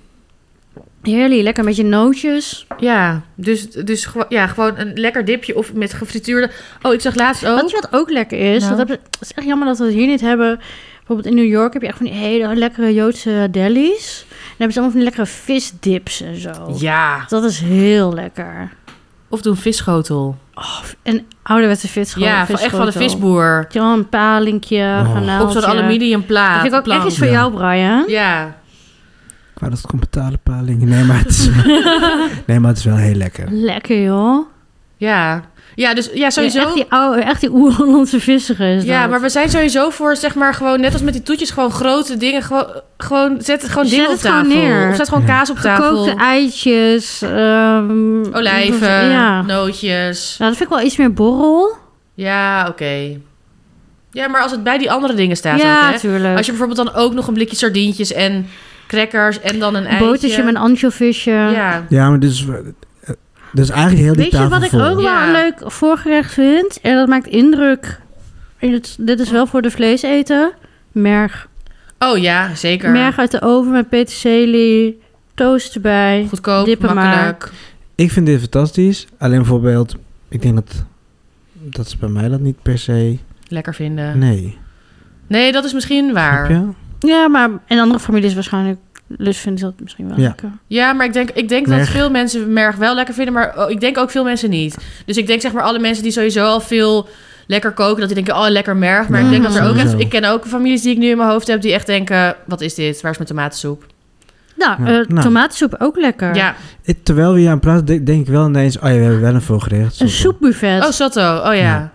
Speaker 2: Heerlijk. Lekker met je nootjes.
Speaker 1: Ja, dus, dus gewo- ja, gewoon een lekker dipje of met gefrituurde... Oh, ik zag laatst ook...
Speaker 2: Wat, wat ook lekker is...
Speaker 1: Nou.
Speaker 2: Dat heb, het is echt jammer dat we het hier niet hebben. Bijvoorbeeld in New York heb je echt van die hele lekkere Joodse delis. En dan hebben ze allemaal van die lekkere visdips en zo.
Speaker 1: Ja.
Speaker 2: Dat is heel lekker.
Speaker 1: Of doe een visschotel.
Speaker 2: En ouderwetse vis.
Speaker 1: ja, van, echt van de visboer.
Speaker 2: Ja, een palinkje,
Speaker 3: Oh.
Speaker 1: Op zo'n aluminium plaat.
Speaker 2: Dat vind ik ook echt
Speaker 1: plank.
Speaker 2: iets voor
Speaker 3: Ja.
Speaker 2: jou, Brian.
Speaker 1: Ja.
Speaker 3: Ik wou dat het kon betalen, paling. Nee, maar het is, nee, maar het is wel heel lekker.
Speaker 2: Lekker, joh.
Speaker 1: Ja. Ja, dus ja, sowieso...
Speaker 2: Ja, echt die, oude- echt die oer-Hollandse vissig is
Speaker 1: Ja,
Speaker 2: dat.
Speaker 1: maar we zijn sowieso voor, zeg maar, gewoon net als met die toetjes, gewoon grote dingen. Gewoon, gewoon zet het gewoon
Speaker 2: Zet
Speaker 1: dingen op
Speaker 2: het gewoon
Speaker 1: tafel.
Speaker 2: neer.
Speaker 1: Of zet gewoon
Speaker 3: Ja.
Speaker 1: kaas op tafel.
Speaker 2: Gekookte eitjes. ehm,
Speaker 1: Olijven,
Speaker 2: Ja.
Speaker 1: nootjes.
Speaker 2: Nou, dat vind ik wel iets meer borrel.
Speaker 1: Ja, oké. Ja, maar als het bij die andere dingen staat ook, hè.
Speaker 2: natuurlijk.
Speaker 1: Als je bijvoorbeeld dan ook nog een blikje sardientjes en crackers en dan een
Speaker 2: een
Speaker 1: eitje.
Speaker 2: botertje met eh, een anchovisje.
Speaker 1: Ja.
Speaker 3: Ja, maar dus, eh, dus eigenlijk heel die
Speaker 2: Weet je
Speaker 3: tafel
Speaker 2: wat ik
Speaker 3: vol.
Speaker 2: ook wel
Speaker 1: Ja.
Speaker 2: een leuk voorgerecht vind? En dat maakt indruk. En dit, dit is wel voor de vleeseter. Merg.
Speaker 1: Oh ja, zeker.
Speaker 2: Merg uit de oven met peterselie. Toast erbij.
Speaker 1: Goedkoop,
Speaker 2: Dippen maar.
Speaker 1: makkelijk.
Speaker 3: Ik vind dit fantastisch. Alleen bijvoorbeeld, ik denk dat, dat is bij mij dat niet per se...
Speaker 1: Lekker vinden. Nee.
Speaker 3: Nee.
Speaker 1: dat is misschien
Speaker 3: Snap
Speaker 1: waar.
Speaker 3: je?
Speaker 2: Ja, maar in andere families waarschijnlijk... Lust vinden ze dat misschien wel
Speaker 3: Ja.
Speaker 2: lekker.
Speaker 1: Ja, maar ik denk, ik denk dat
Speaker 3: Merg.
Speaker 1: veel mensen merg wel lekker vinden, maar oh, ik denk ook veel mensen niet. Dus ik denk zeg maar alle mensen die sowieso al veel lekker koken, dat die denken, oh lekker merg. Maar ik
Speaker 2: Ja,
Speaker 1: denk dat er ook echt,
Speaker 3: sowieso.
Speaker 1: ik ken ook families die ik nu in mijn hoofd heb, die echt denken, wat is dit? Waar is mijn tomatensoep?
Speaker 2: Nou,
Speaker 3: Ja.
Speaker 2: eh,
Speaker 3: Nou.
Speaker 2: tomatensoep ook lekker.
Speaker 1: Ja.
Speaker 3: Ik- terwijl we hier aan het praten, denk, denk ik wel ineens... Oh ja, we hebben wel een voorgerecht.
Speaker 2: Een
Speaker 3: soort van.
Speaker 2: soepbuffet.
Speaker 1: Oh, Sotto. Oh ja.
Speaker 3: Ja.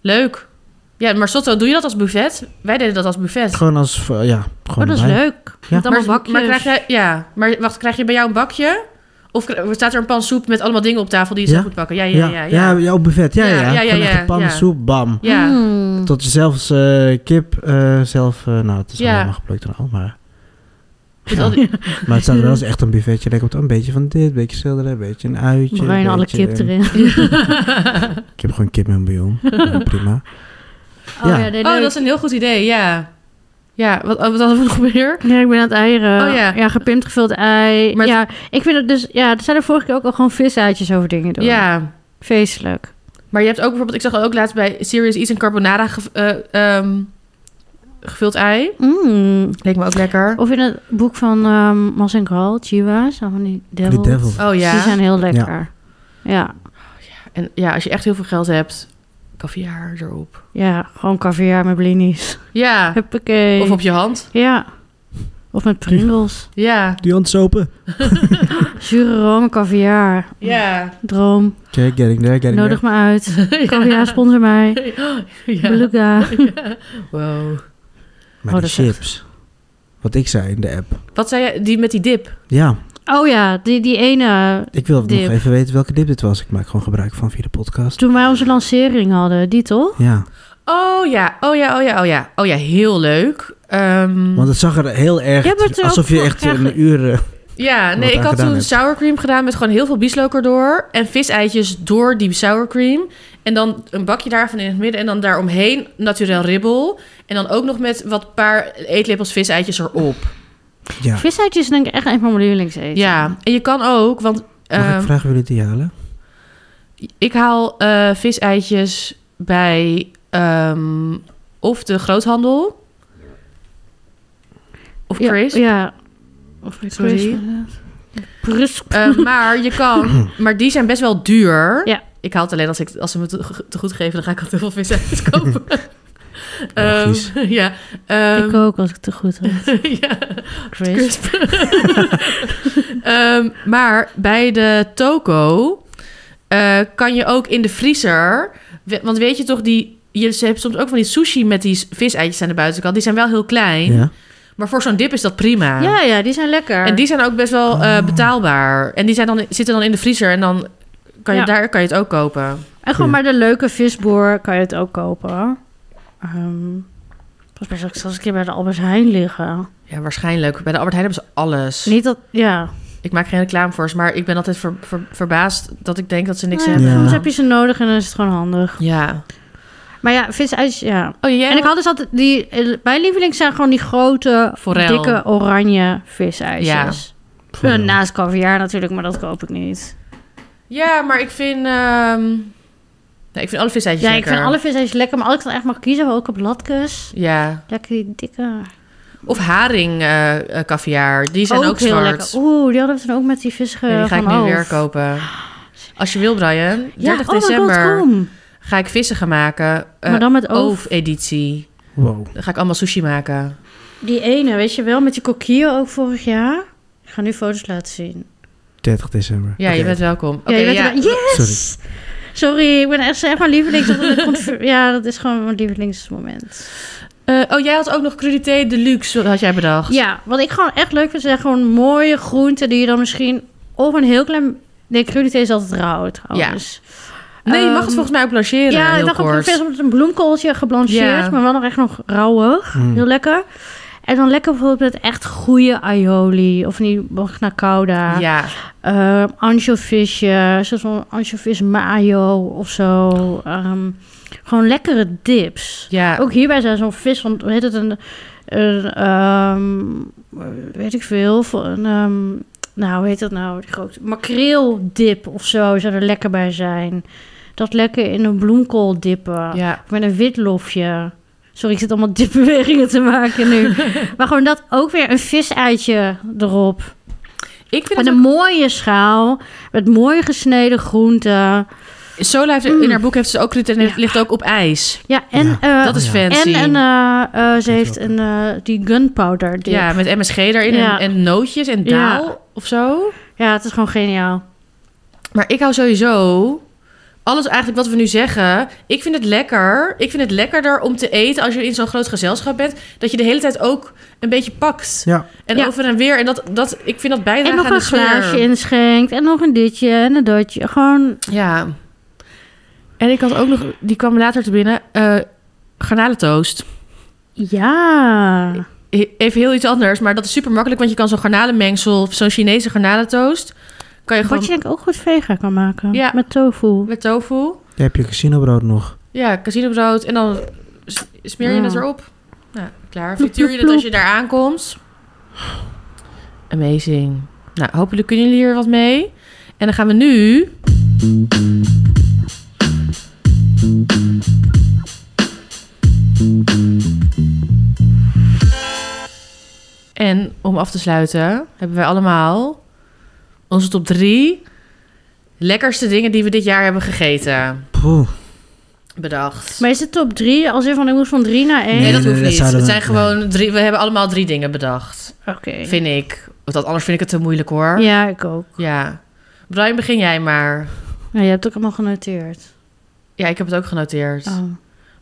Speaker 1: Leuk. Ja, maar Sotto, doe je dat als buffet? Wij deden dat als buffet.
Speaker 3: Gewoon als, eh, ja, gewoon
Speaker 2: Oh, dat is
Speaker 3: erbij.
Speaker 2: leuk.
Speaker 3: Ja.
Speaker 2: Met allemaal
Speaker 1: maar,
Speaker 2: bakjes.
Speaker 1: Maar krijg je, ja, maar wacht, krijg je bij jou een bakje? Of kri- staat er een pan soep met allemaal dingen op tafel die je
Speaker 3: Ja.
Speaker 1: zelf moet pakken? Ja, ja, ja. ja.
Speaker 3: ja, ja, op buffet. Ja,
Speaker 1: Ja,
Speaker 3: ja,
Speaker 1: ja, ja,
Speaker 3: Gewoon echt
Speaker 1: ja,
Speaker 3: een pan
Speaker 1: ja.
Speaker 3: soep, bam.
Speaker 1: Ja.
Speaker 2: Mm.
Speaker 3: Tot je zelfs eh, kip eh, zelf... eh, nou, het is
Speaker 1: Ja.
Speaker 3: allemaal geplukt en al, maar...
Speaker 1: Dus al die-
Speaker 3: Maar het staat er wel eens echt een buffetje lekker op. Een beetje van dit, een beetje schilderen, een beetje een uitje.
Speaker 2: Bruin
Speaker 3: een
Speaker 2: alle
Speaker 3: beetje
Speaker 2: kip
Speaker 3: een-
Speaker 2: erin.
Speaker 3: Ik heb gewoon kip met een bouillon. Ja, prima.
Speaker 2: Oh ja, nee,
Speaker 1: Oh,
Speaker 2: leuk.
Speaker 1: dat is een heel goed idee, ja. Ja, wat, wat hadden we nog meer?
Speaker 2: Ja, ik ben aan het eieren.
Speaker 1: Oh ja.
Speaker 2: ja, gepimpt gevuld ei.
Speaker 1: Maar het-
Speaker 2: ja, ik vind het dus... Ja, er zijn er vorige keer ook al gewoon visaatjes over dingen doen.
Speaker 1: Ja,
Speaker 2: Feestelijk.
Speaker 1: maar je hebt ook bijvoorbeeld... Ik zag ook laatst bij Serious Eats een carbonara ge- eh, ehm, gevuld ei.
Speaker 2: Mm.
Speaker 1: Leek me ook lekker.
Speaker 2: Of in het boek van ehm Mas en Kral, Chiwa's. Van die devil.
Speaker 3: Die devil.
Speaker 1: Oh
Speaker 2: Die
Speaker 1: ja.
Speaker 2: zijn heel lekker. Ja. ja.
Speaker 1: En ja, als je echt heel veel geld hebt, kaviaar erop.
Speaker 2: gewoon caviar met blinis.
Speaker 1: Ja,
Speaker 2: Huppakee.
Speaker 1: of op je hand.
Speaker 2: Ja. Of met Pringles.
Speaker 1: Ja,
Speaker 3: Die hand is open.
Speaker 2: Zure room, caviar.
Speaker 1: ja.
Speaker 2: Droom.
Speaker 3: Check, getting there, getting
Speaker 2: Nodig me uit. Caviar, sponsor mij.
Speaker 1: ja.
Speaker 2: Beluga.
Speaker 1: Wow.
Speaker 3: there. Maar
Speaker 2: Oh,
Speaker 3: die
Speaker 2: dat is echt-
Speaker 3: chips. Wat ik zei in de app.
Speaker 1: Wat zei je? Die met die dip.
Speaker 3: Ja,
Speaker 2: Oh ja, die, die ene...
Speaker 3: ik wil nog
Speaker 2: Dip.
Speaker 3: even weten welke dip dit was. Ik maak gewoon gebruik van via de podcast.
Speaker 2: Toen wij onze lancering hadden, die toch?
Speaker 3: Ja,
Speaker 1: Oh ja, oh ja, oh ja, oh ja. Oh ja, heel leuk. Ehm,
Speaker 3: want het zag er heel erg...
Speaker 2: Je hebt het er ook
Speaker 3: alsof je
Speaker 2: voor
Speaker 3: echt
Speaker 2: graag-
Speaker 3: een uur... eh,
Speaker 1: ja,
Speaker 3: wat
Speaker 1: nee, ik
Speaker 3: aan
Speaker 1: had
Speaker 3: gedaan
Speaker 1: toen
Speaker 3: hebt.
Speaker 1: sour cream gedaan met gewoon heel veel bieslook erdoor. En viseitjes door die sour cream. En dan een bakje daarvan in het midden. En dan daaromheen naturel ribbel. En dan ook nog met wat paar eetlepels viseitjes erop.
Speaker 3: ja,
Speaker 2: Visuitjes denk ik echt een van mijn lievelingseten.
Speaker 1: Ja, en je kan ook, want
Speaker 3: mag
Speaker 1: ehm,
Speaker 3: ik vragen willen die halen?
Speaker 1: Ik haal eh viseitjes bij ehm, of de groothandel. Of
Speaker 2: Ja,
Speaker 1: Chris.
Speaker 2: Ja. Of Chris.
Speaker 1: Sorry.
Speaker 2: Chris.
Speaker 1: Eh, maar je kan, maar die zijn best wel duur.
Speaker 2: Ja.
Speaker 1: Ik haal het alleen als, ik, als ze me te, te goed geven, dan ga ik altijd heel veel viseitjes kopen. Ehm,
Speaker 3: Logisch.
Speaker 1: ja. ehm,
Speaker 2: ik ook, als ik het te goed had.
Speaker 1: ja.
Speaker 2: Chris.
Speaker 1: Ehm, maar bij de toko eh, kan je ook in de vriezer... we- Want weet je toch, die, je ze hebt soms ook van die sushi met die s- viseitjes aan de buitenkant. Die zijn wel heel klein.
Speaker 3: Ja.
Speaker 1: Maar voor zo'n dip is dat prima.
Speaker 2: Ja, Oh. ja, die zijn lekker.
Speaker 1: En die zijn ook best wel eh, betaalbaar. En die zijn dan, zitten dan in de vriezer en dan kan je,
Speaker 2: Ja.
Speaker 1: daar kan je het ook kopen.
Speaker 2: En gewoon maar de leuke visboer kan je het ook kopen. Ehm volgens mij zag ik zelfs een keer bij de Albert Heijn liggen.
Speaker 1: Ja, waarschijnlijk. Bij de Albert Heijn hebben ze alles.
Speaker 2: Niet dat, ja.
Speaker 1: Ik maak geen reclame voor ze, maar ik ben altijd ver- ver- verbaasd dat ik denk dat ze niks
Speaker 2: Nou ja,
Speaker 1: hebben.
Speaker 2: Soms
Speaker 3: Ja.
Speaker 2: heb je ze nodig en dan is het gewoon handig.
Speaker 1: Ja.
Speaker 2: Maar ja, visuitjes, ja.
Speaker 1: Oh, jij
Speaker 2: En ik had dus altijd, die, eh, mijn lievelings zijn gewoon die grote,
Speaker 1: Forel.
Speaker 2: dikke oranje visuitjes.
Speaker 1: Eh,
Speaker 2: Ja.
Speaker 3: Voor-
Speaker 2: naast caviar natuurlijk, maar dat koop ik niet.
Speaker 1: Ja, maar ik vind... ehm, Nee, ik vind alle visijtjes
Speaker 2: Ja, ik
Speaker 1: lekker.
Speaker 2: vind alle visijtjes lekker, maar als ik dan echt mag kiezen, ook op latkes.
Speaker 1: Ja.
Speaker 2: Lekker die dikke.
Speaker 1: Of haring eh eh, kaviaar. Die zijn ook,
Speaker 2: heel
Speaker 1: zwart.
Speaker 2: lekker. Oeh, die hadden we toen ook met die vissen eh,
Speaker 1: Nee, die ga ik
Speaker 2: van
Speaker 1: nu
Speaker 2: Alf.
Speaker 1: weer kopen. Als je wil, Brian. 30
Speaker 2: Ja, oh my god,
Speaker 1: december
Speaker 2: kom.
Speaker 1: ga ik vissen gaan maken. Eh
Speaker 2: maar dan met oof.
Speaker 1: Oof-editie.
Speaker 3: Wow.
Speaker 1: Dan ga ik allemaal sushi maken.
Speaker 2: Die ene, weet je wel, met die kokkier ook vorig jaar. Ik ga nu foto's laten zien.
Speaker 3: 30 december.
Speaker 1: Ja, je
Speaker 3: Oké.
Speaker 1: bent welkom. Oké,
Speaker 2: ja, je bent
Speaker 1: ja.
Speaker 2: er- yes! Sorry. ik ben echt zeg maar lievelings. dat ik confir- ja, dat is gewoon mijn lievelingsmoment.
Speaker 1: Eh, oh, jij had ook nog crudité deluxe, had jij bedacht.
Speaker 2: Ja, wat ik gewoon echt leuk vind, zijn gewoon mooie groenten die je dan misschien of een heel klein... Nee, crudité is altijd rauw trouwens.
Speaker 1: Nee, je mag
Speaker 2: Ehm,
Speaker 1: het volgens mij ook blancheren.
Speaker 2: Ja,
Speaker 1: heel
Speaker 2: ik dacht ook
Speaker 1: kort.
Speaker 2: een vis met een bloemkooltje geblancheerd,
Speaker 1: Ja. Hm.
Speaker 2: maar wel nog echt nog rauwig.
Speaker 3: Mm.
Speaker 2: Heel lekker. En dan lekker bijvoorbeeld met echt goede aioli of niet magna cauda.
Speaker 1: Ja,
Speaker 2: Ehm anchovisje, zoals van anchovis mayo of zo. Ehm, gewoon lekkere dips.
Speaker 1: ja.
Speaker 2: Ook hierbij zijn zo'n vis van, hoe heet het, een, een ehm, weet ik veel, van een, ehm, nou, hoe heet dat nou, die grote makreeldip of zo zou er lekker bij zijn. Dat lekker in een bloemkool dippen.
Speaker 1: ja.
Speaker 2: Of met een witlofje. Sorry, ik zit allemaal dipbewegingen te maken nu. maar gewoon dat ook weer een viseitje erop.
Speaker 1: Ik vind
Speaker 2: Met
Speaker 1: het
Speaker 2: een mooie schaal, met mooi gesneden groenten.
Speaker 1: Sola heeft in haar
Speaker 2: Mm.
Speaker 1: boek heeft ze ook kritiek en het ligt ook op ijs.
Speaker 2: Ja, en, eh,
Speaker 1: Dat is
Speaker 3: ja.
Speaker 1: fancy.
Speaker 2: en een, eh, eh, ze
Speaker 3: Weet
Speaker 2: heeft
Speaker 3: wel.
Speaker 2: een, eh, die gunpowder dip.
Speaker 1: ja,
Speaker 2: Ja.
Speaker 1: met MSG erin
Speaker 2: Ja.
Speaker 1: en, en nootjes en
Speaker 2: Ja.
Speaker 1: daal of zo.
Speaker 2: het is gewoon geniaal.
Speaker 1: Maar ik hou sowieso alles eigenlijk wat we nu zeggen, ik vind het lekker. Ik vind het lekkerder om te eten als je in zo'n groot gezelschap bent, dat je de hele tijd ook een beetje pakt.
Speaker 3: Ja.
Speaker 1: En
Speaker 2: Ja.
Speaker 1: over en weer. En dat, dat, ik vind dat bijdragen
Speaker 2: En nog
Speaker 1: aan
Speaker 2: een
Speaker 1: de sfeer.
Speaker 2: glaasje inschenkt. En nog een ditje en een datje. Gewoon,
Speaker 1: Ja. En ik had ook nog, die kwam later te binnen, eh garnalentoast.
Speaker 2: ja.
Speaker 1: He- Even heel iets anders, maar dat is super makkelijk, want je kan zo'n garnalenmengsel, of zo'n Chinese garnalentoast, kan je gewoon
Speaker 2: Wat je denk ik ook goed vega kan maken.
Speaker 1: Ja.
Speaker 2: Met tofu.
Speaker 1: met tofu,
Speaker 3: Daar heb je casinobrood nog.
Speaker 1: ja, casinobrood en dan s- smeer je
Speaker 2: Ja.
Speaker 1: het erop. Ja, klaar.
Speaker 2: Ploep,
Speaker 1: Frituur je
Speaker 2: ploep,
Speaker 1: het als je daar aankomt. Amazing. Nou, hopelijk kunnen jullie hier wat mee. En dan gaan we nu... En om af te sluiten hebben wij allemaal onze top drie lekkerste dingen die we dit jaar hebben gegeten
Speaker 3: Poeh.
Speaker 1: bedacht.
Speaker 2: Maar is het top drie? Als in van ik moest van drie naar één?
Speaker 1: Nee,
Speaker 3: Nee,
Speaker 1: dat
Speaker 3: nee,
Speaker 1: hoeft
Speaker 3: dat
Speaker 1: niet.
Speaker 3: zouden
Speaker 1: het
Speaker 3: we-
Speaker 1: zijn gewoon drie. We hebben allemaal drie dingen bedacht.
Speaker 2: Oké.
Speaker 1: Vind ik. Want dat, anders vind ik het te moeilijk hoor. Ja.
Speaker 2: Ja, ik ook.
Speaker 1: Brian, begin jij maar.
Speaker 2: Ja, je hebt het ook allemaal genoteerd.
Speaker 1: Ja, ik heb het ook genoteerd.
Speaker 2: Oh.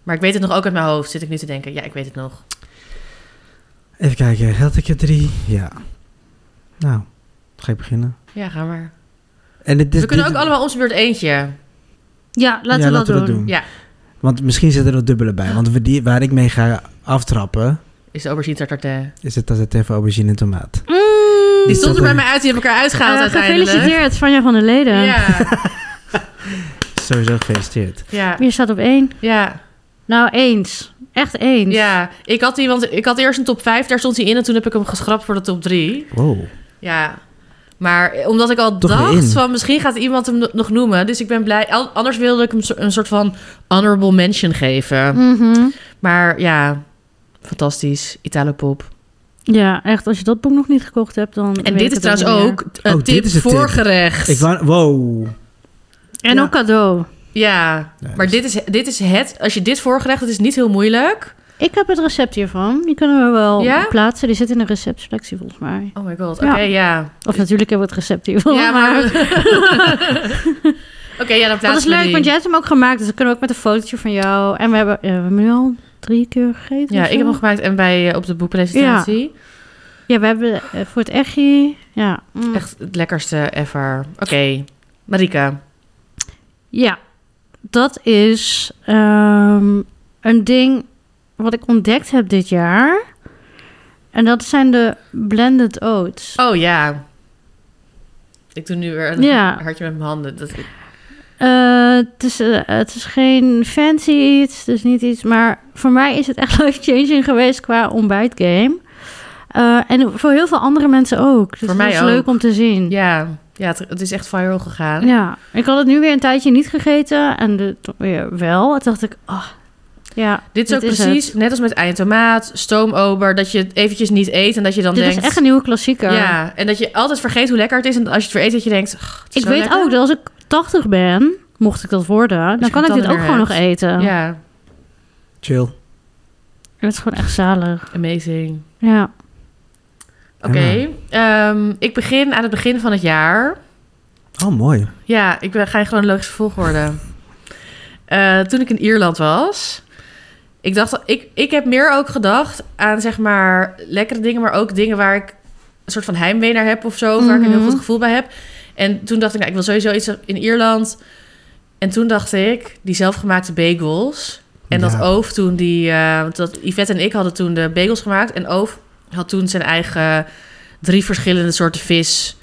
Speaker 1: Maar ik weet het nog ook uit mijn hoofd. Zit ik nu te denken. Ja, ik weet het nog.
Speaker 3: Even kijken, had ik er drie? Ja. Nou, ga ik beginnen.
Speaker 1: Ja, ga maar.
Speaker 3: En dit, dit-
Speaker 1: we kunnen
Speaker 3: dit-
Speaker 1: ook allemaal op zijn beurt eentje.
Speaker 2: Ja, laten
Speaker 3: Ja,
Speaker 2: we dat doen.
Speaker 1: Ja.
Speaker 3: Want misschien zit er een dubbele bij. Want we die, waar ik mee ga aftrappen,
Speaker 1: Is de aubergine tartare.
Speaker 3: is het dat het even aubergine en tomaat.
Speaker 2: Mm.
Speaker 1: Die
Speaker 3: Is
Speaker 1: stond er bij
Speaker 3: dat een-
Speaker 1: mij uit. Die heb ik eruit gehaald
Speaker 2: Eh,
Speaker 1: uiteindelijk.
Speaker 2: gefeliciteerd, Vanja van der Leden.
Speaker 1: Ja.
Speaker 3: Sowieso gefeliciteerd.
Speaker 1: Ja.
Speaker 2: Je staat op één.
Speaker 1: Ja.
Speaker 2: Nou, eens. Echt eens.
Speaker 1: Ja. Ik had, die, want ik had eerst een top 5. Daar stond hij in. En toen heb ik hem geschrapt voor de top 3.
Speaker 3: Wow.
Speaker 1: Ja, maar omdat ik al
Speaker 3: Toch weer in.
Speaker 1: dacht van misschien gaat iemand hem no- nog noemen. Dus ik ben blij. Al- Anders wilde ik hem zo- een soort van honorable mention geven.
Speaker 2: Mhm.
Speaker 1: Maar ja, fantastisch. Italo-pop.
Speaker 2: Ja, echt. Als je dat boek nog niet gekocht hebt, dan.
Speaker 1: En
Speaker 2: weet
Speaker 1: dit
Speaker 2: ik
Speaker 1: is
Speaker 2: het
Speaker 1: trouwens
Speaker 2: niet meer.
Speaker 1: ook een
Speaker 3: Oh, dit
Speaker 1: tip
Speaker 3: is een tip.
Speaker 1: voorgerecht.
Speaker 3: Ik wou, wow.
Speaker 2: En
Speaker 3: Ja.
Speaker 2: ook cadeau.
Speaker 1: Ja,
Speaker 3: Ja,
Speaker 1: maar
Speaker 3: is-
Speaker 1: dit is, dit is het. Als je dit voorgerecht, dat is niet heel moeilijk.
Speaker 2: Ik heb het recept hiervan. Die kunnen we wel
Speaker 1: Ja?
Speaker 2: plaatsen. Die zit in de receptselectie volgens mij.
Speaker 1: Oh my god, oké,
Speaker 2: Ja.
Speaker 1: ja.
Speaker 2: Of natuurlijk hebben we het recept hiervan.
Speaker 1: Ja, maar... oké, ja, dan plaatsen
Speaker 2: dat is
Speaker 1: we
Speaker 2: leuk,
Speaker 1: die.
Speaker 2: want jij hebt hem ook gemaakt. Dus dan kunnen we ook met een fotootje van jou. En we hebben, ja, we hebben nu al drie keer gegeten.
Speaker 1: Ja,
Speaker 2: of
Speaker 1: ik heb
Speaker 2: zo.
Speaker 1: hem gemaakt en bij, eh, op de boekpresentatie.
Speaker 2: Ja, we hebben eh, voor het echi. Ja. mm.
Speaker 1: Echt het lekkerste ever. Oké, Marika.
Speaker 2: Ja, dat is ehm, een ding wat ik ontdekt heb dit jaar. En dat zijn de blended oats.
Speaker 1: Oh ja. Ik doe nu weer een
Speaker 2: Ja.
Speaker 1: hartje met mijn handen. Dat,
Speaker 2: Eh, het, is, eh, het is geen fancy iets, dus niet iets. Maar voor mij is het echt life-changing geweest qua ontbijtgame. Eh en voor heel veel andere mensen ook. Dus
Speaker 1: Voor
Speaker 2: dat
Speaker 1: mij
Speaker 2: is
Speaker 1: ook.
Speaker 2: leuk om te zien.
Speaker 1: ja, ja het, het is echt viral gegaan.
Speaker 2: Ja, ik had het nu weer een tijdje niet gegeten en de, toen weer wel. Toen dacht ik, ah, ja,
Speaker 1: Dit is ook
Speaker 2: Dit is
Speaker 1: precies, net als met eindtomaat, stoomober, dat je het eventjes niet eet en dat je dan
Speaker 2: dit
Speaker 1: denkt...
Speaker 2: is echt een nieuwe klassieker.
Speaker 1: Ja, en dat je altijd vergeet hoe lekker het is. En als je het weer eet, dat je denkt... "Ugh, het is
Speaker 2: Ik
Speaker 1: zo
Speaker 2: weet
Speaker 1: lekker." Dus
Speaker 2: ook dat als ik 80 ben, mocht ik dat worden, dan
Speaker 1: je
Speaker 2: kan ik dit
Speaker 1: contanten
Speaker 2: ook
Speaker 1: weer
Speaker 2: gewoon nog
Speaker 1: hebt.
Speaker 2: eten.
Speaker 1: Ja,
Speaker 3: Chill.
Speaker 2: Het is gewoon echt zalig.
Speaker 1: amazing.
Speaker 2: Ja.
Speaker 1: Oké, ehm, ik begin aan het begin van het jaar.
Speaker 3: Oh, mooi.
Speaker 1: Ja, ik ben, ga in chronologische volgorde. Eh, toen ik in Ierland was, ik dacht, al- ik, ik heb meer ook gedacht aan zeg maar lekkere dingen, maar ook dingen waar ik een soort van heimwee naar heb of zo, waar ik een heel
Speaker 2: Mhm.
Speaker 1: goed gevoel bij heb. En toen dacht ik, nou, ik wil sowieso iets in Ierland. En toen dacht ik, die zelfgemaakte bagels. En dat
Speaker 3: Ja.
Speaker 1: Oof toen die, eh, want dat Yvette en ik hadden toen de bagels gemaakt. En Oof had toen zijn eigen drie verschillende soorten vis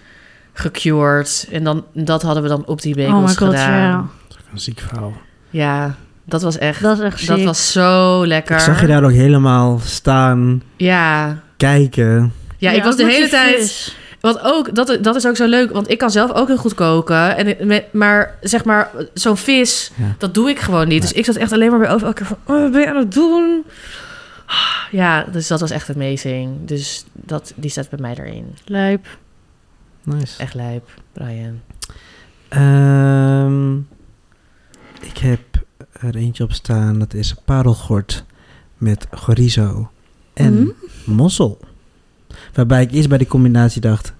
Speaker 1: gecured. En dan, dat hadden we dan op die bagels
Speaker 2: oh my god,
Speaker 1: gedaan.
Speaker 3: Een ziek verhaal.
Speaker 1: ja. dat was echt,
Speaker 2: ja. Dat is echt
Speaker 1: dat
Speaker 2: ziek.
Speaker 1: was zo lekker.
Speaker 3: Ik zag je daar ook helemaal staan,
Speaker 1: Ja,
Speaker 3: kijken.
Speaker 1: ja, ik
Speaker 2: Ja,
Speaker 1: was de
Speaker 2: ook met
Speaker 1: hele
Speaker 2: die
Speaker 1: tijd...
Speaker 2: vis.
Speaker 1: Want ook, dat, dat is ook zo leuk, want ik kan zelf ook heel goed koken. En, ik- me- maar zeg maar, zo'n vis,
Speaker 3: Ja.
Speaker 1: dat doe ik gewoon niet. Dus ik zat echt alleen maar bij over elke keer van, oh, wat ben je aan het doen? Ah, Ja, dus dat was echt amazing. Dus dat, die staat bij mij erin.
Speaker 2: Lijp.
Speaker 3: Nice.
Speaker 1: Echt lijp, Brian.
Speaker 3: Ehm, ik heb er eentje op staan, dat is parelgort met chorizo en
Speaker 2: Mm.
Speaker 3: mossel. Waarbij ik eerst bij de combinatie dacht,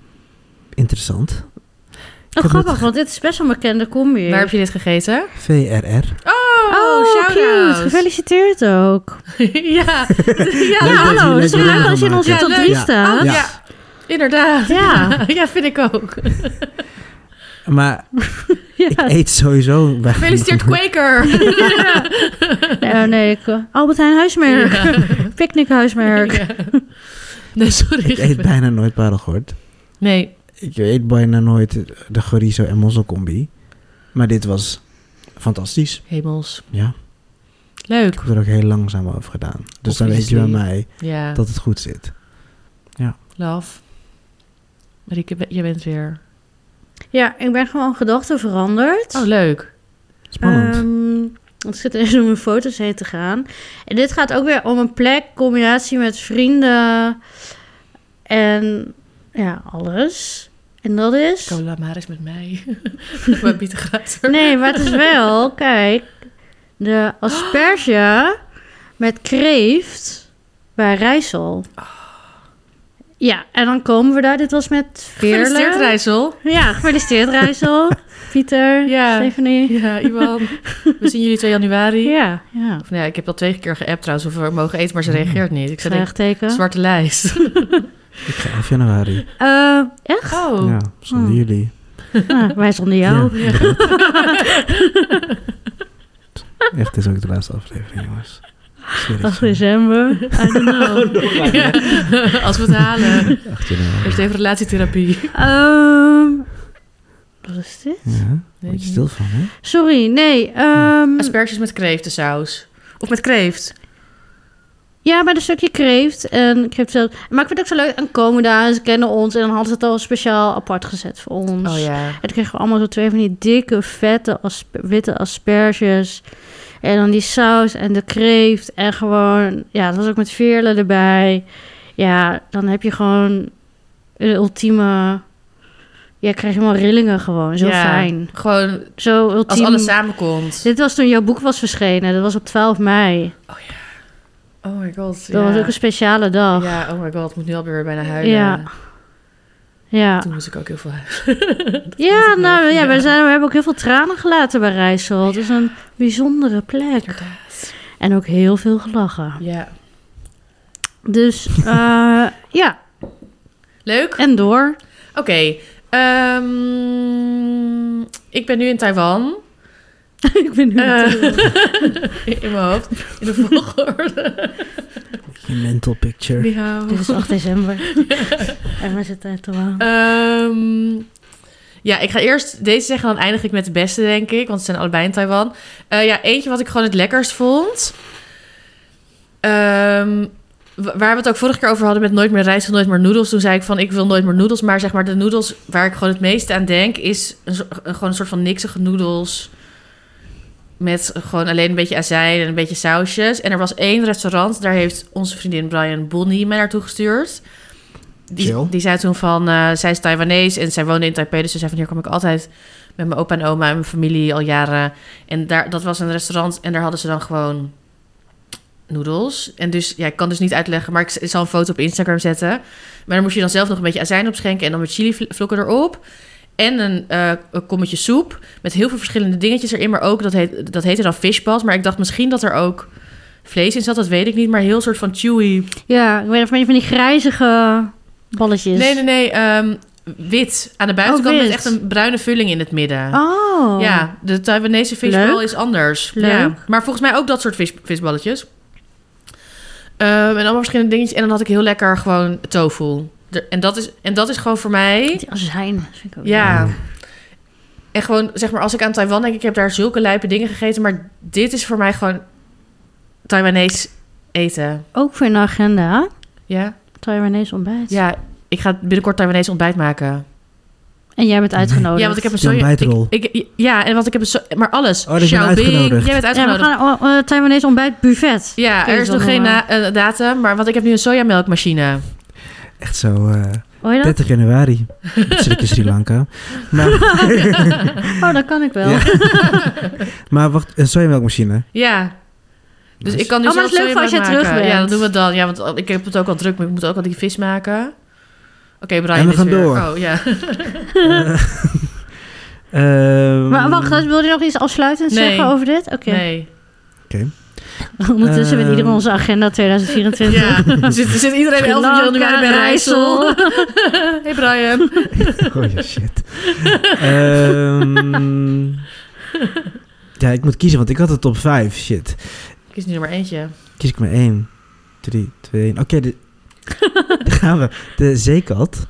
Speaker 3: interessant. heb
Speaker 2: Oh,
Speaker 3: het
Speaker 2: grappig, want dit is best wel een bekende combi.
Speaker 1: Waar heb je dit gegeten?
Speaker 3: VRR.
Speaker 1: Oh,
Speaker 2: cute.
Speaker 1: shout-out.
Speaker 2: Gefeliciteerd ook.
Speaker 1: ja. ja,
Speaker 2: Ja,
Speaker 3: Leuk dat je-
Speaker 2: hallo.
Speaker 3: leuk
Speaker 2: Het is toch
Speaker 3: dat je
Speaker 2: leuk
Speaker 3: dit
Speaker 2: als je in
Speaker 3: wil
Speaker 2: onze
Speaker 1: maken.
Speaker 2: top
Speaker 1: Ja,
Speaker 2: 3
Speaker 3: leuk.
Speaker 1: Oh,
Speaker 2: staat?
Speaker 1: ja.
Speaker 3: Ja.
Speaker 1: Inderdaad.
Speaker 2: Ja.
Speaker 1: ja, vind ik ook.
Speaker 3: Maar ik
Speaker 2: Ja.
Speaker 3: eet sowieso... bij-
Speaker 1: Gefeliciteerd Quaker.
Speaker 2: Nee, nee, ik- eh, Albert Heijn huismerk. Picknickhuismerk.
Speaker 1: Ja. Nee, sorry.
Speaker 3: Ik eet bijna nooit parelgort.
Speaker 1: Nee.
Speaker 3: Ik eet bijna nooit de chorizo en mosselcombi. Maar dit was fantastisch.
Speaker 1: Hemels.
Speaker 3: Ja,
Speaker 1: Leuk.
Speaker 3: ik heb er ook heel langzaam over gedaan. Dus dan weet je bij
Speaker 1: Obviously.
Speaker 3: mij
Speaker 1: Ja,
Speaker 3: dat het goed zit.
Speaker 1: love. Marieke, be- jij bent weer...
Speaker 2: Ja, ik ben gewoon gedachten veranderd.
Speaker 1: Oh, leuk.
Speaker 3: Spannend.
Speaker 2: Ehm, want ik zit eens om mijn foto's heen te gaan. En dit gaat ook weer om een plek, combinatie met vrienden en ja, alles. En dat is...
Speaker 1: Cola maar eens met mij. Mijn bieten gaat er.
Speaker 2: Nee, maar het is wel, kijk, de asperge met kreeft bij Rijssel. Ja, en dan komen we daar. Dit was met
Speaker 1: Gefeliciteerd,
Speaker 2: Veerle.
Speaker 1: Rijssel.
Speaker 2: Ja, gefeliciteerd Rijssel. Pieter,
Speaker 1: Ja.
Speaker 2: Stephanie.
Speaker 1: Ja, Iwan. We zien jullie 2 januari.
Speaker 2: Ja, ja.
Speaker 1: Of, nou ja, ik heb al twee keer geappt trouwens of we mogen eten, maar ze reageert niet. Ik zei, denk,
Speaker 2: Vraagteken.
Speaker 1: zwarte lijst.
Speaker 3: Eh. Ik ga 11 januari.
Speaker 2: Eh, echt?
Speaker 1: Oh.
Speaker 3: Ja, zonder
Speaker 2: Hmm.
Speaker 3: jullie.
Speaker 2: Ah, wij zonder jou.
Speaker 3: Ja, inderdaad. Echt, dit is ook de laatste aflevering, jongens. Serieus.
Speaker 2: 8 december. I don't know.
Speaker 1: Ja. Als we het halen.
Speaker 3: Echt, jullie.
Speaker 1: Eerst even relatietherapie.
Speaker 2: Ehm, wat is dit?
Speaker 3: Ja, word je stil van, hè?
Speaker 2: Sorry, nee. ehm,
Speaker 1: Asperges met kreeftensaus. Of met kreeft.
Speaker 2: Ja, met een stukje kreeft. En kreeft zelf. Maar ik vind het ook zo leuk. En komen daar, en ze kennen ons. En dan hadden ze het al speciaal apart gezet voor ons.
Speaker 1: Oh ja.
Speaker 2: En toen kregen we allemaal zo twee van die dikke, vette, asp- witte asperges. En dan die saus en de kreeft. En gewoon, ja, dat was ook met veerle erbij. Ja, dan heb je gewoon de ultieme... Ja, krijg je helemaal rillingen gewoon. Zo
Speaker 1: Ja.
Speaker 2: fijn.
Speaker 1: Gewoon
Speaker 2: Zo ultiem.
Speaker 1: als alles samenkomt.
Speaker 2: Dit was toen jouw boek was verschenen. Dat was op 12 mei.
Speaker 1: Oh my god.
Speaker 2: Dat
Speaker 1: ja.
Speaker 2: was ook een speciale dag. Ja.
Speaker 1: Ja, oh my god. Ik moet nu alweer bijna huilen.
Speaker 2: Ja.
Speaker 1: Toen moest ik ook heel veel huilen.
Speaker 2: Ja,
Speaker 1: ik
Speaker 2: nou
Speaker 1: nog.
Speaker 2: ja,
Speaker 1: Ja.
Speaker 2: We, zijn, we hebben ook heel veel tranen gelaten bij Rijssel. Het is een bijzondere plek.
Speaker 1: Inderdaad.
Speaker 2: En ook heel veel gelachen.
Speaker 1: Ja.
Speaker 2: Dus eh, ja,
Speaker 1: Leuk.
Speaker 2: en door.
Speaker 1: Oké. ehm, ik ben nu in Taiwan.
Speaker 2: ik ben nu.
Speaker 1: Eh, in mijn hoofd. In de volgorde.
Speaker 3: Je mental picture.
Speaker 1: Ni hao.
Speaker 2: Dit is 8 december. en we zitten uit de waan.
Speaker 1: Eh. Ehm, ja, ik ga eerst deze zeggen, dan eindig ik met de beste, denk ik. Want ze zijn allebei in Taiwan. Eh, ja, eentje wat ik gewoon het lekkerst vond. Ehm, wa- waar we het ook vorige keer over hadden met nooit meer rijst of nooit meer noedels. Toen zei ik van, ik wil nooit meer noedels. Maar zeg maar, de noedels waar ik gewoon het meeste aan denk... is een, zo- een- gewoon een soort van niksige noedels... Met gewoon alleen een beetje azijn en een beetje sausjes. En er was één restaurant, daar heeft onze vriendin Brian Bonnie mij naartoe gestuurd.
Speaker 3: Chill.
Speaker 1: Die, die zei toen van, eh, zij is Taiwanese en zij woonde in Taipei. Dus ze zei van, hier kom ik altijd met mijn opa en oma en mijn familie al jaren. En daar, dat was een restaurant en daar hadden ze dan gewoon noedels. En dus, ja, ik kan dus niet uitleggen, maar ik z- ik zal een foto op Instagram zetten. Maar dan moest je dan zelf nog een beetje azijn opschenken en dan met chilivlokken erop. En een, eh, een kommetje soep met heel veel verschillende dingetjes erin. Maar ook, dat, heet, dat heette dan fishballs. Maar ik dacht misschien dat er ook vlees in zat, dat weet ik niet. Maar heel soort van chewy.
Speaker 2: Ja, ik weet nog van die- van die grijzige balletjes.
Speaker 1: Nee, nee, nee, ehm, wit aan de buitenkant
Speaker 2: Oh,
Speaker 1: met
Speaker 2: wit.
Speaker 1: echt een bruine vulling in het midden.
Speaker 2: Oh.
Speaker 1: Ja, de Taiwanese visbal
Speaker 2: Leuk.
Speaker 1: is anders.
Speaker 2: Leuk.
Speaker 1: Ja, maar volgens mij ook dat soort vis, visballetjes. Ehm, en allemaal verschillende dingetjes. En dan had ik heel lekker gewoon tofu. Er- en, dat is, en dat is gewoon voor mij...
Speaker 2: Die azijn, dat vind ik ook leuk.
Speaker 1: Ja. En gewoon, zeg maar, als ik aan Taiwan denk... Ik heb daar zulke lijpe dingen gegeten. Maar dit is voor mij gewoon Taiwanese eten.
Speaker 2: Ook voor in de agenda.
Speaker 1: Ja?
Speaker 2: Taiwanese ontbijt.
Speaker 1: Ja, ik ga binnenkort Taiwanese ontbijt maken.
Speaker 2: En jij bent uitgenodigd.
Speaker 1: Ja, want ik heb een
Speaker 3: Zo'n
Speaker 1: soja...
Speaker 3: bijtrol.
Speaker 1: Ik, ik- ja, en want ik heb een so- Maar alles.
Speaker 3: Oh, dus je bent
Speaker 1: Xiaobing,
Speaker 3: uitgenodigd.
Speaker 1: Jij bent
Speaker 2: Ja, we
Speaker 1: uitgenodigd.
Speaker 2: gaan eh, eh, Taiwanese ontbijt buffet.
Speaker 1: Ja,
Speaker 2: Kun je
Speaker 1: er is
Speaker 2: het
Speaker 1: nog
Speaker 2: wel
Speaker 1: geen
Speaker 2: noemen.
Speaker 1: na- eh, datum, maar want ik heb nu een sojamelkmachine.
Speaker 3: Echt zo, eh,
Speaker 2: Hoor je dat?
Speaker 3: 30 januari. Dan zit ik in Sri Lanka. Maar,
Speaker 2: Oh, dat kan ik wel.
Speaker 3: Ja. maar wacht, een sojamelkmachine.
Speaker 1: Ja. Dus ik kan nu
Speaker 2: Oh, maar
Speaker 1: zelf
Speaker 2: het is leuk voor als
Speaker 1: sojamelk
Speaker 2: jij terug
Speaker 1: maken.
Speaker 2: bent.
Speaker 1: Ja, dat doen we dan. Ja, want ik heb het ook al druk, maar ik moet ook al die vis maken. Oké, Brian
Speaker 3: En we
Speaker 1: is Oh,
Speaker 3: gaan
Speaker 1: weer.
Speaker 3: door.
Speaker 1: Oh, ja.
Speaker 3: Eh, Ehm,
Speaker 2: Maar wacht, dus wil je nog iets afsluitends
Speaker 1: Nee.
Speaker 2: zeggen over dit? Oké.
Speaker 1: Nee.
Speaker 2: Ondertussen met
Speaker 3: Ehm.
Speaker 2: iedereen onze agenda 2024.
Speaker 1: Ja. zit, zit iedereen 11 januari bij Rijssel?
Speaker 2: Rijssel.
Speaker 1: hey Brian.
Speaker 3: Oh ja, shit. Ehm, ja, ik moet kiezen, want ik had het top 5. Shit.
Speaker 1: Kies nu nummer eentje.
Speaker 3: Kies ik maar 1, 3, 2, 1. Oké, de- daar gaan we. De zeekat.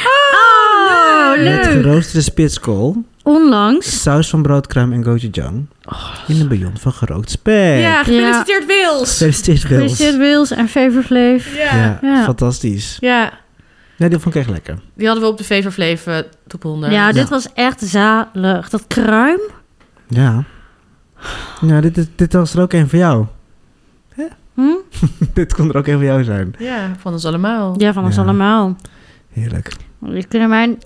Speaker 1: Ah,
Speaker 2: Oh,
Speaker 3: Met
Speaker 2: leuk.
Speaker 3: geroosterde spitskool.
Speaker 2: Onlangs.
Speaker 3: Saus van broodkruim en gochujang.
Speaker 2: Oh.
Speaker 3: In een bouillon van gerookt spek.
Speaker 1: Ja, gefeliciteerd Wils.
Speaker 3: Gefeliciteerd, Wils.
Speaker 2: Gefeliciteerd Wils en Favor Flev.
Speaker 1: Ja.
Speaker 3: Ja,
Speaker 2: Ja.
Speaker 3: fantastisch.
Speaker 1: Ja.
Speaker 3: Nee, die vond ik echt lekker.
Speaker 1: Die hadden we op de Favor Flev eh, top 100.
Speaker 2: Ja, dit
Speaker 3: Ja.
Speaker 2: was echt zalig. Dat kruim.
Speaker 3: Ja. Ja, dit, is, dit was er ook een voor jou.
Speaker 2: Hm?
Speaker 3: dit kon er ook een voor jou zijn.
Speaker 1: Ja, van ons allemaal.
Speaker 2: Ja, van ons
Speaker 3: Ja.
Speaker 2: allemaal.
Speaker 3: Heerlijk.
Speaker 2: Ik kunnen mijn,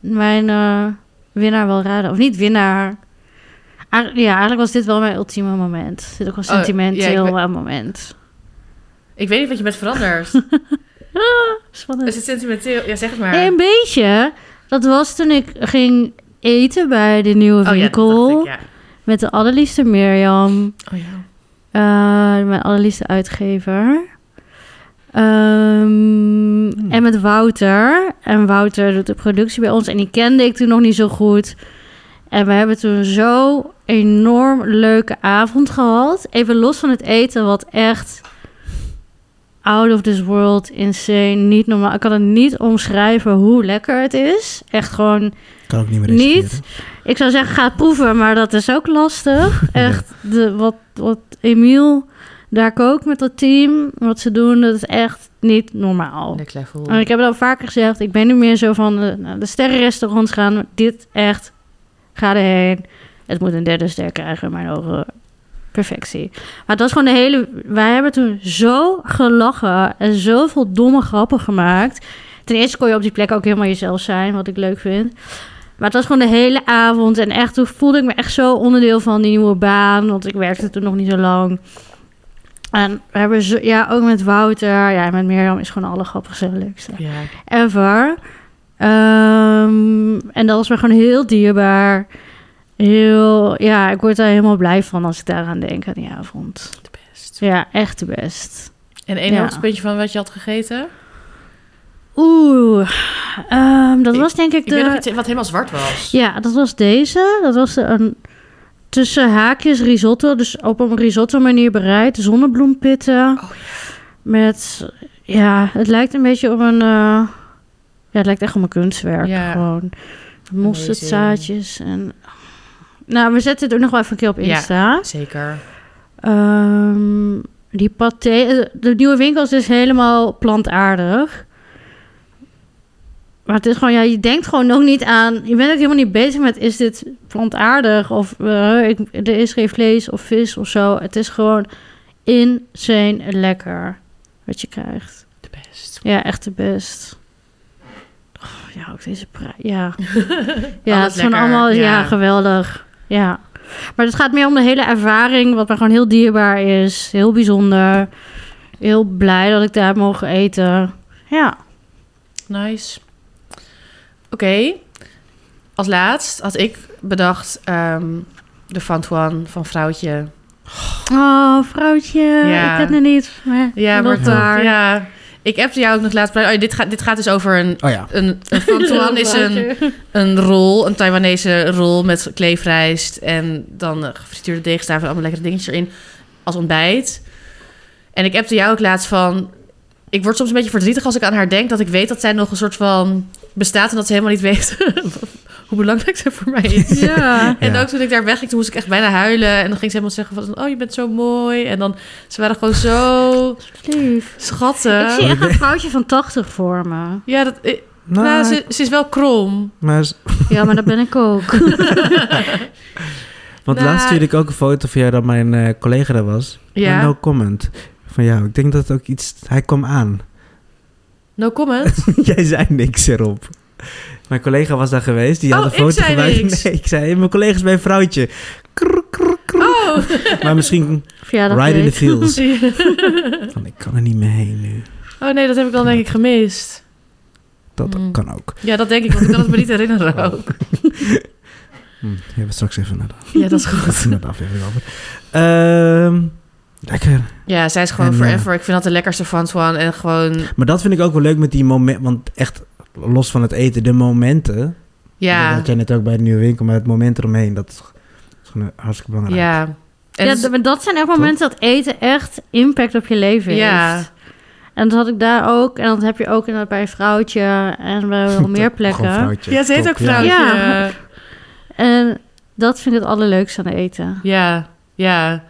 Speaker 2: mijn eh, winnaar wel raden. Of niet winnaar. Eigen- ja, eigenlijk was dit wel mijn ultieme moment. Dit ook wel
Speaker 1: Oh, ja, ik
Speaker 2: sentimenteel
Speaker 1: weet-
Speaker 2: eh, moment.
Speaker 1: Ik weet niet wat je bent veranderd.
Speaker 2: Ah, Spannend.
Speaker 1: Is het sentimenteel? Ja, zeg het maar.
Speaker 2: Nee, een beetje. Dat was toen ik ging eten bij de nieuwe
Speaker 1: dat dacht
Speaker 2: winkel.
Speaker 1: ik, Oh, ja.
Speaker 2: Met de allerliefste Mirjam.
Speaker 1: Oh ja.
Speaker 2: Eh, mijn allerliefste uitgever. Ehm, En met Wouter. En Wouter doet de productie bij ons. En die kende ik toen nog niet zo goed. En we hebben toen zo enorm leuke avond gehad. Even los van het eten, wat echt out of this world, insane, niet normaal. Ik kan het niet omschrijven hoe lekker het is. Echt gewoon
Speaker 3: Kan ook niet meer
Speaker 2: Niet?
Speaker 3: reserveren.
Speaker 2: ik zou zeggen, ga het proeven, maar dat is ook lastig. Echt, de, wat, wat Emiel daar kookt met dat team, wat ze doen, dat is echt niet normaal.
Speaker 1: Next level.
Speaker 2: En ik heb het al vaker gezegd, ik ben nu meer zo van de, naar de sterrenrestaurants gaan. maar Dit echt, ga erheen. Het moet een derde ster krijgen in mijn ogen. Perfectie. Maar dat is gewoon de hele... Wij hebben toen zo gelachen en zoveel domme grappen gemaakt. Ten eerste kon je op die plek ook helemaal jezelf zijn, wat ik leuk vind. Maar het was gewoon de hele avond. En echt, toen voelde ik me echt zo onderdeel van die nieuwe baan. Want ik werkte toen nog niet zo lang. En we hebben zo, ja, ook met Wouter. Ja, en met Mirjam is gewoon alle grappigste en leukste
Speaker 1: Ja.
Speaker 2: ever. Ehm, en dat is me gewoon heel dierbaar. Heel, ja, ik word daar helemaal blij van als ik daaraan denk aan die avond.
Speaker 1: De best.
Speaker 2: Ja, echt de best.
Speaker 1: En één
Speaker 2: Ja.
Speaker 1: hoogtepuntje van wat je had gegeten?
Speaker 2: Oeh, ehm, dat
Speaker 1: Ik-
Speaker 2: was denk ik
Speaker 1: Ik weet nog
Speaker 2: de...
Speaker 1: iets wat helemaal zwart was.
Speaker 2: Ja, dat was deze. Dat was de, een tussen haakjes risotto. Dus op een risotto manier bereid. Zonnebloempitten. Met, ja, het lijkt een beetje op een... eh, ja, het lijkt echt op een kunstwerk.
Speaker 1: Ja.
Speaker 2: Gewoon mosterdzaadjes en... Nou, we zetten het ook nog wel even een keer op
Speaker 1: Ja.
Speaker 2: Insta.
Speaker 1: Zeker.
Speaker 2: Ehm, die paté... De nieuwe winkel is dus helemaal plantaardig. Maar het is gewoon... Ja, je denkt gewoon ook niet aan... Je bent ook helemaal niet bezig met... Is dit plantaardig? Of eh, ik, er is geen vlees of vis of zo. Het is gewoon insane lekker wat je krijgt.
Speaker 1: De best.
Speaker 2: Ja, echt de best. Oh, ja, ook deze prijs. Ja, ja het is gewoon
Speaker 1: lekker,
Speaker 2: allemaal ja.
Speaker 1: ja.
Speaker 2: geweldig. Ja. Maar het gaat meer om de hele ervaring, wat me gewoon heel dierbaar is. Heel bijzonder. Heel blij dat ik daar heb mogen eten. Ja.
Speaker 1: Nice. Oké. Als laatst had ik bedacht ehm, de Fantuan van Vrouwtje.
Speaker 2: Oh, vrouwtje.
Speaker 1: Ja.
Speaker 2: Ik ken het niet. Maar
Speaker 1: Ja,
Speaker 2: wordt
Speaker 1: wordt
Speaker 2: daar.
Speaker 1: Ja. Ik appte jou ook nog laatst. Oh, dit, gaat, dit gaat dus over een...
Speaker 3: Oh ja.
Speaker 1: Een, een Fantuan is een, een rol, een Taiwanese rol met kleefrijst en dan eh, gefrituurde deegstaaf en allemaal lekkere dingetjes erin als ontbijt. En ik appte jou ook laatst van, ik word soms een beetje verdrietig als ik aan haar denk, dat ik weet dat zij nog een soort van bestaat en dat ze helemaal niet weet hoe belangrijk ze voor mij is.
Speaker 2: Ja.
Speaker 1: En
Speaker 3: Ja.
Speaker 1: ook toen ik daar wegging, toen moest ik echt bijna huilen. En dan ging ze helemaal zeggen van, oh, je bent zo mooi. En dan, ze waren gewoon zo
Speaker 2: Lief. Ik
Speaker 1: schattig.
Speaker 2: zie echt een vrouwtje van 80 voor me.
Speaker 1: Ja, dat, eh,
Speaker 3: Nou,
Speaker 1: nou, ze, ze is wel krom.
Speaker 3: maar,
Speaker 2: Ja, maar dat ben ik ook.
Speaker 3: want
Speaker 1: Nou.
Speaker 3: laatst stuurde ik ook een foto van jou dat mijn eh, collega daar was.
Speaker 1: Ja,
Speaker 3: Maar
Speaker 1: no,
Speaker 3: no comment van jou. Ik denk dat het ook iets... Hij kwam aan.
Speaker 1: comment.
Speaker 3: Jij zei niks erop. Mijn collega was daar geweest. Die had
Speaker 1: Oh,
Speaker 3: een foto
Speaker 1: ik zei
Speaker 3: gemaakt.
Speaker 1: niks.
Speaker 3: Nee, ik zei, mijn collega is mijn vrouwtje. Krr, krr, krr.
Speaker 1: Oh!
Speaker 3: Maar misschien
Speaker 2: Verjaardag
Speaker 3: right in the fields.
Speaker 1: Ja.
Speaker 3: Van, ik kan er niet meer heen nu.
Speaker 1: Oh nee, dat heb ik dan denk ik gemist.
Speaker 3: Dat
Speaker 1: Hmm.
Speaker 3: kan ook.
Speaker 1: Oh. Ja, dat denk ik, want ik kan het me niet herinneren ook.
Speaker 3: Hm, die hebben we straks even naar de,
Speaker 1: Ja, dat is goed.
Speaker 3: even naar de aflevering over. Ehm, lekker.
Speaker 1: Ja, zij is gewoon
Speaker 3: En, eh,
Speaker 1: forever. Ik vind dat de lekkerste van Swan. En gewoon,
Speaker 3: Maar dat vind ik ook wel leuk met die momenten. Want echt, los van het eten, de momenten. Dat
Speaker 1: ja.
Speaker 3: had jij net ook bij de nieuwe winkel. Maar het moment eromheen, dat is, dat is gewoon hartstikke belangrijk.
Speaker 1: Ja. En dus
Speaker 2: ja,
Speaker 1: het-
Speaker 2: d- maar dat zijn echt momenten dat eten echt impact op je leven
Speaker 1: Ja.
Speaker 2: heeft. En dat had ik daar ook. En dat heb je ook inderdaad bij een vrouwtje en bij wel meer
Speaker 3: Gewoon
Speaker 2: plekken.
Speaker 3: vrouwtje.
Speaker 1: ja, ze heet
Speaker 3: Top,
Speaker 1: ook vrouwtje.
Speaker 2: Ja.
Speaker 1: Ja.
Speaker 2: En dat vind ik het allerleukste aan eten.
Speaker 1: ja,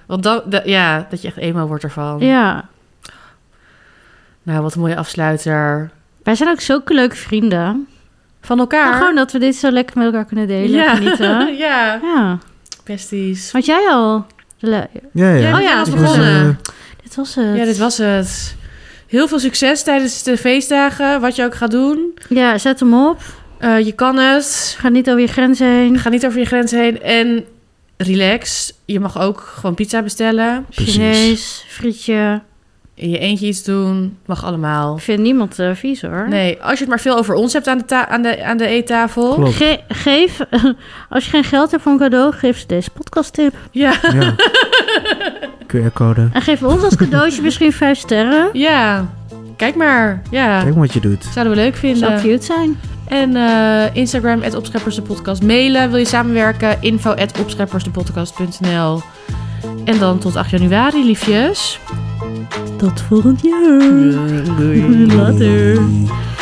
Speaker 1: Want dan, da- ja, dat je echt eenmaal wordt ervan.
Speaker 2: Ja.
Speaker 1: Nou, wat een mooie afsluiter.
Speaker 2: Wij zijn ook zulke leuke vrienden.
Speaker 1: Van elkaar.
Speaker 2: Maar gewoon dat we dit zo lekker met elkaar kunnen delen. Ja. Genieten.
Speaker 1: ja,
Speaker 2: Ja.
Speaker 1: besties.
Speaker 2: Had jij al? de le-
Speaker 3: Ja, Oh, ja.
Speaker 1: Jij bent
Speaker 2: Oh ja,
Speaker 1: al
Speaker 2: ik was,
Speaker 1: begonnen.
Speaker 3: eh,
Speaker 2: Dit was het.
Speaker 1: Ja, dit was het. Heel veel succes tijdens de feestdagen, wat je ook gaat doen.
Speaker 2: Ja, zet hem op.
Speaker 1: Eh, je kan het.
Speaker 2: Ga niet over je grens heen.
Speaker 1: Ga niet over je grens heen. En relax. Je mag ook gewoon pizza bestellen.
Speaker 3: Precies.
Speaker 2: Chinees, frietje.
Speaker 1: In je eentje iets doen. Mag allemaal.
Speaker 2: Ik vind niemand eh, vies hoor.
Speaker 1: Nee, als je het maar veel over ons hebt aan de, ta- aan de, aan de eettafel.
Speaker 3: Klopt.
Speaker 2: Ge- geef, als je geen geld hebt voor een cadeau, geef ze deze podcast tip.
Speaker 1: Ja.
Speaker 3: Ja. QR-code.
Speaker 2: En geef ons als cadeautje misschien vijf sterren.
Speaker 1: ja, kijk maar. Ja,
Speaker 3: Kijk maar wat je doet.
Speaker 1: zouden we leuk
Speaker 2: Zou
Speaker 1: vinden.
Speaker 2: cute zijn.
Speaker 1: En eh, Instagram, at Opscheppers de Podcast. Mailen, wil je samenwerken? Info, at opscheppersdepodcast.nl. En dan tot 8 januari, liefjes.
Speaker 2: Tot volgend jaar.
Speaker 1: Doei.
Speaker 2: Later.
Speaker 3: Doei.